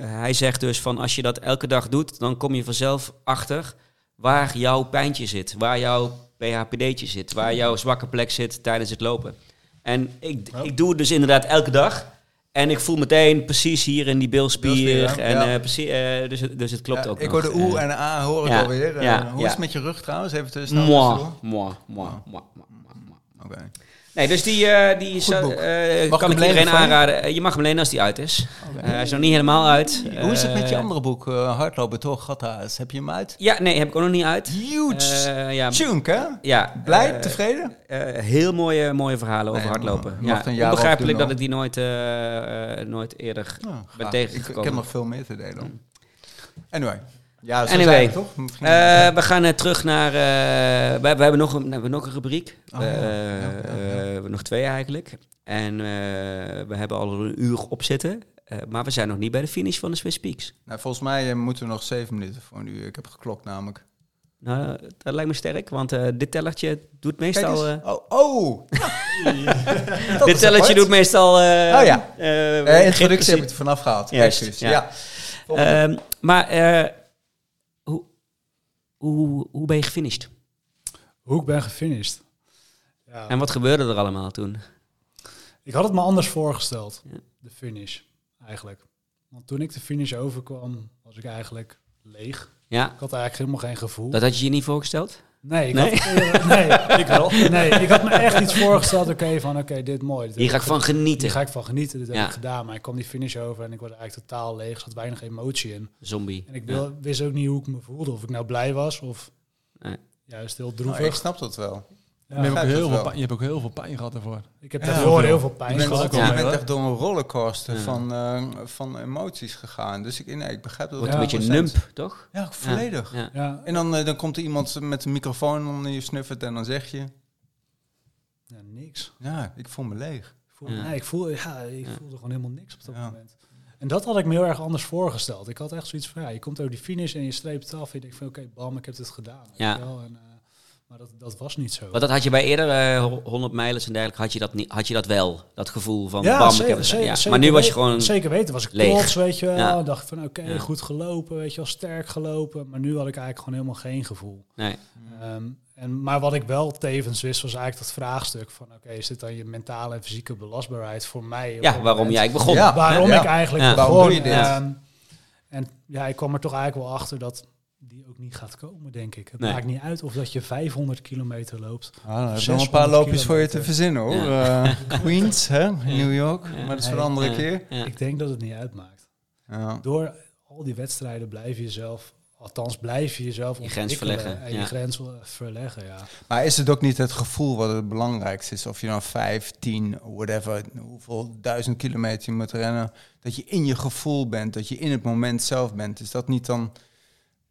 S1: hij zegt dus van als je dat elke dag doet, dan kom je vanzelf achter waar jouw pijntje zit. Waar jouw PHPD'tje zit. Waar jouw zwakke plek zit tijdens het lopen. En ik,
S4: Oh.
S1: ik doe het dus inderdaad elke dag. En ik voel meteen precies hier in die bilspier.
S2: Bilspier, ja.
S1: en,
S2: Ja.
S1: eh, precies, eh, dus, het- dus het klopt ook
S2: Ja, ik
S1: nog.
S2: hoor de oe
S1: Eh,
S2: en de a hoor ik
S1: ja,
S2: alweer. Eh,
S1: ja,
S2: hoe
S1: ja.
S2: is het met je rug trouwens? Even tussen.
S1: Moi, moi, moi, moi, moi, moi.
S2: Oké.
S1: Nee, dus die, eh, die zou-
S2: boek.
S1: eh,
S2: Mag ik
S1: kan
S2: hem
S1: ik
S2: lenen
S1: iedereen
S2: van je?
S1: aanraden. Eh, Je mag hem lenen als die uit is. Eh, hij is nog niet helemaal uit.
S2: Hoe is het met je
S1: Eh,
S2: andere boek, eh, Hardlopen toch Gathaas? Heb je hem uit?
S1: Ja, nee, heb ik ook nog niet uit.
S2: Huge!
S1: Eh, ja,
S2: Tjunk, hè?
S1: ja,
S2: Blij,
S1: eh,
S2: tevreden?
S1: eh, heel mooie, mooie verhalen over
S2: Nee,
S1: hardlopen.
S2: maar-
S1: Ja,
S2: mocht een jaar
S1: onbegrijpelijk
S2: afdoen
S1: dat ik die nooit, eh, eh, nooit eerder
S2: Nou,
S1: ben
S2: graag. ik,
S1: tegengekomen. Mm.
S2: ik heb nog veel meer te delen. Anyway. Ja, zo
S1: Anyway.
S2: zijn we toch? Misschien-
S1: Eh, we gaan eh, terug naar. eh, we, we hebben nog een, we hebben nog een rubriek.
S2: Oh, ja.
S1: Eh,
S2: Ja, ja, ja.
S1: eh, we hebben nog twee eigenlijk. En eh, we hebben al een uur op zitten. Eh, maar we zijn nog niet bij de finish van de Swiss Peaks.
S2: nou, volgens mij eh, moeten we nog zeven minuten voor nu. Ik heb geklokt namelijk.
S1: Nou, dat lijkt me sterk, want eh, dit tellertje doet
S2: Kijk
S1: meestal.
S2: eens.
S1: eh,
S2: oh, oh! Dat
S1: dit
S2: is
S1: tellertje
S2: apart.
S1: doet meestal. eh,
S2: Oh ja.
S1: eh,
S2: Eh,
S1: geen-
S2: introductie heb ik er vanaf gehaald.
S1: Juist,
S2: Excuus.
S1: ja.
S2: Ja. Volgende.
S1: Ehm, maar eh, hoe, hoe, hoe ben je gefinished?
S3: Hoe ik ben gefinished. Ja.
S1: En wat gebeurde er allemaal toen?
S3: Ik had het me anders voorgesteld,
S1: Ja.
S3: de finish, eigenlijk. Want toen ik de finish overkwam, was ik eigenlijk leeg.
S1: Ja,
S3: Ik had eigenlijk helemaal geen gevoel.
S1: dat had je je niet voorgesteld?
S3: Nee, ik
S1: Nee?
S3: Had, eh, nee, ik wel. Nee, ik had me echt iets voorgesteld, oké, van oké, dit mooi. Dit heb
S1: Hier ga ik van
S3: Hier
S1: genieten.
S3: ga ik van genieten, dit
S1: Ja.
S3: heb ik gedaan. Maar ik kwam die finish over en ik was eigenlijk totaal leeg. Er zat weinig emotie in.
S1: Zombie.
S3: En ik
S1: Ja.
S3: wil- wist ook niet hoe ik me voelde. Of ik nou blij was of
S1: Nee.
S3: juist heel
S2: Oh, ik
S3: droevig.
S2: snap dat wel.
S3: Ja,
S4: je, hebt ook
S2: begrijp
S4: heel
S2: dat
S4: veel
S2: wel.
S4: pijn, je hebt ook heel veel pijn gehad daarvoor.
S3: ik heb
S2: Ja.
S3: daarvoor heel veel
S2: Je
S3: pijn
S2: bent,
S3: gehad.
S2: je
S1: Ja.
S2: bent echt door een rollercoaster
S1: Ja.
S2: van, eh, van emoties gegaan. Dus ik, nee, ik begrijp dat
S1: Wordt
S3: Ja.
S1: een beetje
S2: 100%.
S1: nump, toch?
S2: Ja, volledig.
S1: Ja.
S3: Ja,
S2: En dan, eh, dan komt er iemand met een microfoon onder je snuffert en dan zeg je...
S3: ja, niks.
S2: Ja, ik voel me leeg.
S3: Ik voel-
S1: Ja.
S3: nee, ik, voel, ja, ik
S1: Ja.
S3: voelde gewoon helemaal niks op dat
S2: Ja.
S3: moment. En dat had ik me heel erg anders voorgesteld. Ik had echt zoiets van, ja, je komt over die finish en je streept het af. En je denkt van, oké, bam, ik heb dit gedaan. weet
S1: Ja.
S3: je wel. En, eh, maar dat, dat was niet zo.
S1: Want dat had je bij eerder eh, ho- 100 mijlers en dergelijke, had je dat, niet, had je dat wel. Dat gevoel van
S3: Ja,
S1: bam, ik
S3: zeker,
S1: heb het gedaan.
S3: zeker,
S1: ja.
S3: zeker
S1: Maar nu was je
S3: weten-
S1: gewoon...
S3: Zeker weten, was ik
S1: leeg.
S3: trots, weet je wel.
S1: Ja.
S3: En dacht van, oké,
S1: Ja.
S3: goed gelopen, weet je wel, sterk gelopen. Maar nu had ik eigenlijk gewoon helemaal geen gevoel.
S1: Nee.
S3: Ehm, en, maar wat ik wel tevens wist, was eigenlijk dat vraagstuk van... oké, is dit dan je mentale en fysieke belastbaarheid voor mij? op
S1: Ja,
S3: dat
S1: waarom
S3: moment?
S1: jij begon.
S2: Ja.
S3: Waarom
S2: Ja.
S3: ik eigenlijk
S1: Ja.
S3: begon.
S2: Waarom doe je dit?
S3: Ehm, en ja, ik kwam er toch eigenlijk wel achter dat die ook niet gaat komen, denk ik. Het
S1: Nee.
S3: maakt niet uit of dat je 500 kilometer loopt.
S2: Ah, dan heb ik nog
S3: 600
S2: een paar loopjes voor je te
S3: kilometer.
S2: verzinnen hoor. Eh, Queens, hè, in New York. Maar dat is voor een andere
S1: Ja,
S2: keer.
S1: ja.
S3: Ik denk dat het niet uitmaakt.
S2: Ja.
S3: door al die wedstrijden blijf je jezelf, althans blijf je jezelf
S1: Je grens
S3: ontwikkelen
S1: verleggen,
S3: En
S1: ja.
S3: je grens wel eh, verleggen, ja.
S2: Maar is het ook niet het gevoel wat het belangrijkste is? Of je nou vijf, tien, whatever, hoeveel duizend kilometer je moet rennen. Dat je in je gevoel bent, dat je in het moment zelf bent. Is dat niet dan...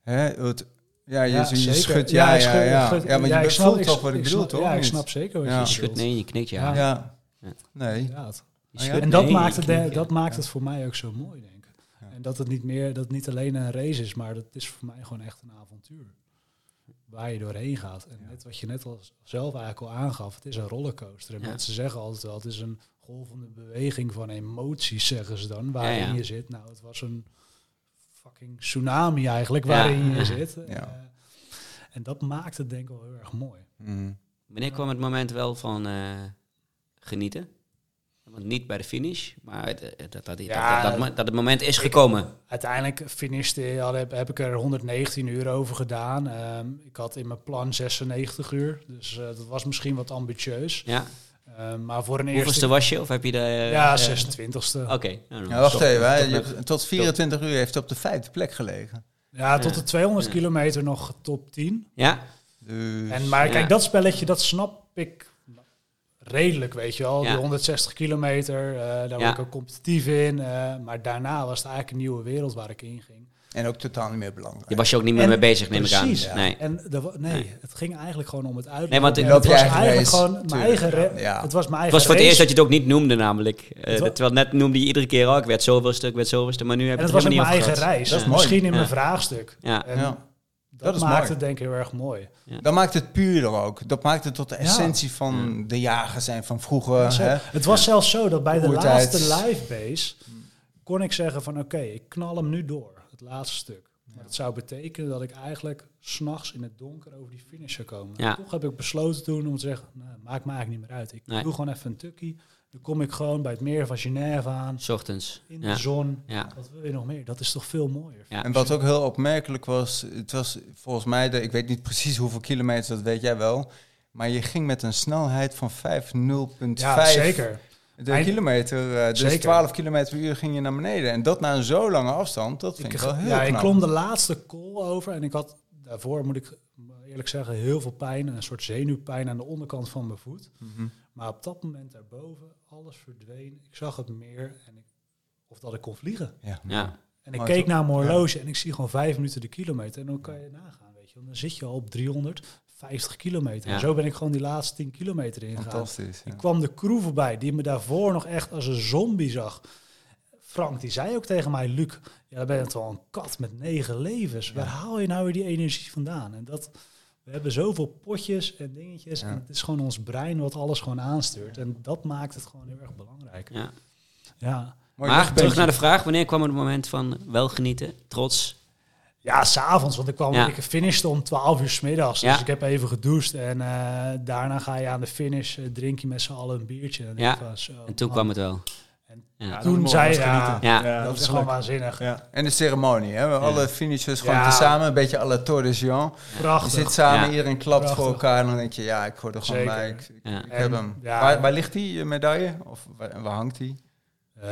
S2: Hè, het, ja, je,
S3: Ja,
S2: je
S3: zeker.
S2: schudt... Ja,
S3: ik
S2: ja,
S3: schud-
S2: ja,
S3: ik
S2: ja.
S3: schud-
S2: want je
S3: ik snap-
S2: voelt
S3: ik-
S2: toch wat ik
S3: ik
S2: bedoel,
S3: snap-
S2: toch?
S3: Ja, ik
S2: Niet?
S3: snap zeker wat
S2: Ja.
S3: je
S1: Je schudt
S3: bedoelt.
S1: nee, je knikt ja.
S3: Ja.
S2: Ja.
S1: Ja.
S2: Nee.
S3: Inderdaad.
S1: Je
S2: Ja.
S1: schudt
S3: En dat,
S1: nee,
S3: maakt,
S1: je
S3: het,
S1: knikt
S3: eh, dat
S1: ja.
S3: maakt het voor mij ook zo mooi, denk ik.
S2: Ja.
S3: En dat het niet meer, dat het niet alleen een race is, maar dat is voor mij gewoon echt een avontuur. Waar je doorheen gaat. En net wat je net al s- zelf eigenlijk al aangaf, het is een rollercoaster. En
S1: Ja.
S3: mensen zeggen altijd wel, het is een golvende beweging van emoties, zeggen ze dan, waarin
S1: Ja, ja.
S3: je zit. Nou, het was een fucking tsunami eigenlijk,
S1: Ja.
S3: waarin je zit.
S2: Ja.
S3: Eh, en dat maakt het denk ik wel heel erg mooi.
S2: Mm.
S1: Wanneer kwam het moment wel van eh, genieten? Want niet bij de finish, maar het- het- dat, dat,
S3: Ja.
S1: dat, dat, dat, het moment is gekomen.
S3: uiteindelijk finishte, had- heb, heb ik er 119 uur over gedaan. Ehm, ik had in mijn plan 96 uur, dus eh, dat was misschien wat ambitieus.
S1: Ja,
S3: Eh, maar voor een
S1: Hoeveelste
S3: eerste...
S1: was je? Of heb je de...
S3: Ja,
S1: eh,
S3: 26e.
S1: Oké. nou, dan
S2: Ja, wacht
S1: stop.
S2: even, hè.
S1: Stop
S2: Je-
S1: met-
S2: tot 24 uur heeft hij op de vijfde plek gelegen.
S3: Ja, tot
S1: Ja.
S3: de 200
S1: Ja.
S3: kilometer nog top 10.
S1: Ja?
S2: Dus
S3: En, maar kijk,
S1: Ja.
S3: dat spelletje, dat snap ik redelijk, weet je wel.
S1: Ja.
S3: Die 160 kilometer, eh, daar
S1: Ja.
S3: was ik ook competitief in. eh, maar daarna was het eigenlijk een nieuwe wereld waar ik in ging.
S2: en ook totaal niet meer belangrijk.
S1: Je was je ook niet meer
S3: En-
S1: mee bezig, neem
S3: Precies.
S1: ik aan. Nee.
S3: En er wa- nee,
S1: Nee.
S3: het ging eigenlijk gewoon om het uitlopen.
S1: Nee, want
S3: En
S1: ik-
S3: het
S2: Loop je
S3: was
S2: eigen
S3: eigenlijk
S2: race,
S3: gewoon mijn
S2: tuurlijk,
S3: eigen... re-
S2: ja.
S3: Het was mijn
S1: Het
S3: eigen
S1: was voor het
S3: race.
S1: eerst dat je het ook niet noemde namelijk. Eh,
S3: Het wa-
S1: terwijl net noemde je iedere keer al, ik werd zoveelste, ik werd zoveelste. Maar nu heb je
S3: En het
S1: het
S3: was ook
S1: helemaal
S3: mijn
S1: niet
S3: eigen
S1: over gehad.
S3: reis.
S2: Dat is
S3: Dus
S2: mooi.
S3: Misschien in
S1: Ja.
S3: mijn vraagstuk.
S1: Ja.
S3: En
S2: Ja.
S3: dat,
S2: Dat is
S3: maakte
S2: mooi.
S3: het denk ik heel erg mooi.
S2: Dat maakt het puurder ook. Dat maakt het tot de
S3: Ja.
S2: essentie van
S1: Hmm.
S2: de jager zijn van vroeger.
S3: Zo.
S2: hè?
S3: Het was zelfs zo dat bij de
S2: Oertijd.
S3: laatste live base kon ik zeggen van oké, ik knal hem nu door, het laatste stuk. Maar dat zou betekenen dat ik eigenlijk s'nachts in het donker over die finish zou komen.
S1: Ja.
S3: Toch heb ik besloten toen om te zeggen, nou, maakt me eigenlijk niet meer uit. Ik
S1: Nee.
S3: doe gewoon even een tukkie. Dan kom ik gewoon bij het meer van Genève aan,
S1: S ochtends.
S3: in
S1: Ja.
S3: de zon.
S1: Ja.
S3: Wat wil je nog meer? Dat is toch veel mooier.
S1: Ja.
S2: En wat ook heel opmerkelijk was, het was volgens mij, de, ik weet niet precies hoeveel kilometers, dat weet jij wel. Maar je ging met een snelheid van 5,0,5
S3: Ja, zeker.
S2: de
S3: Eind-
S2: kilometer. eh, dus
S3: Zeker.
S2: 12 kilometer per uur ging je naar beneden. En dat na een zo lange afstand, dat vind ik,
S3: Ik,
S2: wel heel
S3: ja, ik
S2: knap.
S3: klom de laatste call over en ik had daarvoor, moet ik eerlijk zeggen, heel veel pijn. Een soort zenuwpijn aan de onderkant van mijn voet.
S2: Mhm.
S3: Maar op dat moment daarboven, alles verdween. Ik zag het meer en ik, of dat ik kon vliegen.
S2: Ja.
S1: Ja.
S3: En ik
S2: Maar
S3: keek
S2: toch-
S3: naar mijn horloge en ik zie gewoon vijf minuten de kilometer. En dan kan je nagaan, weet je. wel. Dan zit je al op 350 kilometer. En
S1: Ja.
S3: zo ben ik gewoon die laatste 10 kilometer ingegaan.
S2: Fantastisch. ja.
S3: Ik kwam de crew voorbij, die me daarvoor nog echt als een zombie zag. Frank, die zei ook tegen mij, Luc, ja, dan ben je toch wel een kat met negen levens. Waar haal je nou weer die energie vandaan? En dat, we hebben zoveel potjes en dingetjes.
S2: Ja.
S3: En het is gewoon ons brein wat alles gewoon aanstuurt. En dat maakt het gewoon heel erg belangrijk.
S1: Ja.
S3: Ja,
S2: Mooi
S1: Maar
S2: luchtbeentje.
S1: terug naar de vraag, wanneer kwam het moment van wel genieten, trots?
S3: ja s'avonds, want ik kwam,
S1: Ja.
S3: ik finishte om 12 uur s middags.
S1: Ja.
S3: Dus ik heb even gedoucht. En eh, daarna ga je aan de finish, eh, drink je met z'n allen een biertje. En,
S1: Ja.
S3: dan denk ik van, zo,
S1: En toen
S3: man.
S1: kwam het wel.
S4: Ja,
S3: Toen
S4: mogen
S3: zei
S4: we
S3: je,
S4: eens
S3: ja,
S4: genieten.
S1: Ja.
S4: Ja,
S3: dat is
S4: echt
S3: gewoon
S4: leuk.
S3: waanzinnig.
S4: Ja.
S2: En de ceremonie, hè? Alle finishers gewoon
S3: Ja.
S2: tezamen, een beetje à la Tour de Jean. Je
S3: Prachtig.
S2: zit samen,
S1: Ja.
S2: iedereen klapt
S3: Prachtig.
S2: voor elkaar en dan denk je, ja, ik hoor er gewoon
S3: Zeker.
S2: bij. Ik, ik-
S1: Ja.
S2: ik
S3: En,
S2: heb hem.
S3: ja.
S2: Waar, waar ligt die eh, medaille? Of waar, waar hangt die?
S3: Eh,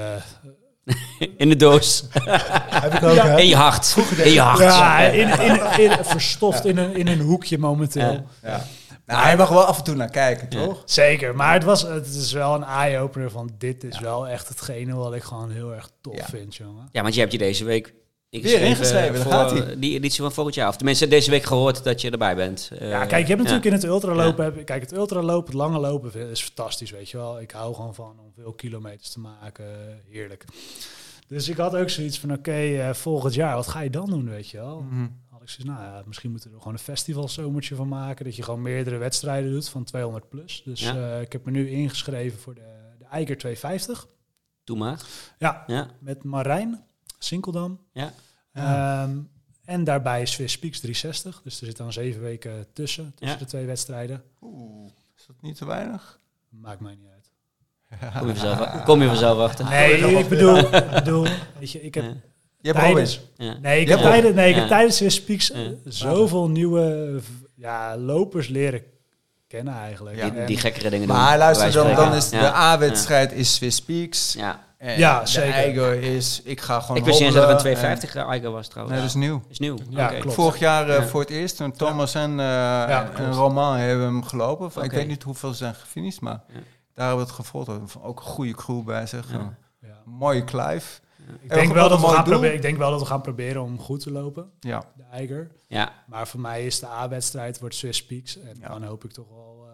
S1: In de doos.
S5: Heb ik ook, hè?
S1: In je hart. In je hart.
S3: ja, in, in, in, verstopt in, een, in een hoekje momenteel.
S1: Ja.
S2: Ja. Nou, hij mag wel af en toe naar kijken,
S1: Ja.
S2: toch?
S3: Zeker, maar het, was, het is wel een eye-opener van dit is wel echt hetgene wat ik gewoon heel erg tof
S2: Ja.
S3: vind, jongen.
S1: Ja, want je hebt je deze week
S2: ingeschreven, daar
S1: voor
S2: gaat-ie.
S1: die editie van volgend jaar. Of tenminste, deze week gehoord dat je erbij bent. Eh,
S3: Ja, kijk, je hebt natuurlijk
S1: ja.
S3: in het ultralopen... heb- Kijk, het ultralopen, het lange lopen vind- is fantastisch, weet je wel. Ik hou gewoon van om veel kilometers te maken. Heerlijk. Dus ik had ook zoiets van, oké, eh, volgend jaar, wat ga je dan doen, weet je wel?
S2: Mhm.
S3: had ik zoiets, nou ja, misschien moeten we er gewoon een festivalzomertje van maken. Dat je gewoon meerdere wedstrijden doet van 200 plus. Dus
S1: Ja.
S3: eh, ik heb me nu ingeschreven voor de, de Eiker 250.
S1: Doe maar.
S3: Ja,
S1: Ja.
S3: met Marijn, Sinkeldam.
S1: Ja.
S3: Ehm, en daarbij Swiss Peaks 360. Dus er zit dan zeven weken tussen, tussen
S1: Ja.
S3: de twee wedstrijden.
S2: Oeh, is dat niet te weinig?
S3: Maakt mij niet uit.
S1: Kom je vanzelf, kom je vanzelf achter.
S3: Nee, ik bedoel, ik bedoel, weet je, ik heb
S1: Ja.
S2: Je hebt
S3: tijdens-
S2: Robin.
S1: Ja.
S3: Nee, ik
S2: Je
S3: heb
S2: hebt-
S3: tijdens, nee, ik heb
S1: Ja.
S3: tijdens Swiss Peaks
S1: Ja.
S3: zoveel nieuwe v- ja, lopers leren kennen eigenlijk.
S2: Ja.
S1: Die,
S3: En-
S1: die gekkere dingen doen.
S2: Maar luister,
S1: bij
S2: dan,
S1: wijze
S2: dan
S1: van
S2: is
S1: spreken.
S2: de A-wedstrijd is Swiss Peaks.
S1: Ja. Ja.
S2: En
S3: Ja,
S2: de
S3: zeker.
S2: Eiger is, ik ga gewoon
S1: Ik wist niet eens dat
S2: hobbelen
S1: het een
S2: en-
S1: 250 de Eiger was trouwens.
S2: eh, Nee, dat is nieuw.
S1: is nieuw.
S3: Ja,
S1: Oké.
S3: klopt.
S2: Vorig jaar eh,
S1: Ja.
S2: voor het eerst, toen Thomas en, eh en
S3: klopt.
S2: Romain hebben hem gelopen. Ik
S1: Oké.
S2: weet niet hoeveel ze zijn gefinished, maar
S1: Ja.
S2: daar hebben we het gevolgd. Ook een goede crew bij zich.
S1: Ja.
S3: ja.
S2: Mooie Clive.
S3: Ik
S2: Hebben
S3: denk,
S2: we
S3: wel
S2: wat
S3: dat
S2: een
S3: we
S2: mooi
S3: gaan
S2: doel?
S3: proberen, ik denk wel dat we gaan proberen om goed te lopen,
S2: Ja.
S3: de Eiger.
S1: Ja.
S3: Maar voor mij is de A-wedstrijd wordt Swiss Peaks. En
S2: Ja.
S3: dan hoop ik toch wel eh,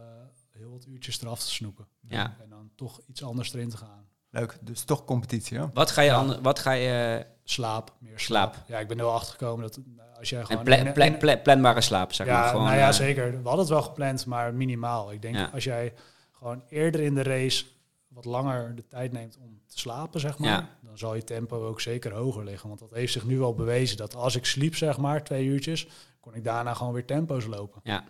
S3: heel wat uurtjes eraf te snoepen.
S1: Ja.
S3: En dan toch iets anders erin te gaan.
S2: Leuk, dus toch competitie. Hè?
S1: Wat ga je... ander- Wat ga je
S3: Slaap, meer slaap.
S1: Slaap.
S3: Ja, ik ben er wel achter gekomen dat eh, als jij
S1: en
S3: gewoon...
S1: pla-
S3: in-
S1: pla-
S3: in-
S1: pla- planbare slaap, zeg maar.
S3: ja,
S1: Gewoon,
S3: nou ja,
S1: eh,
S3: zeker. We hadden het wel gepland, maar minimaal. Ik denk
S1: Ja.
S3: als jij gewoon eerder in de race wat langer de tijd neemt om te slapen, zeg maar,
S1: Ja.
S3: dan zal je tempo ook zeker hoger liggen. Want dat heeft zich nu wel bewezen dat als ik sliep, zeg maar, twee uurtjes, kon ik daarna gewoon weer tempo's lopen.
S1: Ja.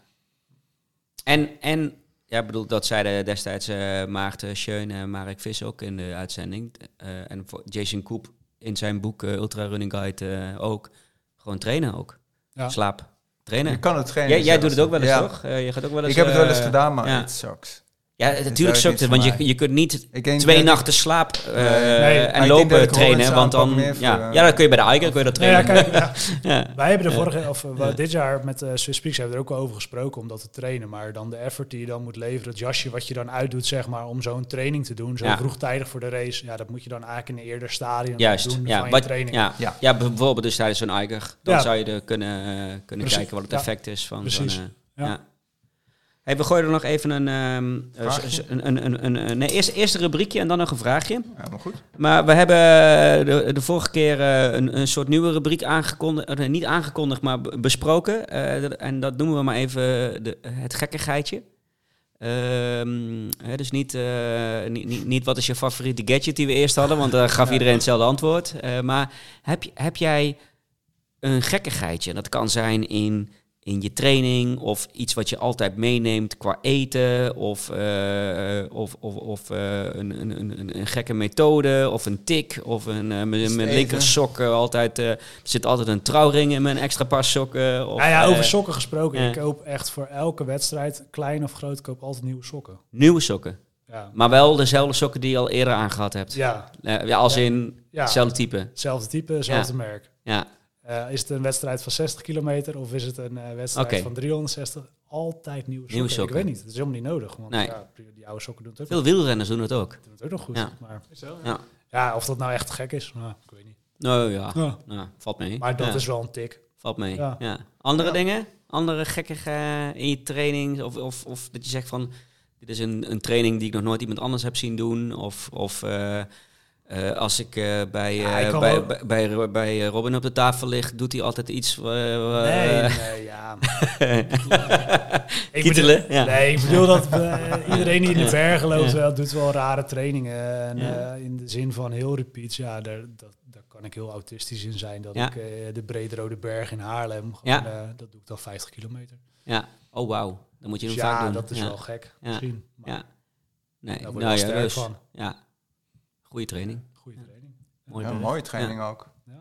S1: En, en ja, ik bedoel, dat zeiden destijds eh, Maarten Schön en Marek Vis ook in de uitzending. Eh, en voor Jason Koep in zijn boek eh, Ultra Running Guide eh, ook. Gewoon trainen ook.
S3: Ja.
S1: Slaap.
S2: Je
S1: Trainen.
S2: kan het geen.
S1: Jij, jij doet het ook wel eens, toch? Eh, je gaat ook wel eens...
S2: Ik heb het wel eens
S1: eh,
S2: gedaan, maar
S1: ja.
S2: het sucks.
S1: Ja,
S2: daar
S1: natuurlijk
S2: is
S1: sukt
S2: niets
S1: het,
S2: van
S1: want je,
S2: mij.
S1: je kunt niet
S2: Ik denk
S1: twee
S2: dat-
S1: nachten slaap eh,
S2: Nee,
S3: maar ik
S1: en
S2: denk dat
S1: lopen
S2: ik
S1: trainen,
S2: Hollandse
S1: want dan...
S2: aanpak meer voor,
S1: Ja,
S2: eh,
S1: ja, dat kun je bij de Eiken, kun je dat
S3: Nou ja,
S1: trainen.
S3: kijk, ja,
S1: Ja.
S3: wij hebben de vorige, of eh, wel dit jaar met eh Swiss Peaks hebben we er ook over gesproken om dat te trainen. Maar dan de effort die je dan moet leveren, het jasje wat je dan uitdoet, zeg maar, om zo'n training te doen, zo
S1: Ja.
S3: vroegtijdig voor de race. Ja, dat moet je dan eigenlijk in een eerder stadium
S1: Juist,
S3: doen van
S1: ja,
S3: je
S1: wat,
S3: training.
S1: ja.
S2: Ja.
S1: ja, bijvoorbeeld dus tijdens zo'n Eiger. Dan
S3: Ja.
S1: zou je er kunnen, eh, kunnen
S3: Precies,
S1: kijken wat het
S3: ja.
S1: effect is van zo'n...
S3: Precies,
S1: eh,
S3: ja.
S1: ja. Hey, we gooien er nog even een... ehm, eh,
S2: Vraagje?
S1: z- z- een, een, een, een, een- nee, eerst, eerst een rubriekje en dan nog een vraagje.
S2: Ja, maar goed.
S1: Maar we hebben eh, de, de vorige keer eh, een, een soort nieuwe rubriek aangekondigd. eh, nee, niet aangekondigd, maar b- besproken. Eh, dat- en dat noemen we maar even de, het gekkigheidje. Ehm, hè, dus niet, eh, niet, niet, niet wat is je favoriete gadget die we eerst hadden, want daar gaf iedereen hetzelfde antwoord. Eh, maar heb, je- heb jij een gekkigheidje? En Dat kan zijn in, in je training of iets wat je altijd meeneemt qua eten of, eh, of, of, of eh, een, een, een, een- een gekke methode of een tik of een, eh, mijn,
S2: het
S1: mijn
S2: eten?
S1: linker sok eh, altijd, eh, er zit altijd een trouwring in mijn extra paar sokken. Of,
S3: Nou ja, over
S1: eh,
S3: sokken gesproken.
S1: ja.
S3: Ik koop echt voor elke wedstrijd, klein of groot, ik koop altijd nieuwe sokken.
S1: Nieuwe sokken,
S3: Ja,
S1: maar wel dezelfde sokken die je al eerder aangehad hebt.
S3: ja,
S1: Eh, ja, als
S3: Ja.
S1: in
S3: ja.
S1: hetzelfde type.
S3: hetzelfde type, hetzelfde merk.
S1: Ja.
S3: Eh, is het een wedstrijd van 60 kilometer of is het een eh, wedstrijd
S1: Oké.
S3: van 360? Altijd nieuwe sokken.
S1: Nieuwe
S3: Ik
S1: sokken.
S3: weet niet, het is helemaal niet nodig. Want
S1: Nee.
S3: ja, die oude sokken doen het ook,
S1: Veel wielrenners doen dat ook.
S3: nog- doen het ook nog goed.
S1: Ja.
S3: Maar,
S1: Ja.
S3: ja, of dat nou echt gek is, nou, ik weet niet.
S1: Nou ja,
S3: Ja.
S1: Nou, valt mee.
S3: Maar dat
S1: Ja,
S3: is wel een tik.
S1: Valt mee, ja.
S3: Ja.
S1: Andere
S2: Ja.
S1: dingen? Andere gekkige eh, in je training? Of, of, of dat je zegt van... Dit is een, een training die ik nog nooit iemand anders heb zien doen. Of, of eh, eh, als ik eh, bij,
S3: Ja, ik
S1: eh,
S3: kan
S1: bij,
S3: wel-
S1: bij, bij, Ro- bij, eh, Robin op de tafel lig, doet hij altijd iets... eh,
S3: nee,
S1: eh,
S3: nee, ja. ik bedoel,
S1: Kietelen, ja.
S3: Nee, ik bedoel dat eh, iedereen die in de
S1: Ja.
S3: bergen loopt
S1: Ja.
S3: wel, doet wel rare trainingen. En,
S1: Ja.
S3: eh, in de zin van heel repeats, ja, daar, dat, daar kan ik heel autistisch in zijn. Dat
S1: Ja.
S3: ik eh, de Brederode Berg in Haarlem,
S1: Ja.
S3: gewoon, eh, dat doe ik dan 50 kilometer.
S1: ja. Oh, wauw. Dan moet je
S3: Dus
S1: hem
S3: ja,
S1: vaak doen.
S3: dat is
S1: ja.
S3: wel gek.
S1: Ja.
S3: Misschien. Maar
S1: Ja. Nee,
S3: Daar word
S1: nou
S3: je wel
S1: ja,
S3: sterk
S1: dus,
S3: van.
S1: ja. Goede training.
S3: Goede training.
S1: Mooi
S2: Ja,
S1: werk.
S2: mooie training ook.
S3: Ja.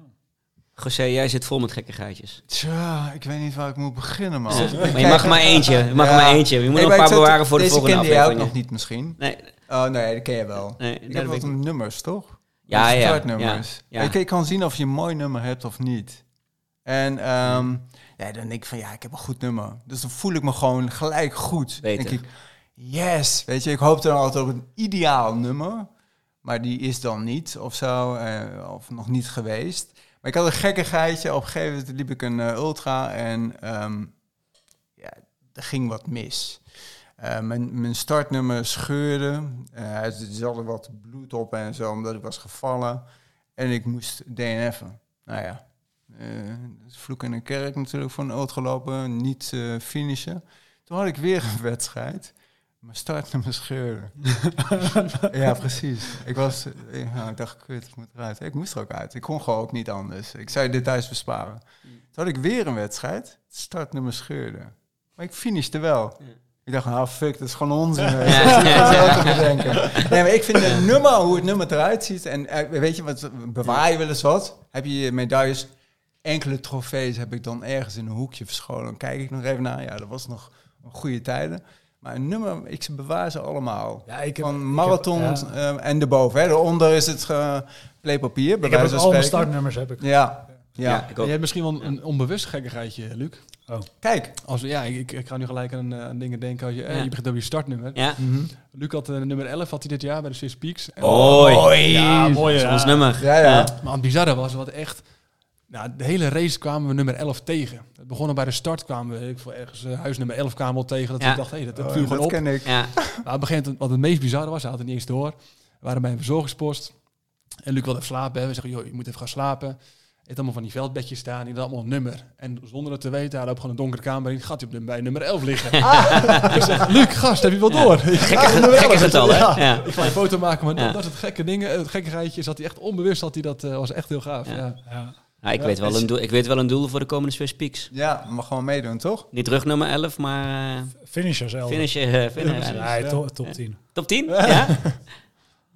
S1: José, jij zit vol met gekkigheidjes.
S2: Tja, ik weet niet waar ik moet beginnen, man.
S1: Maar je mag er maar eentje. Je mag er
S2: Ja.
S1: maar eentje. Je moet
S2: Nee,
S1: nog
S2: maar
S1: een
S2: ik
S1: paar
S2: zat-
S1: bewaren voor de
S2: deze
S1: volgende
S2: kende jij ook
S1: aflevering.
S2: nog niet misschien.
S1: Nee,
S2: Oh nee, dat ken je wel.
S1: nee,
S2: Ik
S1: dat
S2: heb
S1: weet
S2: wat
S1: ik niet.
S2: nummers, toch?
S1: Ja,
S2: Wat
S1: ja,
S2: startnummers.
S1: ja, ja.
S2: Ik, ik kan zien of je een mooi nummer hebt of niet. En ehm,
S1: Hmm.
S2: ja, dan denk ik van, ja, ik heb een goed nummer. Dus dan voel ik me gewoon gelijk goed.
S1: Beter.
S2: Denk ik, yes. Weet je, ik hoop dan altijd op een ideaal nummer. Maar die is dan niet of zo, eh, of nog niet geweest. Maar ik had een gekkigheidje. Op een gegeven moment liep ik een eh, ultra en ehm, ja, er ging wat mis. Eh, mijn, mijn startnummer scheurde. Eh, er zat er wat bloed op en zo, omdat ik was gevallen. En ik moest DNF'en. Nou ja, eh, dat is vloek in een kerk natuurlijk voor een ultra lopen, niet eh, finishen. Toen had ik weer een wedstrijd. Mijn startnummer scheurde. ja, precies. Ik was, ja, ik dacht, kut, ik moet eruit. Ik moest er ook uit. Ik kon gewoon ook niet anders. Ik zou je dit thuis besparen.
S1: Mm.
S2: Toen had ik weer een wedstrijd. Startnummer scheurde. Maar ik finishte wel.
S1: Ja.
S2: Ik dacht, nou fuck, dat is gewoon onzin. Ja.
S1: Ja.
S2: Dat is wel te bedenken. Nee, maar ik vind het nummer, hoe het nummer eruit ziet. En eh, weet je, wat, bewaar je wel eens wat? Heb je je medailles, enkele trofees heb ik dan ergens in een hoekje verscholen. Dan kijk ik nog even naar. Ja, dat was nog een goede tijden. Maar een nummer, ik ze bewaar ze allemaal.
S3: Ja, ik heb,
S2: Van marathon
S3: ik heb,
S2: eh, en erboven. Hè. Daaronder is het eh, playpapier, bij
S3: ik heb
S2: wijze van
S3: ook al
S2: spreken.
S3: mijn startnummers heb ik.
S2: Ja, ja.
S1: Ja, ik
S4: Je
S1: ook.
S4: hebt misschien wel een onbewust gekkigheidje, Luc.
S2: Kijk.
S4: Als, we- ja, ik, ik ga nu gelijk aan, eh, aan dingen denken. Als je, eh,
S1: Ja.
S4: je begint over je startnummer.
S1: Ja,
S4: Luc had eh, nummer 11 had hij dit jaar bij de Swiss Peaks. En-
S1: Hoi.
S4: Ja, mooi.
S1: dat is ons nummer.
S2: Ja, ja.
S4: Maar het bizarre was wat echt. Nou, de hele race kwamen we nummer 11 tegen. Het begon al bij de start kwamen we ik, voor ergens eh, huis nummer 11 kwamen we al tegen. Dat
S1: Ja.
S4: ik dacht, hé, dat, dat
S2: Oh,
S4: viel gewoon
S2: dat
S4: op.
S2: ken ik.
S1: Ja,
S4: Maar op een gegeven moment, wat het meest bizarre was, hij had het niet eens door. We waren bij een verzorgingspost. En Luc wilde even slapen. hè. We zeggen, joh, je moet even gaan slapen. Hij had allemaal van die veldbedjes staan. Die had allemaal een nummer. En zonder het te weten, hij loopt gewoon een donkere kamer in. Gaat hij op nummer, bij nummer 11 liggen.
S2: Ah.
S4: Ik zeg, Luc, gast, heb je wel door?
S1: gekke, gekke getal, hè? Ja. Ja.
S4: Ik ga een foto maken, maar dat-
S1: Ja.
S4: dat is het gekke ding. Het gekkigheidje is dat hij echt onbewust had. Hij dat eh, was echt heel gaaf.
S1: Ja.
S4: Ja.
S3: Ja.
S1: Nou, ik, weet wel een doel, ik weet wel een doel voor de komende Swiss Peaks.
S2: Ja, maar gewoon meedoen, toch?
S1: Niet rug nummer 11, maar eh
S3: Finishers 11.
S1: finish. eh, finish.
S3: Nee, to- top 10.
S1: Top 10? Ja?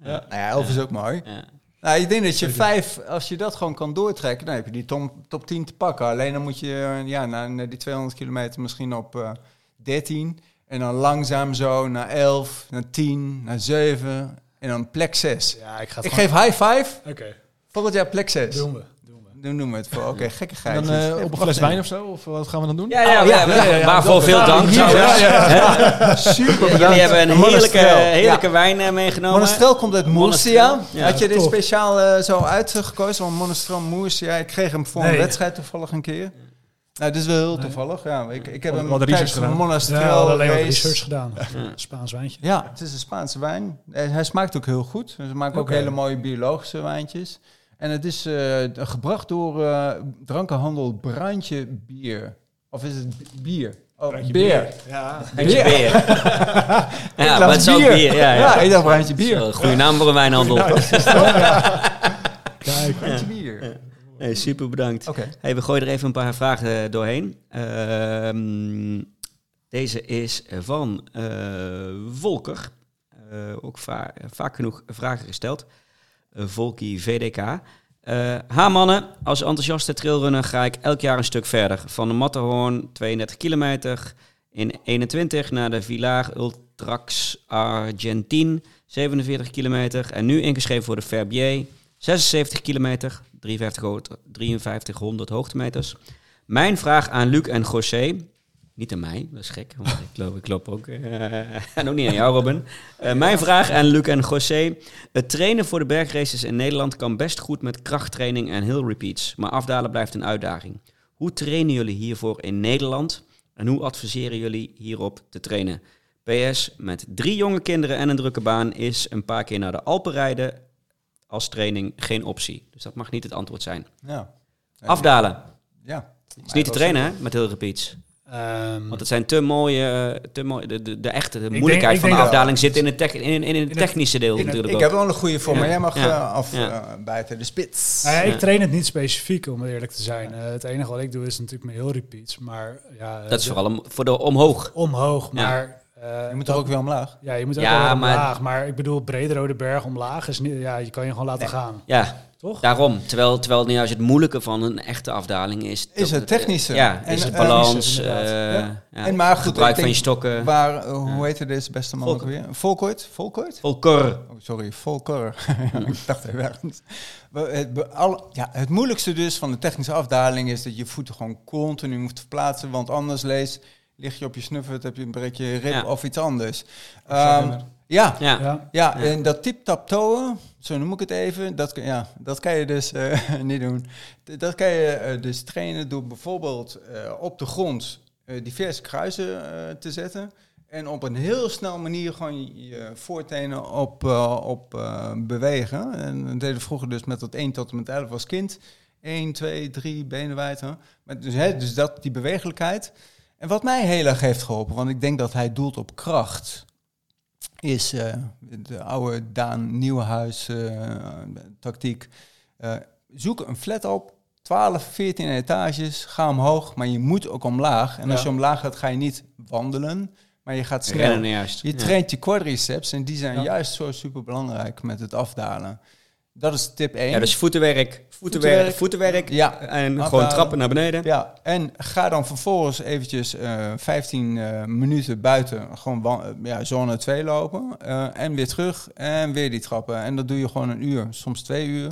S2: Nou ja, elf is ook mooi.
S1: ja.
S2: Nou, ik denk dat je vijf, als je dat gewoon kan doortrekken, dan heb je die tom- top 10 te pakken. Alleen dan moet je eh, ja, na, na die 200 kilometer misschien op eh 13. En dan langzaam zo naar 11, naar 10, naar 7 en dan plek 6.
S3: Ja, ik ga het
S2: Ik
S3: gewoon-
S2: geef high five.
S3: Oké,
S2: Volgend jaar plek 6.
S3: doen we. Doen we.
S2: Dan doen we het voor. Oké, gekke
S4: En
S2: geit.
S4: dan eh, op een fles wijn of zo? Of wat gaan we dan doen?
S1: Ja, ja,
S2: Oh,
S1: ja,
S2: ja,
S1: ja,
S2: ja,
S1: ja. waarvoor
S2: dat-
S1: veel
S2: dat-
S1: dank
S2: ja,
S1: trouwens.
S2: ja,
S1: Hè?
S2: Super bedankt.
S1: Jullie hebben een heerlijke,
S2: Monastrel.
S1: heerlijke
S2: Ja.
S1: wijn eh, meegenomen.
S2: Monastrel komt uit Moersia.
S1: Monastrel, ja.
S2: Had je dit
S3: Tof.
S2: speciaal eh, zo uitgekozen? Want Monastrel Moersia, ik kreeg hem voor
S3: Nee.
S2: een wedstrijd toevallig een keer. Nou, dit is wel heel toevallig. Ja, ik, ik heb
S4: Wat-
S2: hem
S4: wat
S2: tijdens
S4: research
S2: een
S4: gedaan.
S3: Ja, we hadden
S2: Monastrel
S3: alleen wat
S2: race.
S3: research gedaan. Spaans wijntje.
S2: Ja, het is een Spaanse wijn. En hij smaakt ook heel goed. Ze maken
S3: Oké.
S2: ook hele mooie biologische wijntjes. En het is eh, gebracht door eh, drankenhandel Brandje Bier. Of is het b- bier? Oh, bier.
S3: Ja.
S1: Handje Beer. ja,
S2: glas
S1: maar het is ook
S2: bier.
S1: bier. Ja,
S2: Ja,
S1: ja.
S2: ik dacht Brandje Bier.
S1: Zo, Goede naam voor een wijnhandel.
S3: Kijk.
S2: Brandje Bier.
S1: Nee, super bedankt.
S2: Oké.
S1: Hey, we gooien er even een paar vragen eh, doorheen. Ehm, deze is van eh, Volker. Eh, ook va- vaak genoeg vragen gesteld. Eh, Volkie VDK. Eh ha mannen, als enthousiaste trailrunner ga ik elk jaar een stuk verder. Van de Matterhorn, 32 kilometer, in 21 naar de Villar Ultrax Argentine, 47 kilometer. En nu ingeschreven voor de Verbier, 76 kilometer, 53 ho- 5300 hoogtemeters. Mijn vraag aan Luc en José. Niet aan mij, dat is gek, want ik loop, ik loop ook. eh, en ook niet aan jou, Robin. Eh, mijn vraag aan Luc en José. Het trainen voor de bergraces in Nederland kan best goed met krachttraining en hill repeats. Maar afdalen blijft een uitdaging. Hoe trainen jullie hiervoor in Nederland? En hoe adviseren jullie hierop te trainen? PS, met drie jonge kinderen en een drukke baan is een paar keer naar de Alpen rijden als training geen optie. Dus dat mag niet het antwoord zijn.
S2: Ja.
S1: Afdalen.
S2: nou. Ja.
S1: is niet te trainen hè, met heel repeats.
S3: Ehm,
S1: Want het zijn te mooie, eh, te mooie de, de, de echte de
S3: denk-
S1: moeilijkheid
S3: ik
S1: van de
S3: denk dat-
S1: afdaling zit in het, tech- in, in, in het
S3: het-
S1: technische deel
S3: in het-
S1: natuurlijk
S2: Ik
S1: ook.
S2: heb wel een goede voor, maar jij mag
S1: Ja.
S2: eh, af
S1: Ja.
S2: eh, buiten de spits.
S3: nou ja,
S1: Ja.
S3: ik train het niet specifiek, om eerlijk te zijn. Eh, het enige wat ik doe is natuurlijk mijn heel repeats. Maar ja, eh,
S1: Dat is
S3: de-
S1: vooral om- voor de omhoog.
S3: omhoog.
S1: Ja.
S3: Maar eh,
S2: Je moet er ook weer omlaag.
S3: Ja, je moet ook
S1: Ja,
S3: wel
S1: maar-
S3: omlaag. Maar... ik bedoel, Brederode Berg omlaag is niet... Ja, je kan je gewoon laten gaan,
S1: Ja,
S3: toch?
S1: daarom. Terwijl, terwijl nu juist het moeilijke van een echte afdaling is...
S2: Is het technische.
S1: Ja,
S2: En,
S1: is het
S2: eh,
S1: balans,
S3: technische,
S1: eh,
S2: inderdaad.
S1: ja,
S2: En maar goed, ik
S1: gebruik van
S2: denk-
S1: je stokken.
S2: Waar, eh, hoe heette deze beste man ook weer? Volkort? Volkort?
S1: Volker.
S2: Oh, sorry, Volker. ik dacht even ergens. We- Het, be- al- ja, het moeilijkste dus van de technische afdaling is dat je voeten gewoon continu moet verplaatsen. Want anders lees, lig je op je snuffert, heb je een breek je rib
S1: Ja.
S2: of iets anders.
S4: zo
S2: Ehm,
S4: weer.
S2: ja,
S1: Ja.
S3: Ja.
S2: ja, en dat tip-tap-toeën, zo noem ik het even, dat, kun- ja, dat kan je dus eh, niet doen. D- Dat kan je eh, dus trainen door bijvoorbeeld eh, op de grond eh, diverse kruisen eh, te zetten. En op een heel snel manier gewoon je voortenen op, eh, op eh, bewegen. En dat deden we vroeger dus met dat 1 tot en met 11 als kind. 1, 2, 3, benen wijd. hè. Maar dus, hè, dus dat, die bewegelijkheid. En wat mij heel erg heeft geholpen, want ik denk dat hij doelt op kracht is eh, de oude Daan Nieuwenhuis eh, tactiek. Eh, zoek een flat op, 12, 14 etages, ga omhoog, maar je moet ook omlaag. En als
S3: Ja.
S2: je omlaag gaat, ga je niet wandelen, maar je gaat snel.
S1: Rennen juist.
S2: Je
S1: Ja.
S2: traint je quadriceps en die zijn
S3: Ja.
S2: juist zo super belangrijk met het afdalen. Dat is tip 1.
S1: Ja, dus voetenwerk, voetenwerk,
S2: Voetenwerk.
S1: voetenwerk.
S2: Ja.
S1: En gewoon
S2: Afdalen.
S1: trappen naar beneden.
S2: Ja, en ga dan vervolgens eventjes eh, 15 eh, minuten buiten, gewoon wa- eh, ja, zone 2 lopen. eh, en weer terug en weer die trappen. En dat doe je gewoon een uur, soms twee uur.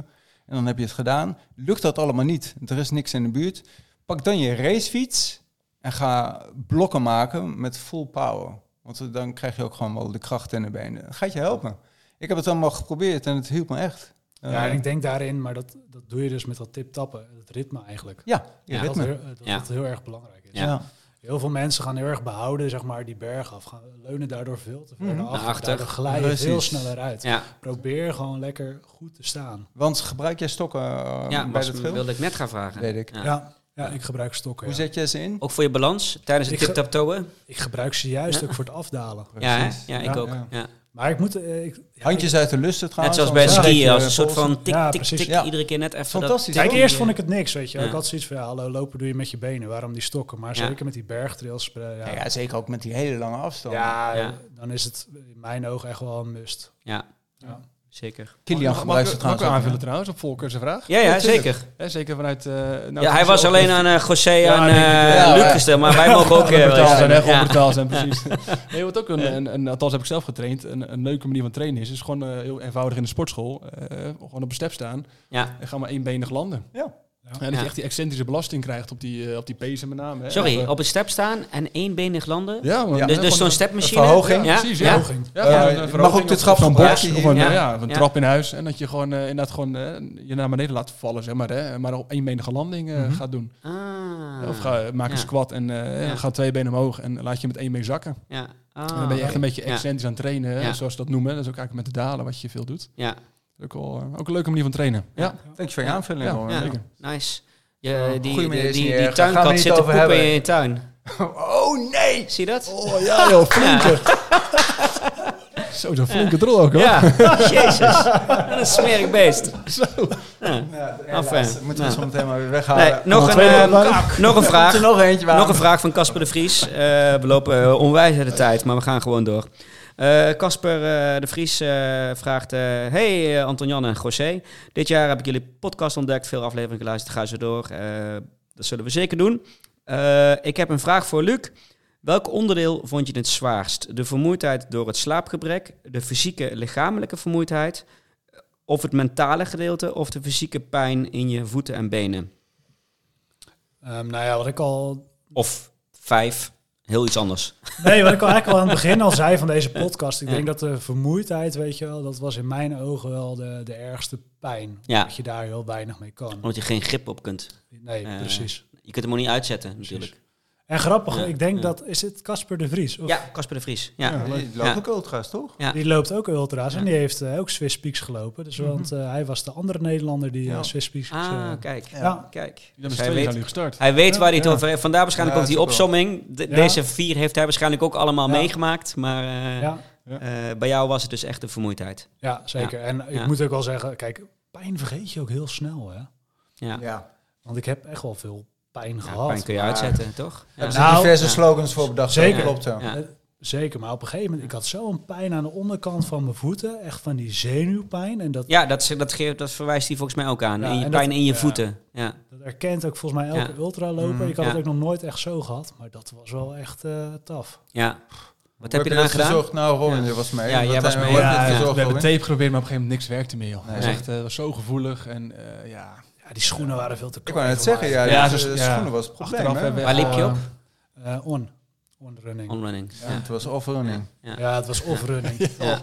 S2: En dan heb je het gedaan. Lukt dat allemaal niet, er is niks in de buurt. Pak dan je racefiets en ga blokken maken met full power. Want dan krijg je ook gewoon wel de kracht in de benen. Dat gaat je helpen. Ik heb het allemaal geprobeerd en het hielp me echt.
S3: Ja,
S2: Eh,
S3: en ik denk daarin, maar dat, dat doe je dus met dat tip-tappen. Het ritme eigenlijk.
S2: Eh, ja, je
S1: Ja,
S3: Dat,
S2: ritme.
S3: heel- dat
S1: Ja.
S3: dat heel erg belangrijk is.
S1: Ja.
S3: Heel veel mensen gaan heel erg behouden, zeg maar, die berg af. Gaan, leunen daardoor veel te ver
S2: Mhm.
S3: naar
S1: Naar achter.
S3: achter. Daardoor glijden
S2: Precies.
S3: veel sneller uit.
S1: Ja,
S3: Probeer gewoon lekker goed te staan.
S2: Want gebruik jij stokken eh,
S1: ja
S2: bij
S1: was,
S2: dat film?
S1: wilde ik net gaan vragen.
S2: Weet ik.
S1: Ja.
S3: Ja, ja, ik gebruik stokken.
S2: Hoe
S3: ja.
S2: zet jij ze in?
S1: Ook voor je balans tijdens het
S3: Ik ge-
S1: tip-tap-toeën.
S3: Ik gebruik ze juist
S1: Ja.
S3: ook voor het afdalen.
S1: Ja, hè?
S2: Precies.
S1: ja, ik
S3: Ja,
S1: ook.
S2: ja.
S1: Ja.
S3: Maar ik moet... eh, Ik, ja, ik-
S2: Handjes uit de lusten
S1: Net
S2: trouwens.
S1: zoals bij
S2: anders breek
S1: skiën,
S2: je
S1: als een soort
S2: polsen.
S1: van tik,
S3: Ja,
S1: tik,
S3: precies.
S1: tik.
S2: eh, Ja.
S1: Iedere keer net even dat...
S2: Fantastisch.
S3: Kijk,
S2: hoor.
S3: eerst vond ik het niks, weet je. wel.
S1: eh, Ja.
S3: Ik had zoiets van, ja, hallo, lopen doe je met je benen. Waarom die stokken? Maar
S1: Ja.
S3: zeker met die bergtrails. eh,
S2: Ja,
S3: Ja,
S2: ja, zeker ook met die hele lange afstand.
S3: Ja,
S1: Ja.
S3: dan is het in mijn ogen echt wel een must.
S1: Ja.
S3: Ja.
S1: Zeker.
S2: Kilian
S4: mag,
S2: gebruikt
S4: ik-
S2: het
S4: mag ik
S2: trouwens
S4: wel
S2: ook,
S4: aanvullen
S2: hè?
S4: trouwens op Volkers vraag?
S1: Ja, ja,
S4: tuurlijk.
S1: zeker.
S4: Hè, zeker vanuit... eh, nou,
S1: ja, hij was alleen aan eh, José
S4: Ja,
S1: en
S4: denk ik,
S1: eh,
S2: ja,
S1: Luc
S2: ja.
S1: gesteld, maar wij mogen ook... eh, wel
S4: brutaal
S1: eens-
S4: zijn, hè? Gewoon
S1: ja.
S4: brutaal zijn, precies. Nee, wat ook een, een, een- althans heb ik zelf getraind, een, een leuke manier van trainen is, is gewoon eh, heel eenvoudig in de sportschool, eh, gewoon op een step staan
S1: Ja.
S4: en ga maar eenbenig landen.
S2: Ja.
S4: En dat je
S1: Ja.
S4: echt die excentrische belasting krijgt op die, eh, op die pezen met name. Hè? Of,
S1: Sorry,
S4: eh,
S1: op een step staan en éénbenig landen.
S4: ja,
S2: Ja.
S4: man,
S1: Dus,
S4: hè,
S1: dus
S4: gewoon
S1: zo'n
S4: een-
S1: stepmachine.
S2: verhoging.
S1: Ja,
S4: Precies,
S1: ja.
S4: ja.
S3: Verhoging.
S4: Ja,
S2: Eh,
S4: gewoon een
S2: je mag
S4: verhoging
S2: ook dit
S4: of-
S2: schap
S4: of zo'n
S2: gebruiken
S4: box
S2: hier.
S4: of een,
S1: Ja.
S4: ja. of een
S1: Ja.
S4: trap in huis. En dat je gewoon eh, inderdaad gewoon eh, je naar beneden laat vallen, zeg maar. Hè, maar op eenbenige landing eh, gaat doen.
S1: Mhm. Ah.
S4: Of ga, maak een
S1: Ja.
S4: squat en eh,
S1: Ja.
S4: ga twee benen omhoog en laat je met één been zakken.
S1: Ja. Ah,
S4: En dan ben je echt een beetje
S1: Ja.
S4: excentrisch aan het trainen, hè,
S1: Ja.
S4: zoals ze dat noemen. Dat is ook eigenlijk met de dalen wat je veel doet.
S1: Ja,
S4: Ook, wel, eh, ook een leuke manier van trainen. Ja,
S2: Dank je voor je aanvulling.
S4: Ja.
S2: hoor.
S1: Ja.
S4: zeker.
S1: nice.
S2: Ja,
S1: Je,
S2: op
S1: die,
S2: goede
S1: die,
S2: Oh, manier is
S1: die,
S2: niet
S1: die
S2: erg. Daar gaan we
S1: tuinkat
S2: niet
S1: zit te
S2: over
S1: poepen
S2: hebben.
S1: in je tuin.
S2: Oh nee!
S1: Zie je dat?
S4: Oh ja joh, flinke. Zo, zo'n flinke drol ook hoor.
S1: Ja, jezus. Wat een smerig beest. Ja.
S2: Ja,
S1: Af,
S2: helaas.
S1: eh,
S2: moeten we
S1: nou.
S2: zo meteen maar weer
S1: Nee,
S2: weghalen.
S1: nog, een,
S3: twee
S1: eh,
S3: nog
S1: nog een
S2: Komt
S1: vraag.
S2: er nog eentje waar.
S1: Nog een vraag van Casper de Vries. Eh, we lopen eh, onwijs uit de tijd, maar we gaan gewoon door. Eh, Casper eh, de Vries eh, vraagt... eh, hey eh, Anton-Jan en José. Dit jaar heb ik jullie podcast ontdekt. Veel afleveringen geluisterd. Ga zo door. Eh, dat zullen we zeker doen. Eh, ik heb een vraag voor Luc. Welk onderdeel vond je het zwaarst? De vermoeidheid door het slaapgebrek? De fysieke lichamelijke vermoeidheid? Of het mentale gedeelte? Of de fysieke pijn in je voeten en benen?
S3: Ehm, nou ja, wat ik al
S1: Of vijf, heel iets anders.
S3: Nee, wat ik al eigenlijk al aan het begin al zei van deze podcast. Ik denk dat de vermoeidheid, weet je wel, dat was in mijn ogen wel de, de ergste pijn.
S1: Ja.
S3: Dat je daar heel weinig mee kan.
S1: Omdat je geen grip op kunt.
S3: Nee,
S1: Eh,
S3: precies.
S1: Je kunt hem ook niet uitzetten, natuurlijk.
S3: En grappig,
S1: ja,
S3: ik denk
S1: ja.
S3: dat, is het Casper de Vries? Of-
S1: Ja, Casper de Vries. Ja.
S3: dus,
S2: Ja, die loopt ook ultras, toch?
S1: Ja.
S3: Die loopt ook ultra's en
S1: Ja. Mhm.
S3: die heeft eh, ook Swiss Peaks gelopen. Dus, want eh, hij was de andere Nederlander die
S2: Ja.
S3: eh, Swiss Peaks... eh,
S1: Ah, kijk.
S3: ja.
S1: kijk.
S4: Die
S1: Dus
S4: hebben
S1: hij,
S4: ze twee
S1: weet,
S4: nu gestart.
S1: hij weet waar hij het
S4: Ja.
S1: over heeft. Vandaar waarschijnlijk
S2: Ja,
S1: ook die
S2: dat is ook
S1: opsomming. De-
S3: Ja.
S1: Deze vier heeft hij waarschijnlijk ook allemaal
S3: Ja.
S1: meegemaakt. Maar eh,
S3: ja,
S1: eh, bij jou was het dus echt de vermoeidheid.
S3: ja, zeker. En ik
S1: Ja.
S3: moet ook wel zeggen, kijk, pijn vergeet je ook heel snel, hè.
S1: Ja.
S2: Ja.
S3: Want ik heb echt wel veel pijn
S1: Ja,
S3: gehad.
S1: pijn kun je
S2: maar-
S1: uitzetten, toch? Ja.
S2: Hebben ze
S3: Nou,
S2: diverse
S1: ja.
S2: slogans voor bedacht?
S3: Zeker.
S2: Klopt, ja.
S1: Ja.
S3: Zeker, maar op een gegeven moment, ik had zo'n pijn aan de onderkant van mijn voeten, echt van die zenuwpijn. En dat,
S1: Ja, dat, is- dat, ge- dat verwijst hij volgens mij ook aan.
S3: Ja,
S1: in je
S3: en
S1: pijn
S3: dat-
S1: in je
S3: ja.
S1: voeten. Ja.
S3: dat herkent ook volgens mij elke
S1: Ja. Mhm,
S3: ultraloper. ik had
S1: ja.
S3: het ook nog nooit echt zo gehad, maar dat was wel echt eh taf.
S1: ja. Wat heb je
S2: dat
S1: eraan gedaan?
S2: verzorgd? Nou, Robin die was mee.
S1: Ja, jij
S2: Wat
S1: was
S2: zijn we-
S1: mee.
S2: wat
S3: Ja,
S2: heb je
S3: ja.
S2: verzorgd,
S4: we hebben
S2: Robin?
S4: tape geprobeerd, maar op een gegeven moment niks werkte meer joh.
S2: Nee.
S4: Hij was
S1: Nee.
S4: echt eh, was zo gevoelig en eh, ja.
S3: Ja, die schoenen waren veel te
S2: Ik
S3: kort.
S2: wou net zeggen, ja,
S4: Ja,
S2: ja,
S4: zo-
S2: de
S4: ja.
S2: schoenen was het probleem.
S4: Achteraf
S2: hè?
S4: hebben we
S1: Waar
S4: echt
S1: liep je
S4: wel,
S1: op?
S4: eh,
S3: Eh, on, on running.
S1: Onrunning.
S2: Ja, Het was overrunning.
S1: Ja.
S3: Ja, het was off running.
S1: Ja.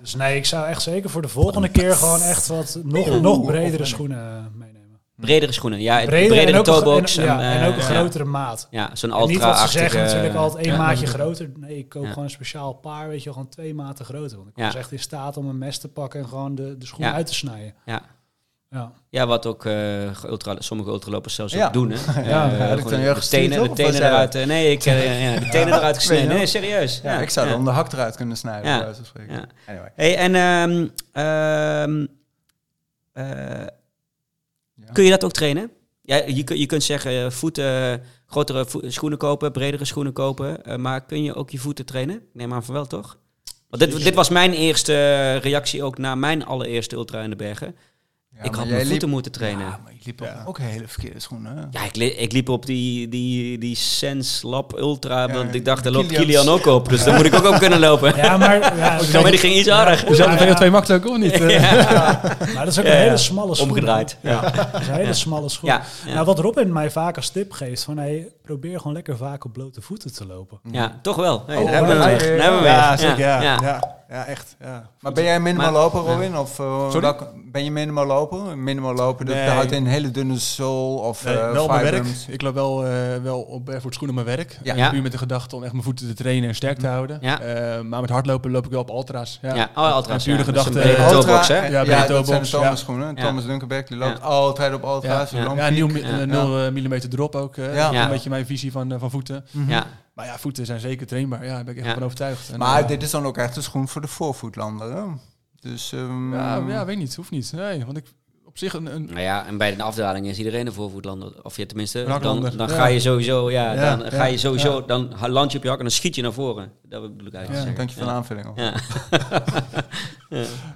S3: Dus nee, ik zou echt zeker voor de volgende keer gewoon echt wat nog, nog bredere
S2: off-running.
S3: schoenen eh, meenemen.
S1: Bredere schoenen. Ja, bredere,
S3: en ook een gro-
S1: toebox.
S3: en, ja,
S1: eh,
S3: en ook een
S1: ja.
S3: grotere maat.
S1: Ja, zo'n
S3: En niet wat ze zeggen, natuurlijk
S1: ultra-achtige...
S3: altijd één
S1: ja.
S3: maatje groter. Nee, ik koop
S1: Ja.
S3: gewoon een speciaal paar, weet je wel, gewoon twee maten groter. Want ik
S1: Ja.
S3: was echt in staat om een mes te pakken en gewoon de, de schoen
S1: Ja.
S3: uit te snijden.
S1: Ja.
S3: Ja.
S1: Ja, wat ook eh, ultra, sommige ultralopers zelfs
S2: Ja.
S1: ook doen. Hè. Eh,
S3: ja,
S1: gewoon
S2: dat kan je
S1: de
S2: echt
S1: tenen,
S2: gestuurd,
S1: de
S2: of
S1: tenen
S2: was jij
S1: eruit. eh, nee, ik, eh, ja, de tenen eruit gesneden.
S2: Weet je
S1: Nee,
S2: wel?
S1: serieus.
S2: Ja, ik zou
S1: ja.
S2: dan de hak eruit kunnen snijden.
S1: Ja.
S2: bij wijze van spreken.
S1: Ja.
S2: Anyway.
S1: Hey, en ehm, ehm, eh,
S2: Ja.
S1: kun je dat ook trainen? Ja, je, kun- je kunt zeggen eh, voeten, grotere vo- schoenen kopen, bredere schoenen kopen. eh, maar kun je ook je voeten trainen? Ik Neem aan van wel, toch? Want dit, dit was mijn eerste reactie ook na mijn allereerste ultra in de bergen.
S2: Ja,
S1: ik
S2: maar
S1: had
S2: jij
S1: mijn voeten
S2: liep-
S1: moeten trainen.
S2: Ja, maar je liep
S4: Ja.
S2: ook hele verkeerde schoenen. hè?
S1: Ja, ik, li- ik liep op die, die, die Sense Lab Ultra,
S2: Ja,
S1: want ik dacht, daar loopt
S2: Kilian.
S1: Kilian ook op. Dus dan moet ik ook op kunnen lopen.
S3: Ja, maar, ja,
S1: Zo, maar die ging iets aardig.
S2: Oh.
S4: Dus
S3: Ja,
S4: hadden
S3: ja.
S4: VO2 makkelijk ook of niet? Eh,
S3: maar dat is ook
S1: Ja,
S3: een
S1: ja.
S3: hele smalle schoen.
S1: Omgedraaid.
S3: Ja, dat is een hele smalle schoen.
S1: Ja, ja.
S3: Nou, wat Robin mij vaak als tip geeft, van hey, probeer gewoon lekker vaak op blote voeten te lopen.
S1: ja, toch wel. Hey,
S2: Oh,
S1: daar hebben we
S2: ja,
S1: hem weer.
S2: ja,
S1: Daar hebben we hem
S4: Ja,
S1: weer.
S4: zeker. Ja,
S1: ja.
S4: ja. ja. echt. Ja.
S2: Maar ben jij minimaal
S1: Maar-
S2: loper, Robin? Of, eh,
S4: Sorry?
S2: welk- ben je minimaal loper? Minimaal loper, dat
S4: Nee.
S2: houdt in een hele dunne zool of
S4: Nee,
S2: eh,
S4: wel op mijn werk.
S2: vibrums.
S4: Ik loop wel, eh, wel op barefoot schoenen op mijn werk.
S2: Ja.
S4: Ja.
S1: Ja.
S4: Puur met de gedachte om echt mijn voeten te trainen en sterk te houden.
S1: Ja.
S4: Eh, maar met hardlopen loop ik wel op ultra's. Ja.
S1: Ja, oh,
S4: En
S1: Ultra's.
S4: puur de
S1: ja, dat is
S4: gedachte-
S1: een brede
S4: Ultra-
S1: toebox, hè?
S2: en-
S4: Ja,
S2: Ja,
S4: bij de
S2: dat zijn
S4: toebox,
S2: de
S4: ja.
S2: Thomas schoenen.
S1: Ja.
S2: Thomas Dunkerberg die loopt
S1: Ja.
S2: altijd op ultra's.
S1: Ja.
S2: Ja.
S4: Ja, 0 mm drop ook. eh,
S2: Ja.
S4: dat is
S1: Ja.
S4: Een beetje mijn visie van, eh, van voeten.
S1: Ja,
S4: Maar ja, voeten zijn zeker trainbaar. Ja, daar ben ik echt
S1: Ja.
S4: van overtuigd. En,
S2: Maar
S4: eh,
S2: dit is dan ook echt een schoen voor de voorvoetlander. hè? Dus ehm,
S4: ja, ja, weet niet. Hoeft niet. Nee, want ik op zich een... een
S1: nou ja, en bij de afdaling is iedereen een voorvoetlander. Of je tenminste,
S4: Een
S1: dan,
S4: haklander,
S1: dan
S4: ja.
S1: ga je sowieso, ja,
S4: Ja,
S1: dan ga je
S4: ja,
S1: sowieso, dan ha- land je op je hak en dan schiet je naar voren. Dat bedoel ik eigenlijk te
S4: Ja,
S1: zeggen.
S2: dank je voor de aanvulling. hoor.
S1: Ja.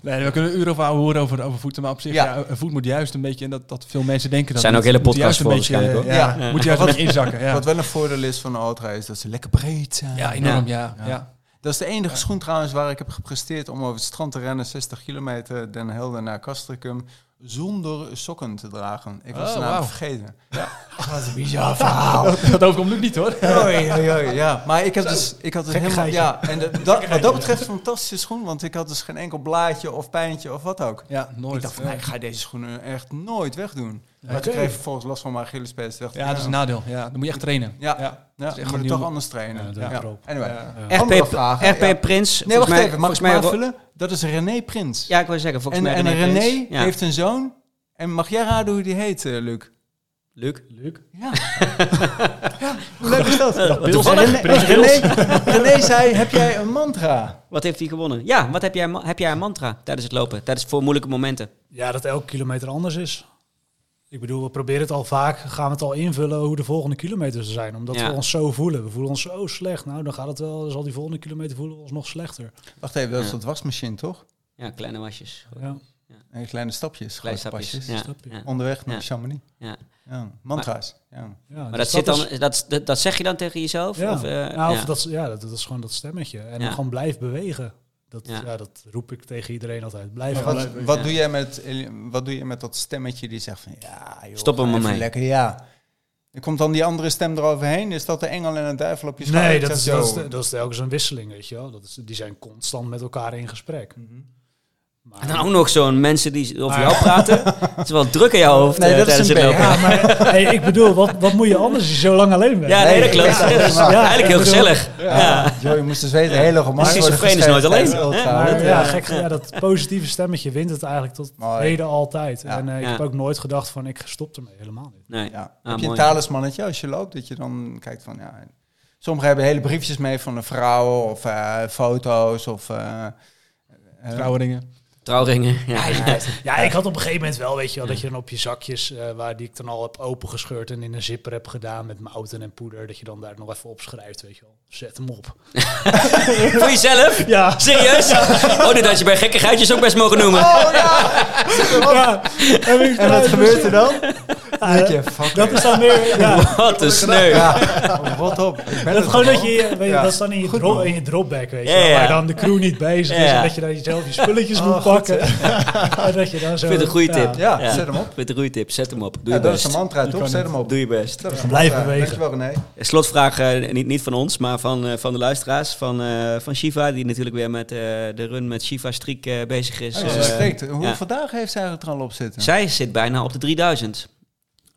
S4: Nee, we kunnen een uur over ouwe horen over, over voeten. Maar op zich,
S2: Ja.
S4: ja. een voet moet juist een beetje... En dat, dat veel mensen denken dat...
S1: Zijn
S4: het
S1: ook hele
S4: moet juist
S1: podcasts
S4: een beetje,
S1: voor waarschijnlijk,
S4: eh,
S2: hoor.
S4: Ja, moet juist een beetje inzakken. Ja,
S2: Wat wel een voordeel is van de Ultra is dat ze lekker breed zijn.
S4: ja enorm, ja. ja.
S2: Ja. Dat is de enige schoen trouwens waar ik heb gepresteerd om over het strand te rennen, 60 kilometer, Den Helder naar Castricum, zonder sokken te dragen. Ik was
S4: Oh,
S2: het namelijk
S4: wauw.
S2: vergeten. Wat een bizar verhaal.
S4: Dat overkomt nu niet, hoor.
S2: Oei, oei, oei, ja, maar ik had dus, ik had dus
S3: Gekke
S2: helemaal...
S3: geitje.
S2: Ja, en de- dat, wat dat betreft een fantastische schoen, want ik had dus geen enkel blaadje of pijntje of wat ook.
S4: Ja, nooit.
S2: Ik dacht van,
S4: Ja.
S2: nou, ik ga deze schoenen echt nooit wegdoen. Maar
S4: Oké.
S2: ik kreeg vervolgens last van mijn Achillespees. Dacht ik,
S4: Ja, dat is een nadeel. Ja, dan moet je echt trainen.
S2: Ja. ja, moet
S4: echt een
S2: je
S4: nieuwe-
S2: toch anders trainen.
S3: Ja,
S2: Ja,
S3: dat klopt.
S2: Anyway.
S4: Ja.
S2: Andere
S1: RP,
S2: vragen,
S1: RP
S2: ja.
S1: Prins.
S2: Nee,
S1: volgens
S2: wacht
S1: mij-
S2: even. Mag ik
S1: volgens mij
S2: hem aanvullen? Dat is René Prins.
S1: Ja, ik wil zeggen, volgens
S2: en
S1: mij
S2: en René,
S1: Prins. Ja.
S2: heeft een zoon. En mag jij raden hoe die heet, eh, Luc?
S1: Luc.
S2: Ja. Ja, Hoe leuk is dat? René,
S1: Toevallig. Prins Pils.
S2: René, René zei, heb jij een mantra?
S1: Wat heeft hij gewonnen? Ja, wat heb jij, heb jij een mantra tijdens het lopen? Tijdens voor moeilijke momenten?
S3: Ja, dat elke kilometer anders is. Ik bedoel, we proberen het al vaak, gaan we het al invullen hoe de volgende kilometers zijn. Omdat
S1: Ja.
S3: we ons zo voelen. We voelen ons zo slecht. Nou, dan gaat het wel, dan zal die volgende kilometer voelen we ons nog slechter.
S2: Wacht even, dat is
S1: Ja.
S2: dat wasmachine, toch?
S1: Ja, kleine wasjes.
S3: Ja.
S2: En kleine stapjes,
S1: Kleine
S2: grote
S1: stapjes.
S2: pasjes.
S1: Ja,
S3: Stapje.
S1: ja,
S2: Onderweg naar
S1: Ja.
S2: Chamonix.
S1: ja.
S2: Oh. Ja. Mantra's. Ja.
S3: Ja,
S1: Maar dat,
S3: dus
S1: zit
S3: is-
S1: dan, dat, dat, dat zeg je dan tegen jezelf?
S3: Ja,
S1: Of, eh,
S3: nou,
S1: ja.
S3: of Dat, is- ja dat, dat is gewoon dat stemmetje. En
S1: Ja.
S3: gewoon blijf bewegen. Dat,
S1: Ja.
S3: ja. dat roep ik tegen iedereen altijd. Blijf
S2: Maar
S3: gewoon
S2: Wat,
S3: bewegen.
S2: wat,
S1: ja.
S2: doe jij met, Eli- wat doe je met dat stemmetje die zegt van... Ja, joh,
S1: Stop hem
S2: ga
S1: maar
S2: even
S1: mee.
S2: Lekker, ja. Er komt dan die andere stem eroverheen. Is dat de engel en de duivel op je schouder?
S3: Nee,
S2: Ik
S3: dat is,
S2: zeg,
S3: dat, is,
S2: zo.
S3: dat is telkens een wisseling, weet je wel. Dat is, die zijn constant met elkaar in gesprek.
S2: Mhm.
S3: Maar,
S1: En dan ook nog zo'n mensen die over
S3: Maar-
S1: jou praten. Het is wel druk in jouw hoofd
S2: Ah, Nee,
S1: eh,
S2: dat is
S1: tijdens het
S2: een
S1: lopen.
S2: BH.
S3: Ja, maar hey, ik bedoel, wat, wat moet je anders als je zo lang alleen bent?
S1: Ja, nee, dat
S2: Nee,
S1: klopt.
S2: ja,
S1: Dat is
S2: ja,
S1: eigenlijk heel
S3: ik bedoel-
S1: gezellig. Ja. Ja.
S2: Joh, je moest dus weten, hele gemakkelijk.
S1: Een schizofreen is nooit alleen, hè?
S3: Maar ja,
S2: ja. eh,
S3: gek, ja, dat positieve stemmetje wint het eigenlijk tot
S2: Mooi.
S3: heden altijd.
S2: Ja.
S3: En eh, ik
S1: Ja.
S3: heb ook nooit gedacht van ik stop ermee, helemaal niet.
S1: Nee.
S2: Ja.
S1: Ah,
S2: Heb je een
S1: mooi.
S2: talismannetje als je loopt? Dat je dan kijkt van, ja... Sommigen hebben hele briefjes mee van een vrouw of eh, foto's of... eh, eh,
S4: Trouwringen.
S1: Trouwringen. Ja.
S3: Ja, ik had op een gegeven moment wel, weet je wel, dat je dan op je zakjes, eh, waar die ik dan al heb opengescheurd en in een zipper heb gedaan met mouten en poeder, dat je dan daar nog even opschrijft, weet je wel. Zet hem op.
S1: Voor jezelf?
S3: Ja,
S1: Serieus? Oh, dit had je bij gekke geitjes ook best mogen noemen.
S2: Oh,
S3: ja.
S2: En wat gebeurt er dan? Denk je,
S3: eh, Dat is dan weer, ja.
S1: Wat een sneu.
S2: Ja, Oh, rot op. Ik ben
S3: Dat
S2: het
S3: gewoon
S2: al.
S3: dat je, je- weet je,
S2: Ja.
S3: dat is dan in je, drop- in je dropback, weet je,
S1: Ja,
S3: wel,
S1: ja.
S3: waar dan de crew niet bezig is
S1: Ja.
S3: en dat je dan jezelf je spulletjes
S2: Oh,
S3: moet
S2: goed.
S3: pakken. En dat je dan zo,
S1: Ik vind het een goede
S3: ja.
S1: tip.
S2: Ja, zet hem op.
S1: Ik vind het een goede tip. Zet hem op. Doe
S2: Ja,
S1: je
S2: dat is
S1: best.
S2: een mantra, toch? Zet hem op.
S1: Doe je best.
S2: Dat is een
S3: Blijven
S2: mantra.
S3: bewegen.
S2: Dankjewel, René.
S1: Slotvraag, eh, niet, niet van ons, maar van, eh, van de luisteraars. Van, eh, van Shiva, die natuurlijk weer met eh, de run met Shiva Strik eh, bezig is.
S2: Als
S1: Eh,
S2: je spreekt, hoeveel
S1: ja.
S2: vandaag heeft zij er al op zitten?
S1: Zij zit bijna op de 3000.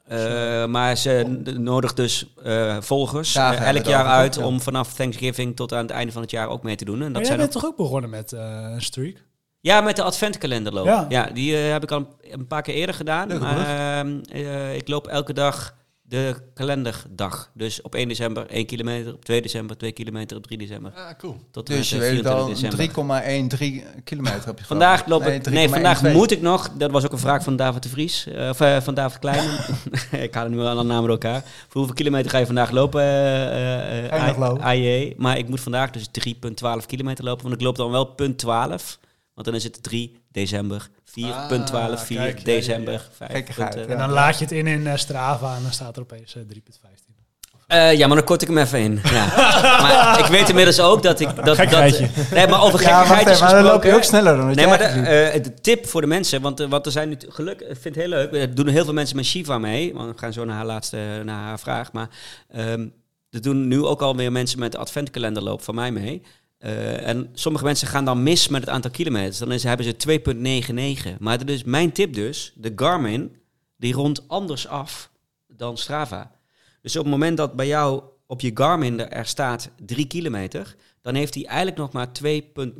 S1: Eh, maar ze n- nodigt dus eh, volgers
S2: Dagen
S1: eh,
S2: hebben
S1: elk
S2: we
S1: jaar
S2: erover,
S1: uit
S2: ja.
S1: om vanaf Thanksgiving tot aan het einde van het jaar ook mee te doen. En
S3: Maar
S1: dat
S3: jij
S1: zijn
S3: bent
S1: ook,
S3: toch ook begonnen met eh, een streak?
S1: ja, met de adventkalender lopen. Ja.
S3: Ja.
S1: die eh, heb ik al een- een paar keer eerder gedaan.
S2: Leuke
S1: maar, ehm, eh, ik loop elke dag de kalenderdag. Dus op 1 december 1 kilometer, op 2 december 2 kilometer, op 3 december.
S4: Ah, cool.
S1: Tot en
S2: Dus je
S1: met, eh,
S2: weet het
S1: 24
S2: al,
S1: december.
S2: 3,13 kilometer heb je
S1: Vandaag
S2: gelopen.
S1: loop ik. Nee,
S2: 3,12.
S1: vandaag moet ik nog. Dat was ook een vraag van David de Vries. eh, Of eh, van David Klein. ik haal nu wel aan namen door elkaar. Voor hoeveel kilometer ga je vandaag lopen? eh, eh, eh,
S2: Ga je nog
S1: I-
S2: lopen?
S1: IJ? Maar ik moet vandaag dus 3,12 kilometer lopen. Want ik loop dan wel punt 12. Want dan is het 3 december. 4,12,
S4: Ah,
S1: 4
S4: kijk, ja,
S1: december. vijf
S2: Gekkigheid,
S1: punten.
S2: Ja.
S3: En dan laat je het in in eh, Strava en dan staat er opeens eh, 3.15.
S1: Eh, ja, maar dan kort ik hem even in. Ja. maar ik weet inmiddels ook dat ik... Dat, dat,
S3: Gekkigheid.
S1: nee, maar over
S2: Ja, wacht
S1: gekkigheidjes
S2: even, maar dan loop je
S1: gesproken-
S2: ook sneller dan
S1: Nee,
S2: wat jij
S1: maar de,
S2: eigenlijk
S1: eh, de tip voor de mensen, want, eh, want er zijn nu t- gelukkig, ik vind het heel leuk, er doen heel veel mensen met Shiva mee, want we gaan zo naar haar laatste, naar haar vraag, maar ehm er doen nu ook alweer mensen met de adventkalenderloop van mij mee. Eh, en sommige mensen gaan dan mis met het aantal kilometers. Dan is, hebben ze 2,99. Maar dat is mijn tip dus, de Garmin, die rondt anders af dan Strava. Dus op het moment dat bij jou op je Garmin er, er staat 3 kilometer, dan heeft hij eigenlijk nog maar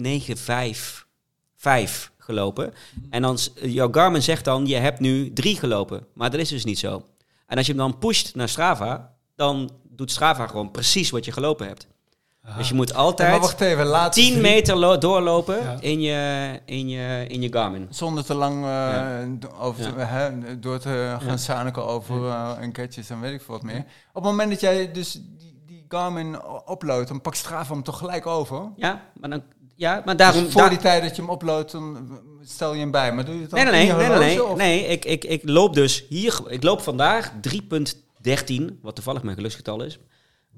S1: 2,95 vijf gelopen. En dan, s- jouw Garmin zegt dan, je hebt nu drie gelopen. Maar dat is dus niet zo. En als je hem dan pusht naar Strava, dan doet Strava gewoon precies wat je gelopen hebt. Dus je moet
S2: doet. Ah. Maar
S1: altijd
S2: wacht even, laat
S1: 10 meter lo- doorlopen
S3: Ja.
S1: in, je, in, je, in je Garmin.
S2: Zonder te lang eh,
S1: Ja.
S2: d- over te-
S1: Ja.
S2: hè, door te gaan
S1: Ja.
S2: zaniken over eh enquêtes en weet ik veel wat meer. Op het moment dat jij dus die, die Garmin o- uploadt, dan pakt Strava hem toch gelijk over.
S1: Ja, maar dan, ja, maar daarom...
S2: Dus voor
S1: da-
S2: die tijd dat je hem oploodt, dan stel je hem bij. Maar doe je het dan
S1: nee, nee,
S2: in
S1: nee,
S2: je
S1: nee, nee,
S2: horloge,
S1: nee,
S2: of-
S1: nee. Ik, ik, ik loop dus hier... Ik loop vandaag 3.13, wat toevallig mijn geluksgetal is,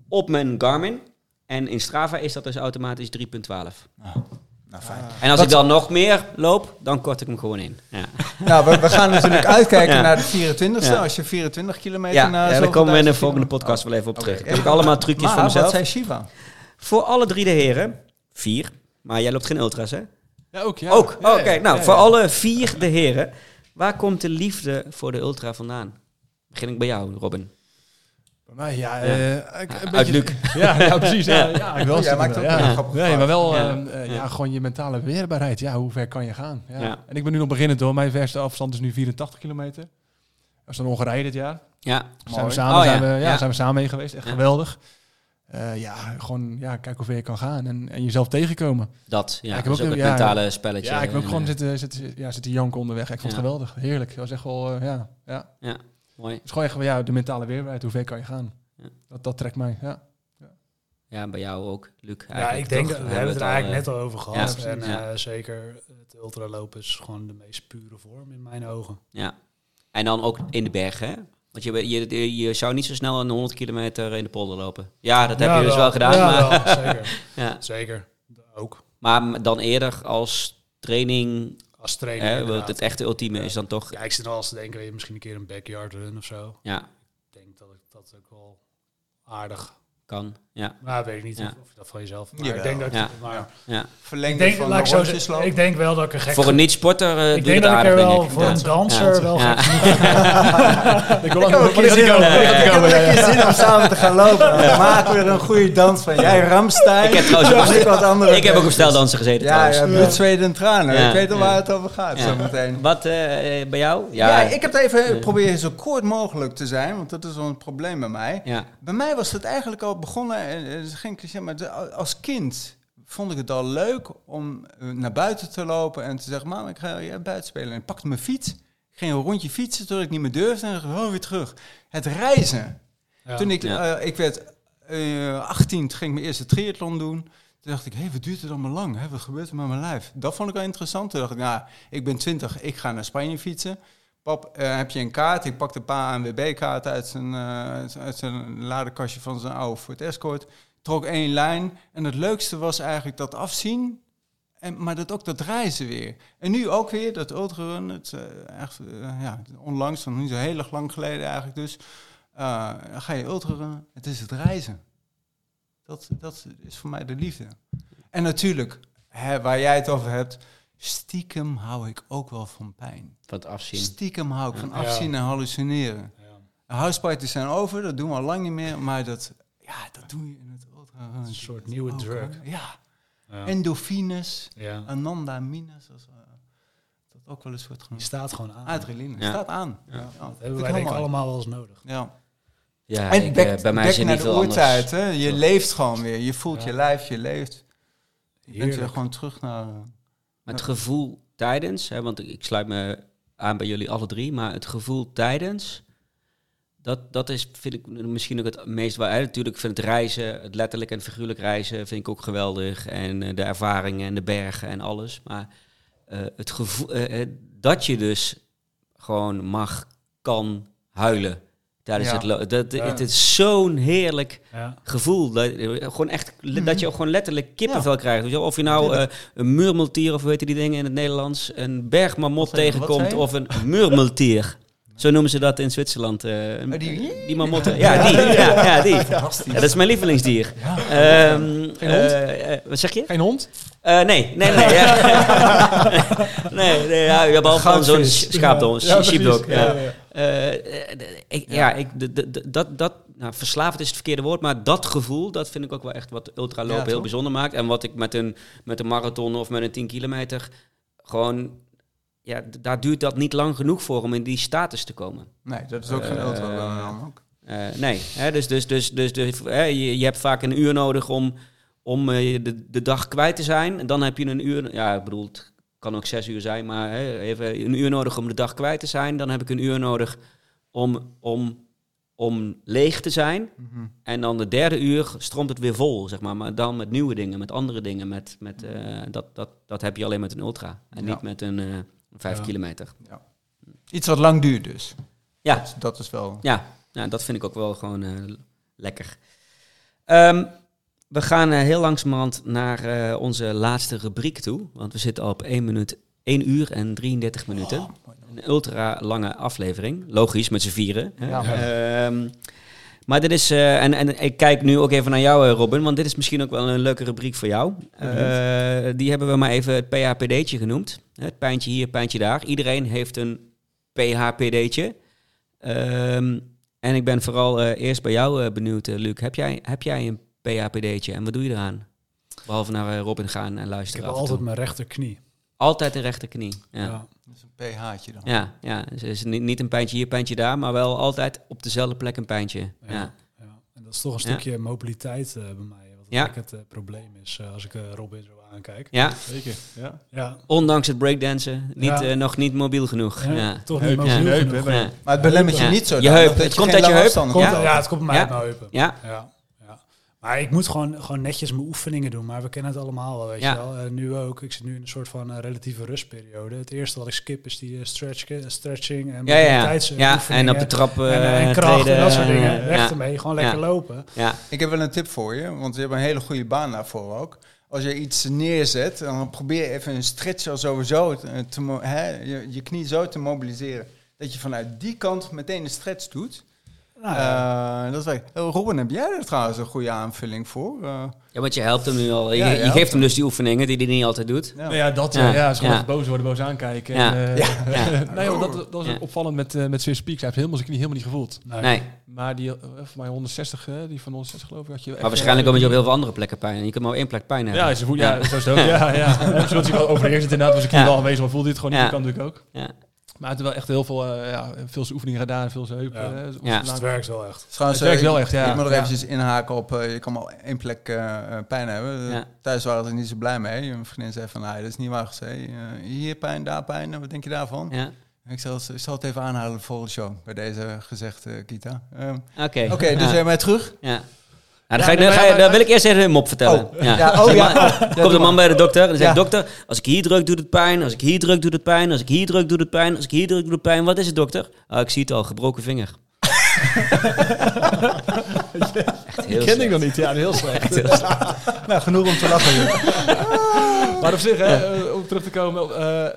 S1: op mijn Garmin. En in Strava is dat dus automatisch 3.12.
S2: Nou, fijn.
S1: En als
S5: Wat-
S1: ik dan nog meer loop, dan kort ik hem gewoon in. Ja,
S2: Nou, we, we gaan natuurlijk uitkijken
S1: Ja.
S2: naar de 24 e
S1: Ja.
S2: Als je 24 kilometer
S1: ja,
S2: na
S1: ja daar
S2: zoveel
S1: komen we in de
S2: duizend
S1: volgende
S2: kilometer-
S1: podcast wel even op terug.
S2: Oké.
S1: Ik heb ook allemaal trucjes
S2: Maar
S1: voor
S2: wat
S1: mezelf.
S2: zei Shiva?
S1: Voor alle drie de heren, vier, maar jij loopt geen ultras hè?
S4: Ja, ook. Ja.
S1: Ook,
S4: Ja,
S1: oké.
S4: ja,
S1: nou,
S4: ja,
S1: voor
S4: ja.
S1: alle vier de heren. Waar komt de liefde voor de ultra vandaan? Begin ik bij jou, Robin.
S4: Bij mij, ja.
S1: Ja.
S4: eh, ik- een
S1: Uit
S4: beetje-
S1: Luc.
S4: Ja, ja, precies. Ja, ja, ik wel.
S2: Jij
S4: zitten,
S2: maakt ook
S4: ja.
S2: een grappig
S4: Nee, maar wel
S1: Ja.
S4: ehm, eh, ja.
S1: Ja.
S4: gewoon je mentale weerbaarheid. Ja, hoe ver kan je gaan? Ja.
S1: Ja.
S4: En ik ben nu nog beginnend hoor. Mijn verste afstand is nu 84 kilometer. Dat is dan Hongarije dit jaar.
S1: Ja,
S4: Zijn we,
S2: Mooi.
S4: samen,
S1: Oh,
S4: zijn,
S1: ja.
S4: we, ja,
S1: Ja.
S4: zijn we samen mee geweest. Echt
S1: Ja.
S4: geweldig. Eh, ja, gewoon ja, kijk hoe ver je kan gaan en, en jezelf tegenkomen.
S1: dat. Ja,
S4: Ja, ik heb
S1: dat is
S4: ook-
S1: ook het
S4: ja,
S1: mentale spelletje.
S4: Ja, ik heb ook
S1: En,
S4: gewoon
S1: eh,
S4: zitten, zitten, ja, zitten janken onderweg. Ik vond het
S1: Ja.
S4: geweldig. Heerlijk. Dat was echt wel, eh, ja. ja. Het
S1: Mooi.
S4: is gewoon echt ja, de mentale weerbaarheid. Hoe ver kan je gaan?
S1: Ja.
S4: Dat, dat trekt mij, ja.
S1: Ja, bij jou ook, Luc.
S3: Ja, ik denk, dat we hebben het er eigenlijk
S1: eh,
S3: net al over
S1: ja,
S3: gehad.
S1: precies,
S3: en
S1: ja.
S3: eh, zeker het ultralopen is gewoon de meest pure vorm in mijn ogen.
S1: Ja. En dan ook in de bergen, hè? Want je, bent- je, je, je zou niet zo snel een 100 kilometer in de polder lopen. Ja, dat heb
S3: Ja,
S1: je dus wel, gedaan.
S3: Ja,
S1: maar,
S3: wel, zeker.
S1: Ja.
S3: zeker. Ook
S1: maar dan eerder als training,
S3: als trainer.
S1: hè, want
S3: inderdaad.
S1: het echte ultieme is dan toch...
S3: Ja, ik zit al eens te denken, weet je, misschien een keer een backyard run of zo.
S1: Ja,
S3: Ik denk dat ik dat ook wel aardig.
S1: kan. Ja,
S3: Maar weet ik niet
S1: Ja.
S3: of, of dat van jezelf. Maar
S2: Jawel.
S3: ik denk dat ik,
S1: Ja.
S3: maar,
S1: ja.
S3: ik,
S2: Verlengde
S3: denk,
S2: van
S3: laat ik,
S2: de
S3: zo
S2: rondjes
S3: zeggen,
S2: lopen.
S3: ik denk wel dat ik een gek
S1: Voor een niet-sporter eh,
S3: ik
S1: doe je het
S3: denk dat ik
S1: aardig,
S3: er
S1: denk
S3: wel
S1: ik.
S3: voor een danser
S1: Ja.
S3: wel
S1: Ja.
S3: gek genoeg. ik wil ook nog-
S5: Ik heb
S1: komen, ja, ja.
S5: ook een keer zin om samen te gaan lopen. Dan Maak weer een goede dans van jij Ramstein.
S1: Ik heb trouwens ook-
S5: Dan ik wat andere
S1: Ik heb ook op stijldansen gezeten
S2: Ja,
S1: trouwens.
S2: ja, bloed, zweet en tranen.
S1: Ja.
S2: Ik weet al
S1: Ja.
S2: waar het over gaat
S1: Ja.
S2: zometeen.
S1: Wat eh, eh, bij jou?
S2: Ja, ik heb het even proberen zo kort mogelijk te zijn, want dat is wel een probleem bij mij.
S1: Ja.
S2: Bij mij was het eigenlijk al begonnen, en het is geen cliché, maar de- als kind vond ik het al leuk om eh, naar buiten te lopen en te zeggen, mam, ik ga ja, buiten spelen. En ik pakte mijn fiets, ging een rondje fietsen tot ik niet meer durfde en dan gewoon weer terug. Het reizen.
S3: Ja.
S2: Toen ik,
S1: Ja.
S2: eh, ik werd eh 18, toen ging ik mijn eerste triathlon doen. Toen dacht ik, hé, wat duurt het allemaal lang? Hè? Wat gebeurt er met mijn lijf? Dat vond ik wel interessant. Toen dacht ik, nou, ik ben 20, ik ga naar Spanje fietsen. Pap, eh, heb je een kaart? Ik pakte een paar ANWB-kaarten uit zijn, eh, uit zijn ladekastje van zijn oude Ford Escort. Trok één lijn. En het leukste was eigenlijk dat afzien. En, maar dat ook dat reizen weer. En nu ook weer, dat ultrarun. Het, eh, echt, eh, ja, onlangs, van niet zo heel erg lang geleden eigenlijk dus. eh, dan ga je ultrarunnen. Het is het reizen. Dat, dat is voor mij de liefde. En natuurlijk, hè, waar jij het over hebt... Stiekem hou ik ook wel van pijn.
S1: Van het afzien.
S2: Stiekem hou ik van
S3: Ja.
S2: afzien en hallucineren.
S3: Ja.
S2: Houseparties zijn over, dat doen we al lang niet meer, maar dat, ja, dat doe je in het ultra.
S3: Een soort nieuwe
S2: ook,
S3: drug.
S2: hè? Ja,
S3: Ja.
S2: endorfines,
S3: Ja.
S2: anandamines, als, eh, dat ook wel eens wordt
S3: Je
S2: genoemd.
S3: staat gewoon aan.
S2: Adrenaline,
S1: Ja.
S2: staat aan.
S1: Ja.
S2: Ja.
S3: Dat hebben
S2: vind
S3: wij
S2: ik
S3: denk ik
S2: heel mooi.
S3: allemaal wel eens nodig.
S2: Ja.
S1: Ja,
S2: En
S1: ik,
S2: back,
S1: eh, bij mij is het
S2: back naar
S1: niet
S2: de
S1: veel
S2: oertijd,
S1: anders.
S2: hè? je
S1: Zo.
S2: leeft gewoon weer. Je voelt
S3: Ja.
S2: je lijf, je leeft. Je bent weer
S3: Heerlijk.
S2: gewoon terug naar... eh,
S1: Maar het gevoel tijdens, hè, want ik- ik sluit me aan bij jullie alle drie, maar het gevoel tijdens, dat, dat is, vind ik misschien ook het meest waar. hè. Natuurlijk vind ik het reizen, het letterlijk en figuurlijk reizen, vind ik ook geweldig. En eh, de ervaringen en de bergen en alles. Maar eh, het gevoel eh, eh, dat je dus gewoon mag, kan huilen tijdens
S2: Ja.
S1: het lo- dat
S2: Ja.
S1: Het is zo'n heerlijk
S3: Ja.
S1: gevoel. Dat, eh, gewoon echt, le-
S2: Mhm.
S1: dat je ook gewoon letterlijk kippenvel krijgt. Weet je wel? Of je nou
S2: Ja.
S1: eh, een muurmultier, of hoe heet die dingen in het Nederlands, een bergmarmot
S2: Wat zei je? Wat
S1: tegenkomt,
S2: zei je?
S1: of een muurmultier. Zo noemen ze dat in Zwitserland. eh, een-
S2: Oh, die-
S1: die marmotten. Ja, die. Ja, ja, die. Ja, dat is mijn lievelingsdier. Ehm,
S4: Geen hond?
S1: eh, eh, wat zeg je?
S4: Geen hond?
S1: Eh, nee, nee, nee. ja. nee, nee ja, je hebt al van zo'n
S2: Goudvis.
S1: sch- schaapdog,
S4: Ja, precies.
S1: sheepdog.
S4: Ja,
S1: Ja.
S4: ja.
S1: Eh, eh, d- ik, ja, ik, d- d- d- dat, dat, nou, verslaafd is het verkeerde woord, maar dat gevoel, dat vind ik ook wel echt wat ultralopen
S2: Ja,
S1: heel
S2: toch?
S1: bijzonder maakt. En wat ik met een, met een marathon of met een 10 kilometer, gewoon, ja, d- daar duurt dat niet lang genoeg voor om in die status te komen.
S2: Nee, dat is ook geen
S1: Eh,
S2: ultra. dan ook.
S1: Eh, nee, hè, dus, dus, dus, dus, dus hè, je, je hebt vaak een uur nodig om, om eh, de, de dag kwijt te zijn. En dan heb je een uur, ja, ik bedoel, het kan ook zes uur zijn, maar hè, even een uur nodig om de dag kwijt te zijn. Dan heb ik een uur nodig om, om om leeg te zijn.
S2: Mhm.
S1: En dan de derde uur stroomt het weer vol, zeg maar. Maar dan met nieuwe dingen, met andere dingen. Met, met, eh, dat, dat, dat heb je alleen met een ultra. En
S2: Ja.
S1: niet met een eh, vijf
S4: Ja.
S1: kilometer.
S2: Iets wat lang duurt dus.
S1: Ja.
S2: Dat, dat is wel...
S1: Ja, nou, dat vind ik ook wel gewoon eh, lekker. Ehm, we gaan eh, heel langzamerhand naar eh, onze laatste rubriek toe. Want we zitten al op 1, minuut, 1 uur en 33 minuten. Een ultra lange aflevering. Logisch, met z'n vieren. Hè?
S5: Ja.
S1: Ehm, maar dit is, eh, en, en ik kijk nu ook even naar jou, eh, Robin, want dit is misschien ook wel een leuke rubriek voor jou.
S3: Mhm.
S1: Eh, die hebben we maar even het PHPD'tje genoemd. Het pijntje hier, pijntje daar. Iedereen heeft een PHPD'tje. Ehm, en ik ben vooral eh, eerst bij jou eh, benieuwd, eh, Luc. Heb jij, heb jij een PHPD'tje en wat doe je eraan? Behalve naar eh, Robin gaan en
S3: Ik heb
S1: luisteren. af en
S3: altijd
S1: toe.
S3: mijn rechterknie.
S1: altijd de rechterknie. ja.
S3: Ja.
S2: Dat is een pH'tje dan.
S1: Ja, ja. Dus het is niet, niet een pijntje hier, pijntje daar, maar wel altijd op dezelfde plek een pijntje. Ja.
S3: Ja. Ja. En dat is toch een
S1: Ja.
S3: stukje mobiliteit eh, bij mij. Wat
S1: Ja.
S3: eigenlijk het eh, probleem is eh, als ik eh, Robin zo aankijk.
S1: Ja,
S4: Zeker, ja.
S3: Ja,
S1: ondanks het breakdansen niet,
S3: Ja.
S1: eh, nog niet mobiel genoeg.
S3: ja,
S1: Ja. Ja.
S3: toch
S4: Heup,
S3: niet mobiel
S1: ja,
S4: heup,
S3: genoeg.
S4: hè,
S1: Ja.
S2: Maar het belemmert je
S1: Ja.
S2: niet zo.
S1: Je heup. Het komt uit je heup.
S3: Komt,
S1: Ja.
S3: ja. het komt bij mij
S1: Ja.
S3: uit mijn heupen.
S1: Ja.
S3: Ja, ja. Maar ik moet gewoon, gewoon netjes mijn oefeningen doen. Maar we kennen het allemaal wel, weet
S1: Ja.
S3: je wel. Eh, nu ook. Ik zit nu in een soort van eh, relatieve rustperiode. Het eerste wat ik skip is die eh, stretch, stretching en
S1: Ja, ja, ja.
S3: mobiliteitsoefeningen
S1: en op de trap
S3: en,
S1: eh,
S3: eh, en kracht
S1: treden,
S3: en dat soort
S1: eh,
S3: dingen. Weg
S1: ja.
S3: ermee. Gewoon lekker
S1: Ja.
S3: lopen.
S1: Ja.
S2: Ik heb wel een tip voor je, want je hebt een hele goede baan daarvoor ook. Als je iets neerzet, dan probeer even een stretch al sowieso te, te mo- hè, je, je knie zo te mobiliseren. Dat je vanuit die kant meteen een stretch doet.
S3: Nou,
S2: Eh, dat werkt. Eh, Robin, heb jij er trouwens een goede aanvulling voor? Eh,
S1: Ja, want je helpt hem nu al. Je,
S2: Ja,
S1: je
S2: ja.
S1: geeft hem dus die oefeningen die hij niet altijd doet.
S2: Ja.
S4: Nou ja, dat
S1: Ja.
S4: ja. ja is gewoon
S1: Ja.
S4: even boos worden, boos aankijken.
S1: Ja.
S4: En, eh, nee, joh, dat, dat is
S1: Ja.
S4: ook opvallend met, eh met Swiss Peaks. Hij heeft helemaal zijn knie helemaal niet gevoeld.
S3: nee.
S1: Nee,
S4: Maar die, eh, voor mij 160, eh, die van 160 geloof ik, had je... eh,
S1: maar waarschijnlijk omdat je op heel veel andere plekken pijn hebt. Je kunt maar op één plek pijn hebben.
S4: Ja, is een voet, ja, zo is het ook. Ja, ja. ja. Zult je wel overheerst het inderdaad, was ik hier
S1: Ja.
S4: wel aanwezig, maar voelde dit gewoon niet.
S1: Ja.
S4: Dat kan natuurlijk ook.
S1: Ja.
S4: Maar het wel echt heel veel, eh, ja, veel zijn oefeningen gedaan, veel zijn heupen.
S3: Ja.
S4: eh,
S1: Ja.
S3: Dus het
S4: oefeningen.
S3: werkt wel echt.
S2: Trouwens,
S4: Het werkt
S2: eh,
S4: wel
S2: ik-
S4: echt, ja.
S2: Ik moet er
S4: Ja.
S2: eventjes inhaken op, eh, je kan maar één plek eh, eh, pijn hebben.
S1: Ja.
S2: Thuis waren ze er niet zo blij mee. Mijn vriendin zei van, nee, dat is niet waar. Ze zei, eh, hier pijn, daar pijn, Eh, wat denk je daarvan?
S1: Ja.
S2: Ik zal, ik zal het even aanhalen voor de show, bij deze gezegd, eh, Kita. Ehm,
S1: Oké.
S2: Oké, dus
S1: Ja.
S2: jij mij terug?
S1: Ja. Nou, dan, ga ik,
S4: nee,
S1: dan, ga
S4: maar-
S1: je- dan wil ik eerst even een mop vertellen.
S2: Oh, ja, oh,
S1: Zeg
S2: ja,
S1: maar,
S2: oh, ja,
S1: Komt
S2: doe
S1: een man bij de dokter en dan zegt...
S2: Ja.
S1: Dokter, als ik hier druk doet het pijn. Als ik hier druk doet het pijn. Als ik hier druk doet het pijn. Als ik hier druk doet het pijn. Wat is het dokter? Ah, ik zie het al, gebroken vinger. Echt heel
S4: Die ken ik nog niet, ja, heel slecht.
S5: Nou, genoeg om te lachen. joh.
S4: Maar op zich, hè, eh, om terug te komen, op, eh, eh,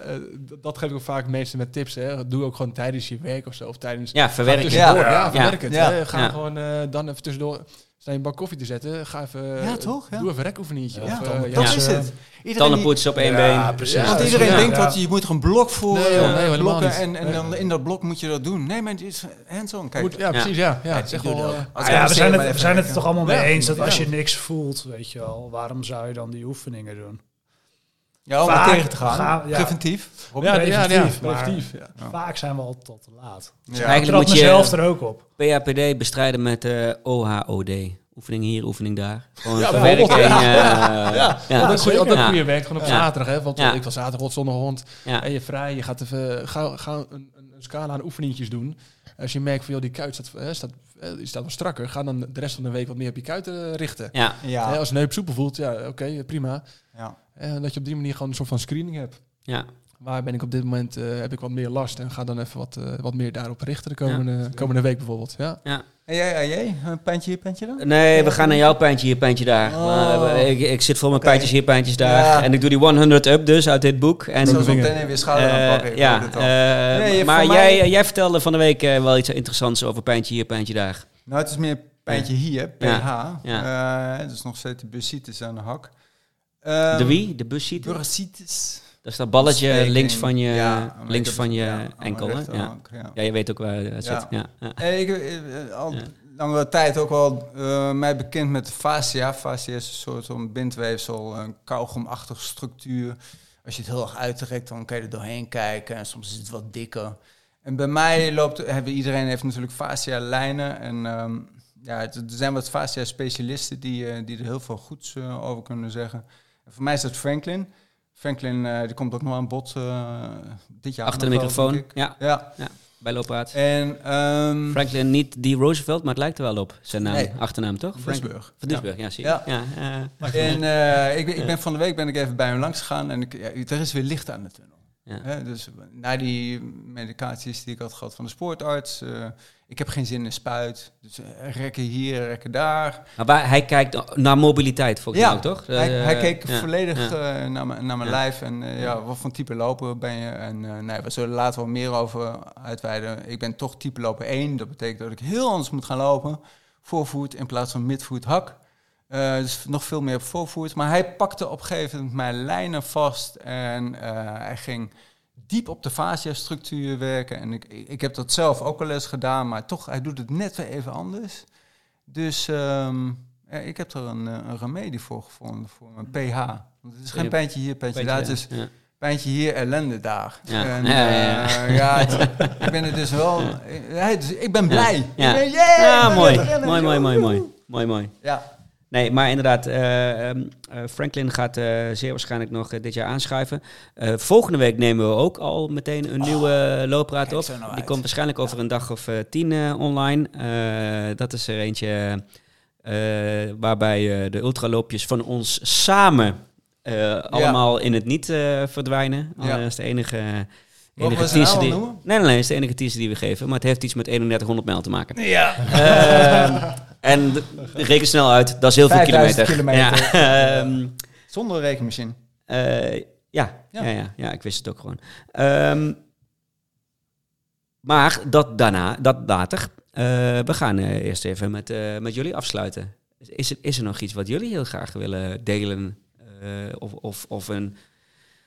S4: d- dat geef ik ook vaak mensen met tips. Hè. Doe ook gewoon tijdens je werk of zo. Of tijdens,
S1: Ja, verwerk het.
S4: Ga tussendoor,
S2: Ja.
S4: Ja,
S2: Ja.
S4: verwerk het.
S2: Ja.
S4: hè. Ga
S1: Ja.
S4: gewoon eh, dan even tussendoor staan je een bak koffie te zetten. Ga even, eh,
S2: Ja, toch? Ja.
S4: Doe even een rekoefeningetje.
S3: Ja,
S4: of,
S2: Ja,
S4: eh,
S2: dat
S4: ja.
S2: dat
S1: ja.
S2: is het. Iedereen die-
S1: Tandenpoetsen op één
S3: Ja,
S1: been.
S3: precies.
S4: Ja,
S2: want
S4: dat is
S2: iedereen
S4: waar.
S2: denkt
S3: Ja.
S2: dat je moet er een blok voor
S4: Nee,
S2: eh,
S4: joh, nee, helemaal
S2: blokken
S4: niet.
S2: en, en
S4: Nee.
S2: dan in dat blok moet je dat doen. Nee, maar het is hands-on. Kijk,
S4: Eh, Moet, ja, precies. Ja, ja, het is
S2: ik
S4: echt
S2: doe
S4: wel...
S2: dat ook.
S4: eh,
S2: Als
S3: Ah ja, we
S2: ik
S3: zijn
S2: maar
S3: het, we
S2: even
S3: zijn het er
S2: kijken.
S3: toch allemaal mee
S4: Ja,
S3: eens dat
S4: ja.
S3: als je niks voelt, weet je wel, waarom zou je dan die oefeningen doen?
S2: Ja, om er
S3: Vaak
S2: tegen te gaan.
S3: gaan- ja.
S2: Preventief.
S4: ja, ja, ja,
S3: preventief, maar-
S4: preventief, ja.
S3: Vaak zijn we al tot te laat.
S1: Eigenlijk
S3: Ik trap
S1: moet je-
S3: mezelf er ook op.
S1: PHPD bestrijden met eh, OHOD. Oefening hier, oefening daar. Gewoon
S4: Ja,
S1: verwerking.
S4: bijvoorbeeld,
S1: eh, Ja, ja.
S4: Ja, dat goeie-
S1: zeker.
S4: dat
S1: Ja.
S4: goede werkt gewoon op
S1: Ja.
S4: zaterdag. Hè, want eh,
S1: Ja.
S4: ik was zaterdag op zondag hond.
S1: Ja.
S4: En je vrij, je gaat even ga, ga een, een, een scala aan oefeningjes doen. Als je merkt van joh, die kuit staat, eh, staat, eh, die staat wel strakker, ga dan de rest van de week wat meer op je kuiten eh, richten.
S1: Ja.
S4: Hè,
S2: Ja.
S4: als een heup soepel voelt, ja, oké, eh, prima.
S2: ja.
S4: En dat je op die manier gewoon een soort van screening hebt.
S1: Ja.
S4: Waar ben ik op dit moment, eh, heb ik wat meer last en ga dan even wat, eh, wat meer daarop richten de komende, komende week bijvoorbeeld. Ja.
S2: En jij, en jij? Een pijntje hier, pijntje daar?
S1: Nee, we gaan naar jouw pijntje hier, pijntje daar.
S2: Oh.
S1: Maar, eh, ik, ik zit vol met pijntjes hier, pijntjes daar.
S2: Ja.
S1: En ik doe die 100 up dus uit dit boek. En
S2: En zo
S4: vinger.
S2: meteen weer schouder
S1: Eh,
S2: aanpakken. ik
S1: ja,
S2: weet het al.
S1: eh,
S2: Nee, je-
S1: maar
S2: voor
S1: jij,
S2: mij-
S1: eh, jij vertelde van de week eh, wel iets interessants over pijntje hier, pijntje daar.
S2: Nou, het is meer pijntje hier, PH.
S1: Ja,
S2: Eh, dus nog steeds de bursitis aan de hak. Ehm,
S1: de wie? De bussiet?
S2: Bursitis.
S1: Dat is dat balletje
S2: Steking.
S1: links van je,
S2: Ja, maar ik
S1: links
S2: heb
S1: van
S2: het-
S1: je
S2: ja, aan mijn
S1: enkel, hè? Ja.
S2: rechterhand, ja.
S1: ja, je weet ook waar het
S2: Ja.
S1: zit. Ja, ja.
S2: Eh, Ik eh, al
S1: Ja.
S2: langere tijd ook al eh, mij bekend met de fascia. Fascia is een soort van bindweefsel, een kauwgomachtige structuur. Als je het heel erg uittrekt, dan kan je er doorheen kijken. En soms is het wat dikker. En bij mij loopt, hebben, iedereen heeft natuurlijk fascia lijnen. En ehm, ja, het- er zijn wat fascia specialisten die, eh, die er heel veel goeds eh, over kunnen zeggen. En voor mij is dat Franklin. Franklin eh, die komt ook nog aan bod eh, dit jaar.
S1: Achter de
S2: nog wel,
S1: microfoon.
S2: denk ik.
S1: Ja.
S2: Ja.
S1: Ja. bij Looppraat.
S2: En ehm
S1: Franklin, niet die Roosevelt, maar het lijkt er wel op. Zijn naam,
S2: Nee.
S1: achternaam toch? Frank-
S2: Duisburg.
S1: Van Duisburg, ja, zie je.
S2: Ja.
S1: Ja. eh,
S2: En eh, ik, ben- ik ben van de week ben ik even bij hem langs gegaan en ik, ja, er is weer licht aan de tunnel.
S1: Ja.
S2: Hè, dus na die medicaties die ik had gehad van de sportarts, eh, ik heb geen zin in spuit. Dus eh, rekken hier, rekken daar.
S1: Maar waar, hij kijkt naar mobiliteit, volgens mij ook, toch?
S2: Hij,
S1: Eh,
S2: hij keek
S1: ja,
S2: volledig
S1: ja.
S2: eh, naar mijn, naar mijn
S1: Ja.
S2: lijf en eh, ja, wat voor type loper ben je. En eh, nee, we zullen later wel meer over uitweiden. Ik ben toch type loper 1. Dat betekent dat ik heel anders moet gaan lopen. Voorvoet in plaats van midvoet hak. Eh, dus nog veel meer op voorvoet. Maar hij pakte op een gegeven moment mijn lijnen vast. En eh, hij ging diep op de fascia-structuur werken. En ik, ik heb dat zelf ook wel eens gedaan. Maar toch, hij doet het net weer even anders. Dus ehm, eh, ik heb er een, eh, een remedie voor gevonden. Voor een pH. Want het is geen
S1: Ja.
S2: pijntje hier, pijntje, daar. Het is
S1: ja. Ja.
S2: pijntje hier, ellende daar.
S1: Ja.
S2: En,
S1: Ja, ja,
S2: eh, ja, het- ik ben er dus wel... eh, dus ik ben blij.
S1: Ja.
S2: Ik ben, yeah, ik
S1: Ah,
S2: ben
S1: mooi.
S2: aan het rennen,
S1: Mooi, mooi, mooi,
S2: joehoe.
S1: mooi. Mooi, mooi.
S2: Ja,
S1: Nee, maar inderdaad, eh, ehm, eh, Franklin gaat eh, zeer waarschijnlijk nog eh, dit jaar aanschuiven. Eh, volgende week nemen we ook al meteen een nieuwe eh, loopraad
S2: Oh, kijk
S1: op.
S2: zo nou
S1: Die
S2: uit.
S1: komt waarschijnlijk over een dag of eh, tien eh, online. Eh, dat is er eentje eh, waarbij eh, de ultraloopjes van ons samen eh, allemaal in het niet eh, verdwijnen.
S2: Ja.
S1: Dat is de enige...
S2: Mogen
S1: Enige
S2: we zijn
S1: teaser
S2: naam
S1: die,
S2: al
S1: nee,
S2: noemen?
S1: nee, nee, het is de enige teaser die we geven. Maar het heeft iets met 3100 mijl te maken. Ehm, en d- reken snel uit, dat is heel veel
S2: 5000
S1: kilometer.
S2: kilometer.
S1: Ja, ehm,
S2: zonder rekenmachine.
S1: eh, ja, ja.
S2: Ja.
S1: Ja, ja, ik wist het ook gewoon. Ehm, maar dat daarna, dat later. Eh, we gaan eh, eerst even met, eh, met jullie afsluiten. Is, er- is er nog iets wat jullie heel graag willen delen? Eh, of, of, of, een,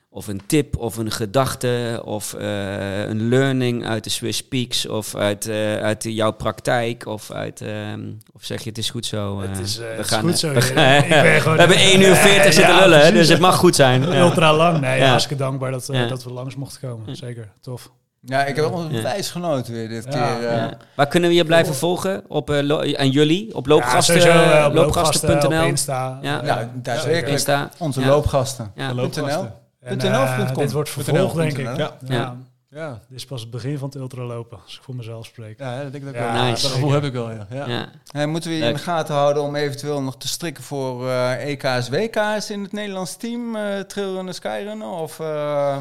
S1: of een tip, of een gedachte, of eh, een learning uit de Swiss Peaks, of uit, eh, uit jouw praktijk, of uit... ehm, of zeg je, het is goed zo?
S3: Het
S1: eh,
S3: is, eh,
S1: we
S3: het is
S1: gaan,
S3: goed
S1: eh,
S3: zo,
S1: we
S3: heren.
S1: gaan-
S3: Ik ben gewoon-
S1: we hebben 1 uur 40 zitten
S3: Ja,
S1: lullen, hè,
S3: precies.
S1: dus het mag goed zijn. Ja.
S3: Ultra lang. Nee,
S1: Ja.
S3: hartstikke dankbaar dat, eh,
S1: Ja.
S3: dat we langs mochten komen. Zeker, tof.
S2: Ja, ik heb onwijs genoten weer dit
S3: Ja.
S2: keer. eh.
S1: Ja. Waar kunnen we je blijven volgen? Op, eh, lo- en jullie? Op loopgasten,
S3: Ja, sowieso, eh, op
S1: loopgasten.nl?
S3: op Insta.
S1: Ja.
S3: Eh,
S2: Nou, daadwerkelijk.
S1: Insta.
S2: Onze
S1: Ja.
S2: loopgasten.
S1: Ja.
S4: De loopgasten.
S3: en,
S2: .nl of
S3: eh,
S2: .com?
S3: Dit wordt
S4: .nl,
S3: vervolgd, denk ik.
S2: .nl.
S4: Ja,
S3: Ja.
S4: ja.
S3: Dit is pas het begin van het ultralopen, als ik voor mezelf spreek.
S4: ja hè, dat denk ik ook
S3: Ja,
S4: wel.
S1: nice.
S4: Dat gevoel heb ik wel, ja. ja.
S1: Ja. Ja.
S2: Hey, moeten we je in
S1: Leuk.
S2: de gaten houden om eventueel nog te strikken voor eh, EK's, WK's in het Nederlands team? eh trailrunnen, skyrunnen? Of, eh,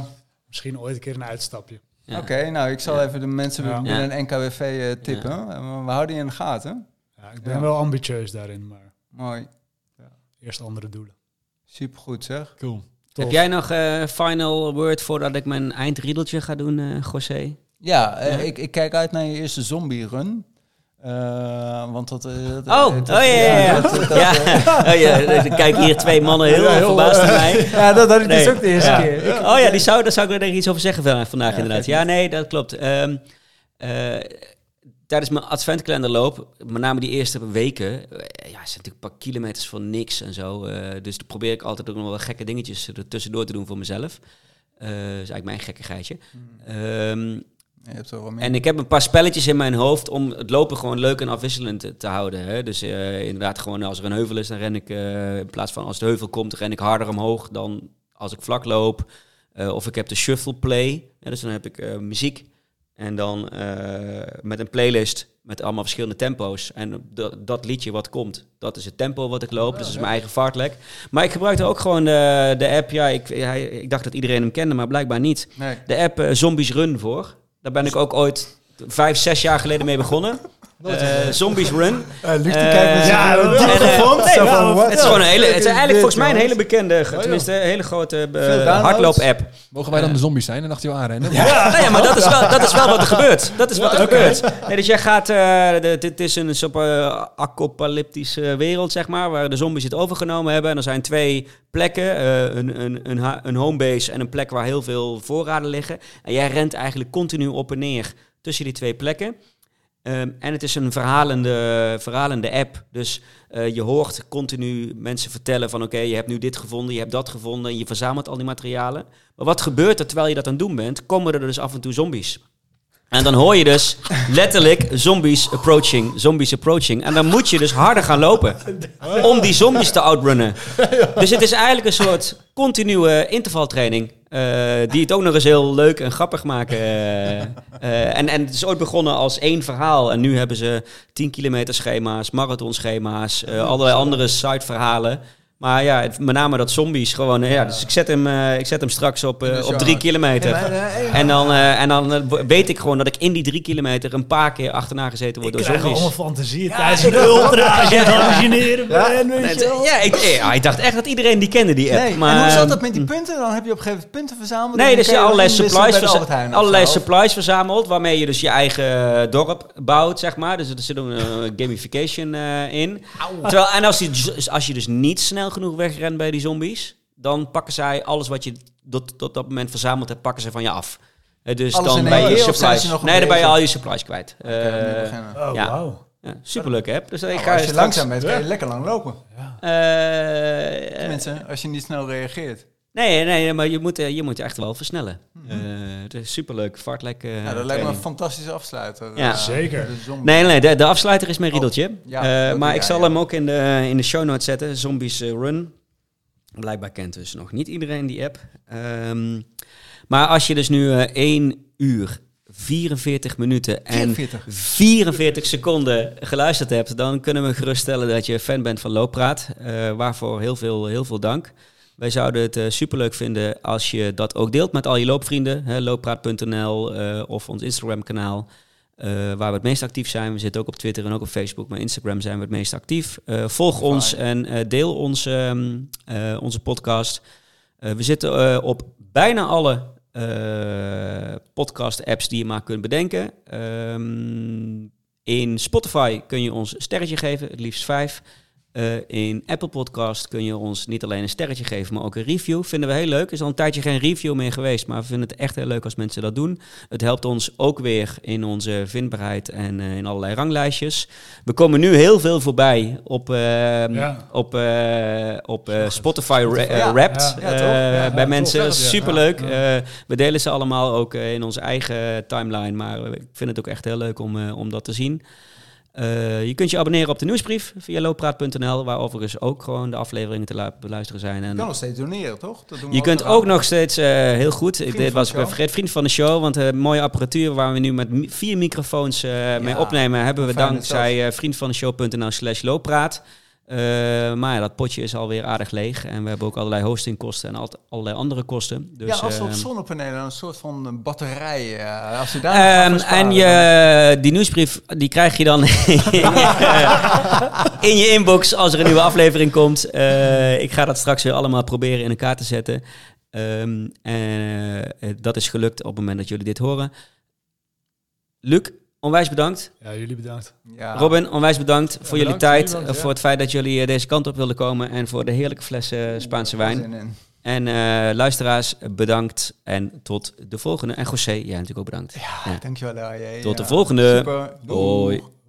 S3: Misschien ooit een keer een uitstapje.
S1: Ja.
S2: Oké, nou, ik zal even de mensen
S3: Ja.
S2: binnen NKWV eh, tippen. Eh, We houden je in de gaten.
S3: Ja, ik ben
S2: Ja.
S3: wel ambitieus daarin, maar
S2: Mooi.
S3: eerst andere doelen.
S2: Supergoed zeg.
S4: Cool.
S3: Tof.
S1: Heb jij nog eh, final word voordat ik mijn eindriedeltje ga doen, eh José?
S2: Ja, eh,
S1: Ja.
S2: Ik, ik kijk uit naar je eerste zombie-run. Eh, want dat... eh, dat-
S1: Oh, oh
S2: dat-
S1: ja, ja, ja.
S2: dat- dat-
S1: ja. Oh, ja. Er kijken hier twee mannen heel verbaasd
S3: eh,
S1: naar mij.
S5: Ja, dat had ik
S1: Nee.
S5: dus ook de eerste
S1: Ja.
S5: keer.
S1: Oh ja, die zou, daar zou ik wel denk ik iets over zeggen van- vandaag inderdaad. Ja, nee, dat klopt. Ehm, eh, tijdens mijn adventkalenderloop, met name die eerste weken, eh, ja, het zijn natuurlijk een paar kilometers voor niks en zo. eh, dus dan probeer ik altijd ook nog wel gekke dingetjes er tussendoor te doen voor mezelf. Eh dat is eigenlijk mijn gekkigheidje. Ehm
S2: Je hebt er wel meer.
S1: en ik heb een paar spelletjes in mijn hoofd om het lopen gewoon leuk en afwisselend te, te houden. Hè? Dus eh, inderdaad, gewoon als er een heuvel is, dan ren ik eh, in plaats van als de heuvel komt, ren ik harder omhoog dan als ik vlak loop. Eh, of ik heb de shuffle play. Ja, dus dan heb ik eh, muziek. En dan eh, met een playlist met allemaal verschillende tempo's. En dat, dat liedje wat komt, dat is het tempo wat ik loop. dus dat is mijn eigen fartlek. Maar ik gebruikte ook gewoon de, de app. Ja, ik, hij- ik dacht dat iedereen hem kende, maar blijkbaar niet
S2: Nee.
S1: de app eh, Zombies Run voor. Daar ben ik ook ooit vijf, zes jaar geleden mee begonnen. Eh, zombies Run.
S5: Luc, die
S1: Eh,
S5: kijkt met
S3: ja,
S5: zijn
S1: en, eh, nee,
S5: Zo
S3: nou,
S5: van, what
S1: Het is,
S5: the
S1: gewoon een hele, het is eigenlijk
S5: fuck
S1: volgens mij een
S5: is
S1: hele bekende,
S4: joh.
S1: tenminste een hele grote eh,
S2: downloads?
S1: hardloop-app.
S4: Mogen wij dan de zombies zijn en achter jou aanrennen?
S1: Nou ja, maar dat is, wel, dat is wel wat er gebeurt. Dat is wat er gebeurt. Nee, dus jij gaat, eh, de- dit is een soort eh, apocalyptische wereld, zeg maar, waar de zombies het overgenomen hebben. En er zijn twee plekken, eh, een, een, een, ha- een homebase en een plek waar heel veel voorraden liggen. En jij rent eigenlijk continu op en neer tussen die twee plekken. Ehm, en het is een verhalende, verhalende app. Dus eh, je hoort continu mensen vertellen van oké, je hebt nu dit gevonden, je hebt dat gevonden. En je verzamelt al die materialen. Maar wat gebeurt er terwijl je dat aan het doen bent? Komen er dus af en toe zombies. En dan hoor je dus letterlijk zombies approaching, zombies approaching. En dan moet je dus harder gaan lopen om die zombies te outrunnen. Dus het is eigenlijk een soort continue intervaltraining. eh, die het ook nog eens heel leuk en grappig maken. eh. Eh, en, en het is ooit begonnen als één verhaal. En nu hebben ze 10 kilometer schema's, marathonschema's, eh, allerlei andere side verhalen. Maar ja, het- met name dat zombies gewoon. eh, ja, dus ik zet hem, eh, ik zet hem straks op, eh,
S2: Dus
S1: op
S2: ja,
S1: drie kilometer. En dan, eh, en dan eh, weet ik gewoon dat ik in die drie kilometer een paar keer achterna gezeten
S3: Ik
S1: word door
S3: krijg
S1: zombies.
S3: allemaal fantasieën tijdens de ultra. Als je aan het hallucineren
S5: Ja.
S3: bent, weet
S1: Nee,
S3: je wel.
S1: het- Ja, ik, ja, ik dacht echt dat iedereen die kende die app.
S5: Nee,
S1: maar,
S5: en hoe
S2: ehm,
S5: zat dat met die punten? Dan heb je op een gegeven moment punten verzameld.
S1: Nee,
S5: en
S1: dus
S5: dan
S1: je
S5: kun
S1: allerlei
S5: inwisselen bij
S1: supplies,
S5: de
S1: verza-
S5: Albert Heijn of
S1: allerlei
S5: zo.
S1: supplies verzameld, waarmee je dus je eigen eh, dorp bouwt, zeg maar. Dus er zit een eh, gamification eh, in. Terwijl, en als je, z- als je dus niet snel genoeg wegrent bij die zombies, dan pakken zij alles wat je tot, tot dat moment verzameld hebt, pakken ze van je af. Eh, dus
S5: Alles
S1: dan
S5: in
S1: ben
S5: één
S1: je
S5: keer, of zijn
S1: supplies.
S5: ze nog
S1: Nee, dan ben je
S5: bezig?
S1: al je supplies kwijt.
S2: Kunnen we
S1: Eh,
S2: nu beginnen?
S3: Oh,
S1: Ja.
S3: wauw.
S1: ja, superleuk app. Dus ik
S5: Nou,
S1: ga
S5: als je
S1: straks-
S5: langzaam bent, kan je lekker lang lopen.
S1: Eh,
S5: Mensen, als je niet snel reageert.
S1: Nee, nee, maar je moet, eh, je moet echt wel versnellen.
S5: Mhm.
S1: Eh het is superleuk, fartlek. eh,
S2: Ja, dat lijkt me een
S1: training.
S2: fantastische afsluiter.
S1: Ja.
S2: eh,
S3: Zeker.
S2: de zombie.
S1: Nee, nee, de, de afsluiter is mijn riedeltje.
S5: Oh, ja,
S1: Eh,
S5: dat
S1: maar
S5: doe
S1: ik
S5: jij,
S1: zal
S5: ja.
S1: hem ook in de, in de show notes zetten. Zombies eh, Run. Blijkbaar kent dus nog niet iedereen die app. Ehm, maar als je dus nu eh 1 uur, 44 minuten en
S5: 44.
S1: 44 seconden geluisterd hebt, dan kunnen we geruststellen dat je fan bent van Looppraat. Eh, waarvoor heel veel, heel veel dank. Wij zouden het eh, superleuk vinden als je dat ook deelt met al je loopvrienden. hè, Looppraat.nl eh, of ons Instagram-kanaal. eh, waar we het meest actief zijn. We zitten ook op Twitter en ook op Facebook. Maar Instagram zijn we het meest actief. Eh, volg ons en eh, deel ons, ehm, eh, onze podcast. Eh, we zitten eh, op bijna alle eh, podcast-apps die je maar kunt bedenken. Ehm, in Spotify kun je ons een sterretje geven, het liefst vijf. Eh, in Apple Podcast kun je ons niet alleen een sterretje geven, maar ook een review. Vinden we heel leuk. Er is al een tijdje geen review meer geweest, maar we vinden het echt heel leuk als mensen dat doen. Het helpt ons ook weer in onze vindbaarheid en eh, in allerlei ranglijstjes. We komen nu heel veel voorbij op, ehm,
S3: Ja.
S1: op, eh, op eh, Spotify ra- eh,
S5: Ja.
S1: Wrapped
S3: Ja,
S1: eh,
S5: toch? Ja,
S1: bij
S3: ja,
S1: mensen.
S4: toch.
S1: Superleuk.
S3: Ja,
S1: Eh, we delen ze allemaal ook eh, in onze eigen timeline. Maar eh, ik vind het ook echt heel leuk om, eh, om dat te zien. Eh, je kunt je abonneren op de nieuwsbrief via looppraat.nl, waar overigens ook gewoon de afleveringen te lu- beluisteren zijn.
S2: Je
S1: En
S2: kan nog steeds doneren, toch? Dat doen we
S1: je kunt
S2: eraan.
S1: ook nog steeds eh, heel goed. Ik
S2: Vriend
S1: dit
S2: van
S1: was
S2: de
S1: ik even
S2: show.
S1: vergeten. Vriend van de show. Want eh mooie apparatuur waar we nu met mi- vier microfoons eh, mee opnemen. Hebben we
S2: fijn is
S1: dankzij eh vriendvandeshow.nl slash looppraat. Eh, maar ja, dat potje is alweer aardig leeg. En we hebben ook allerlei hostingkosten en al, allerlei andere kosten. Dus,
S2: ja, als we op
S1: ehm,
S2: zonnepanelen een soort van eh, batterij. eh, als je daar nog gaat
S1: Ehm,
S2: voor sparen,
S1: en
S2: dan-
S1: je, die nieuwsbrief die krijg je dan in je inbox als er een nieuwe aflevering komt. Eh, ik ga dat straks weer allemaal proberen in elkaar te zetten. Ehm, en, eh, dat is gelukt op het moment dat jullie dit horen. Luc, onwijs bedankt.
S3: Ja, jullie bedankt.
S2: Ja.
S1: Robin, onwijs bedankt voor
S4: bedankt,
S1: jullie tijd.
S4: jullie bedankt,
S1: eh,
S4: ja.
S1: Voor het feit dat jullie eh, deze kant op wilden komen. En voor de heerlijke flessen eh, Spaanse wijn.
S2: Zin in.
S1: En eh, luisteraars, bedankt. En tot de volgende. En José, jij natuurlijk ook bedankt. Ja.
S2: Dankjewel, Arjen.
S1: Tot de
S2: Ja.
S1: volgende.
S2: Super. Doeg.
S1: Hoi.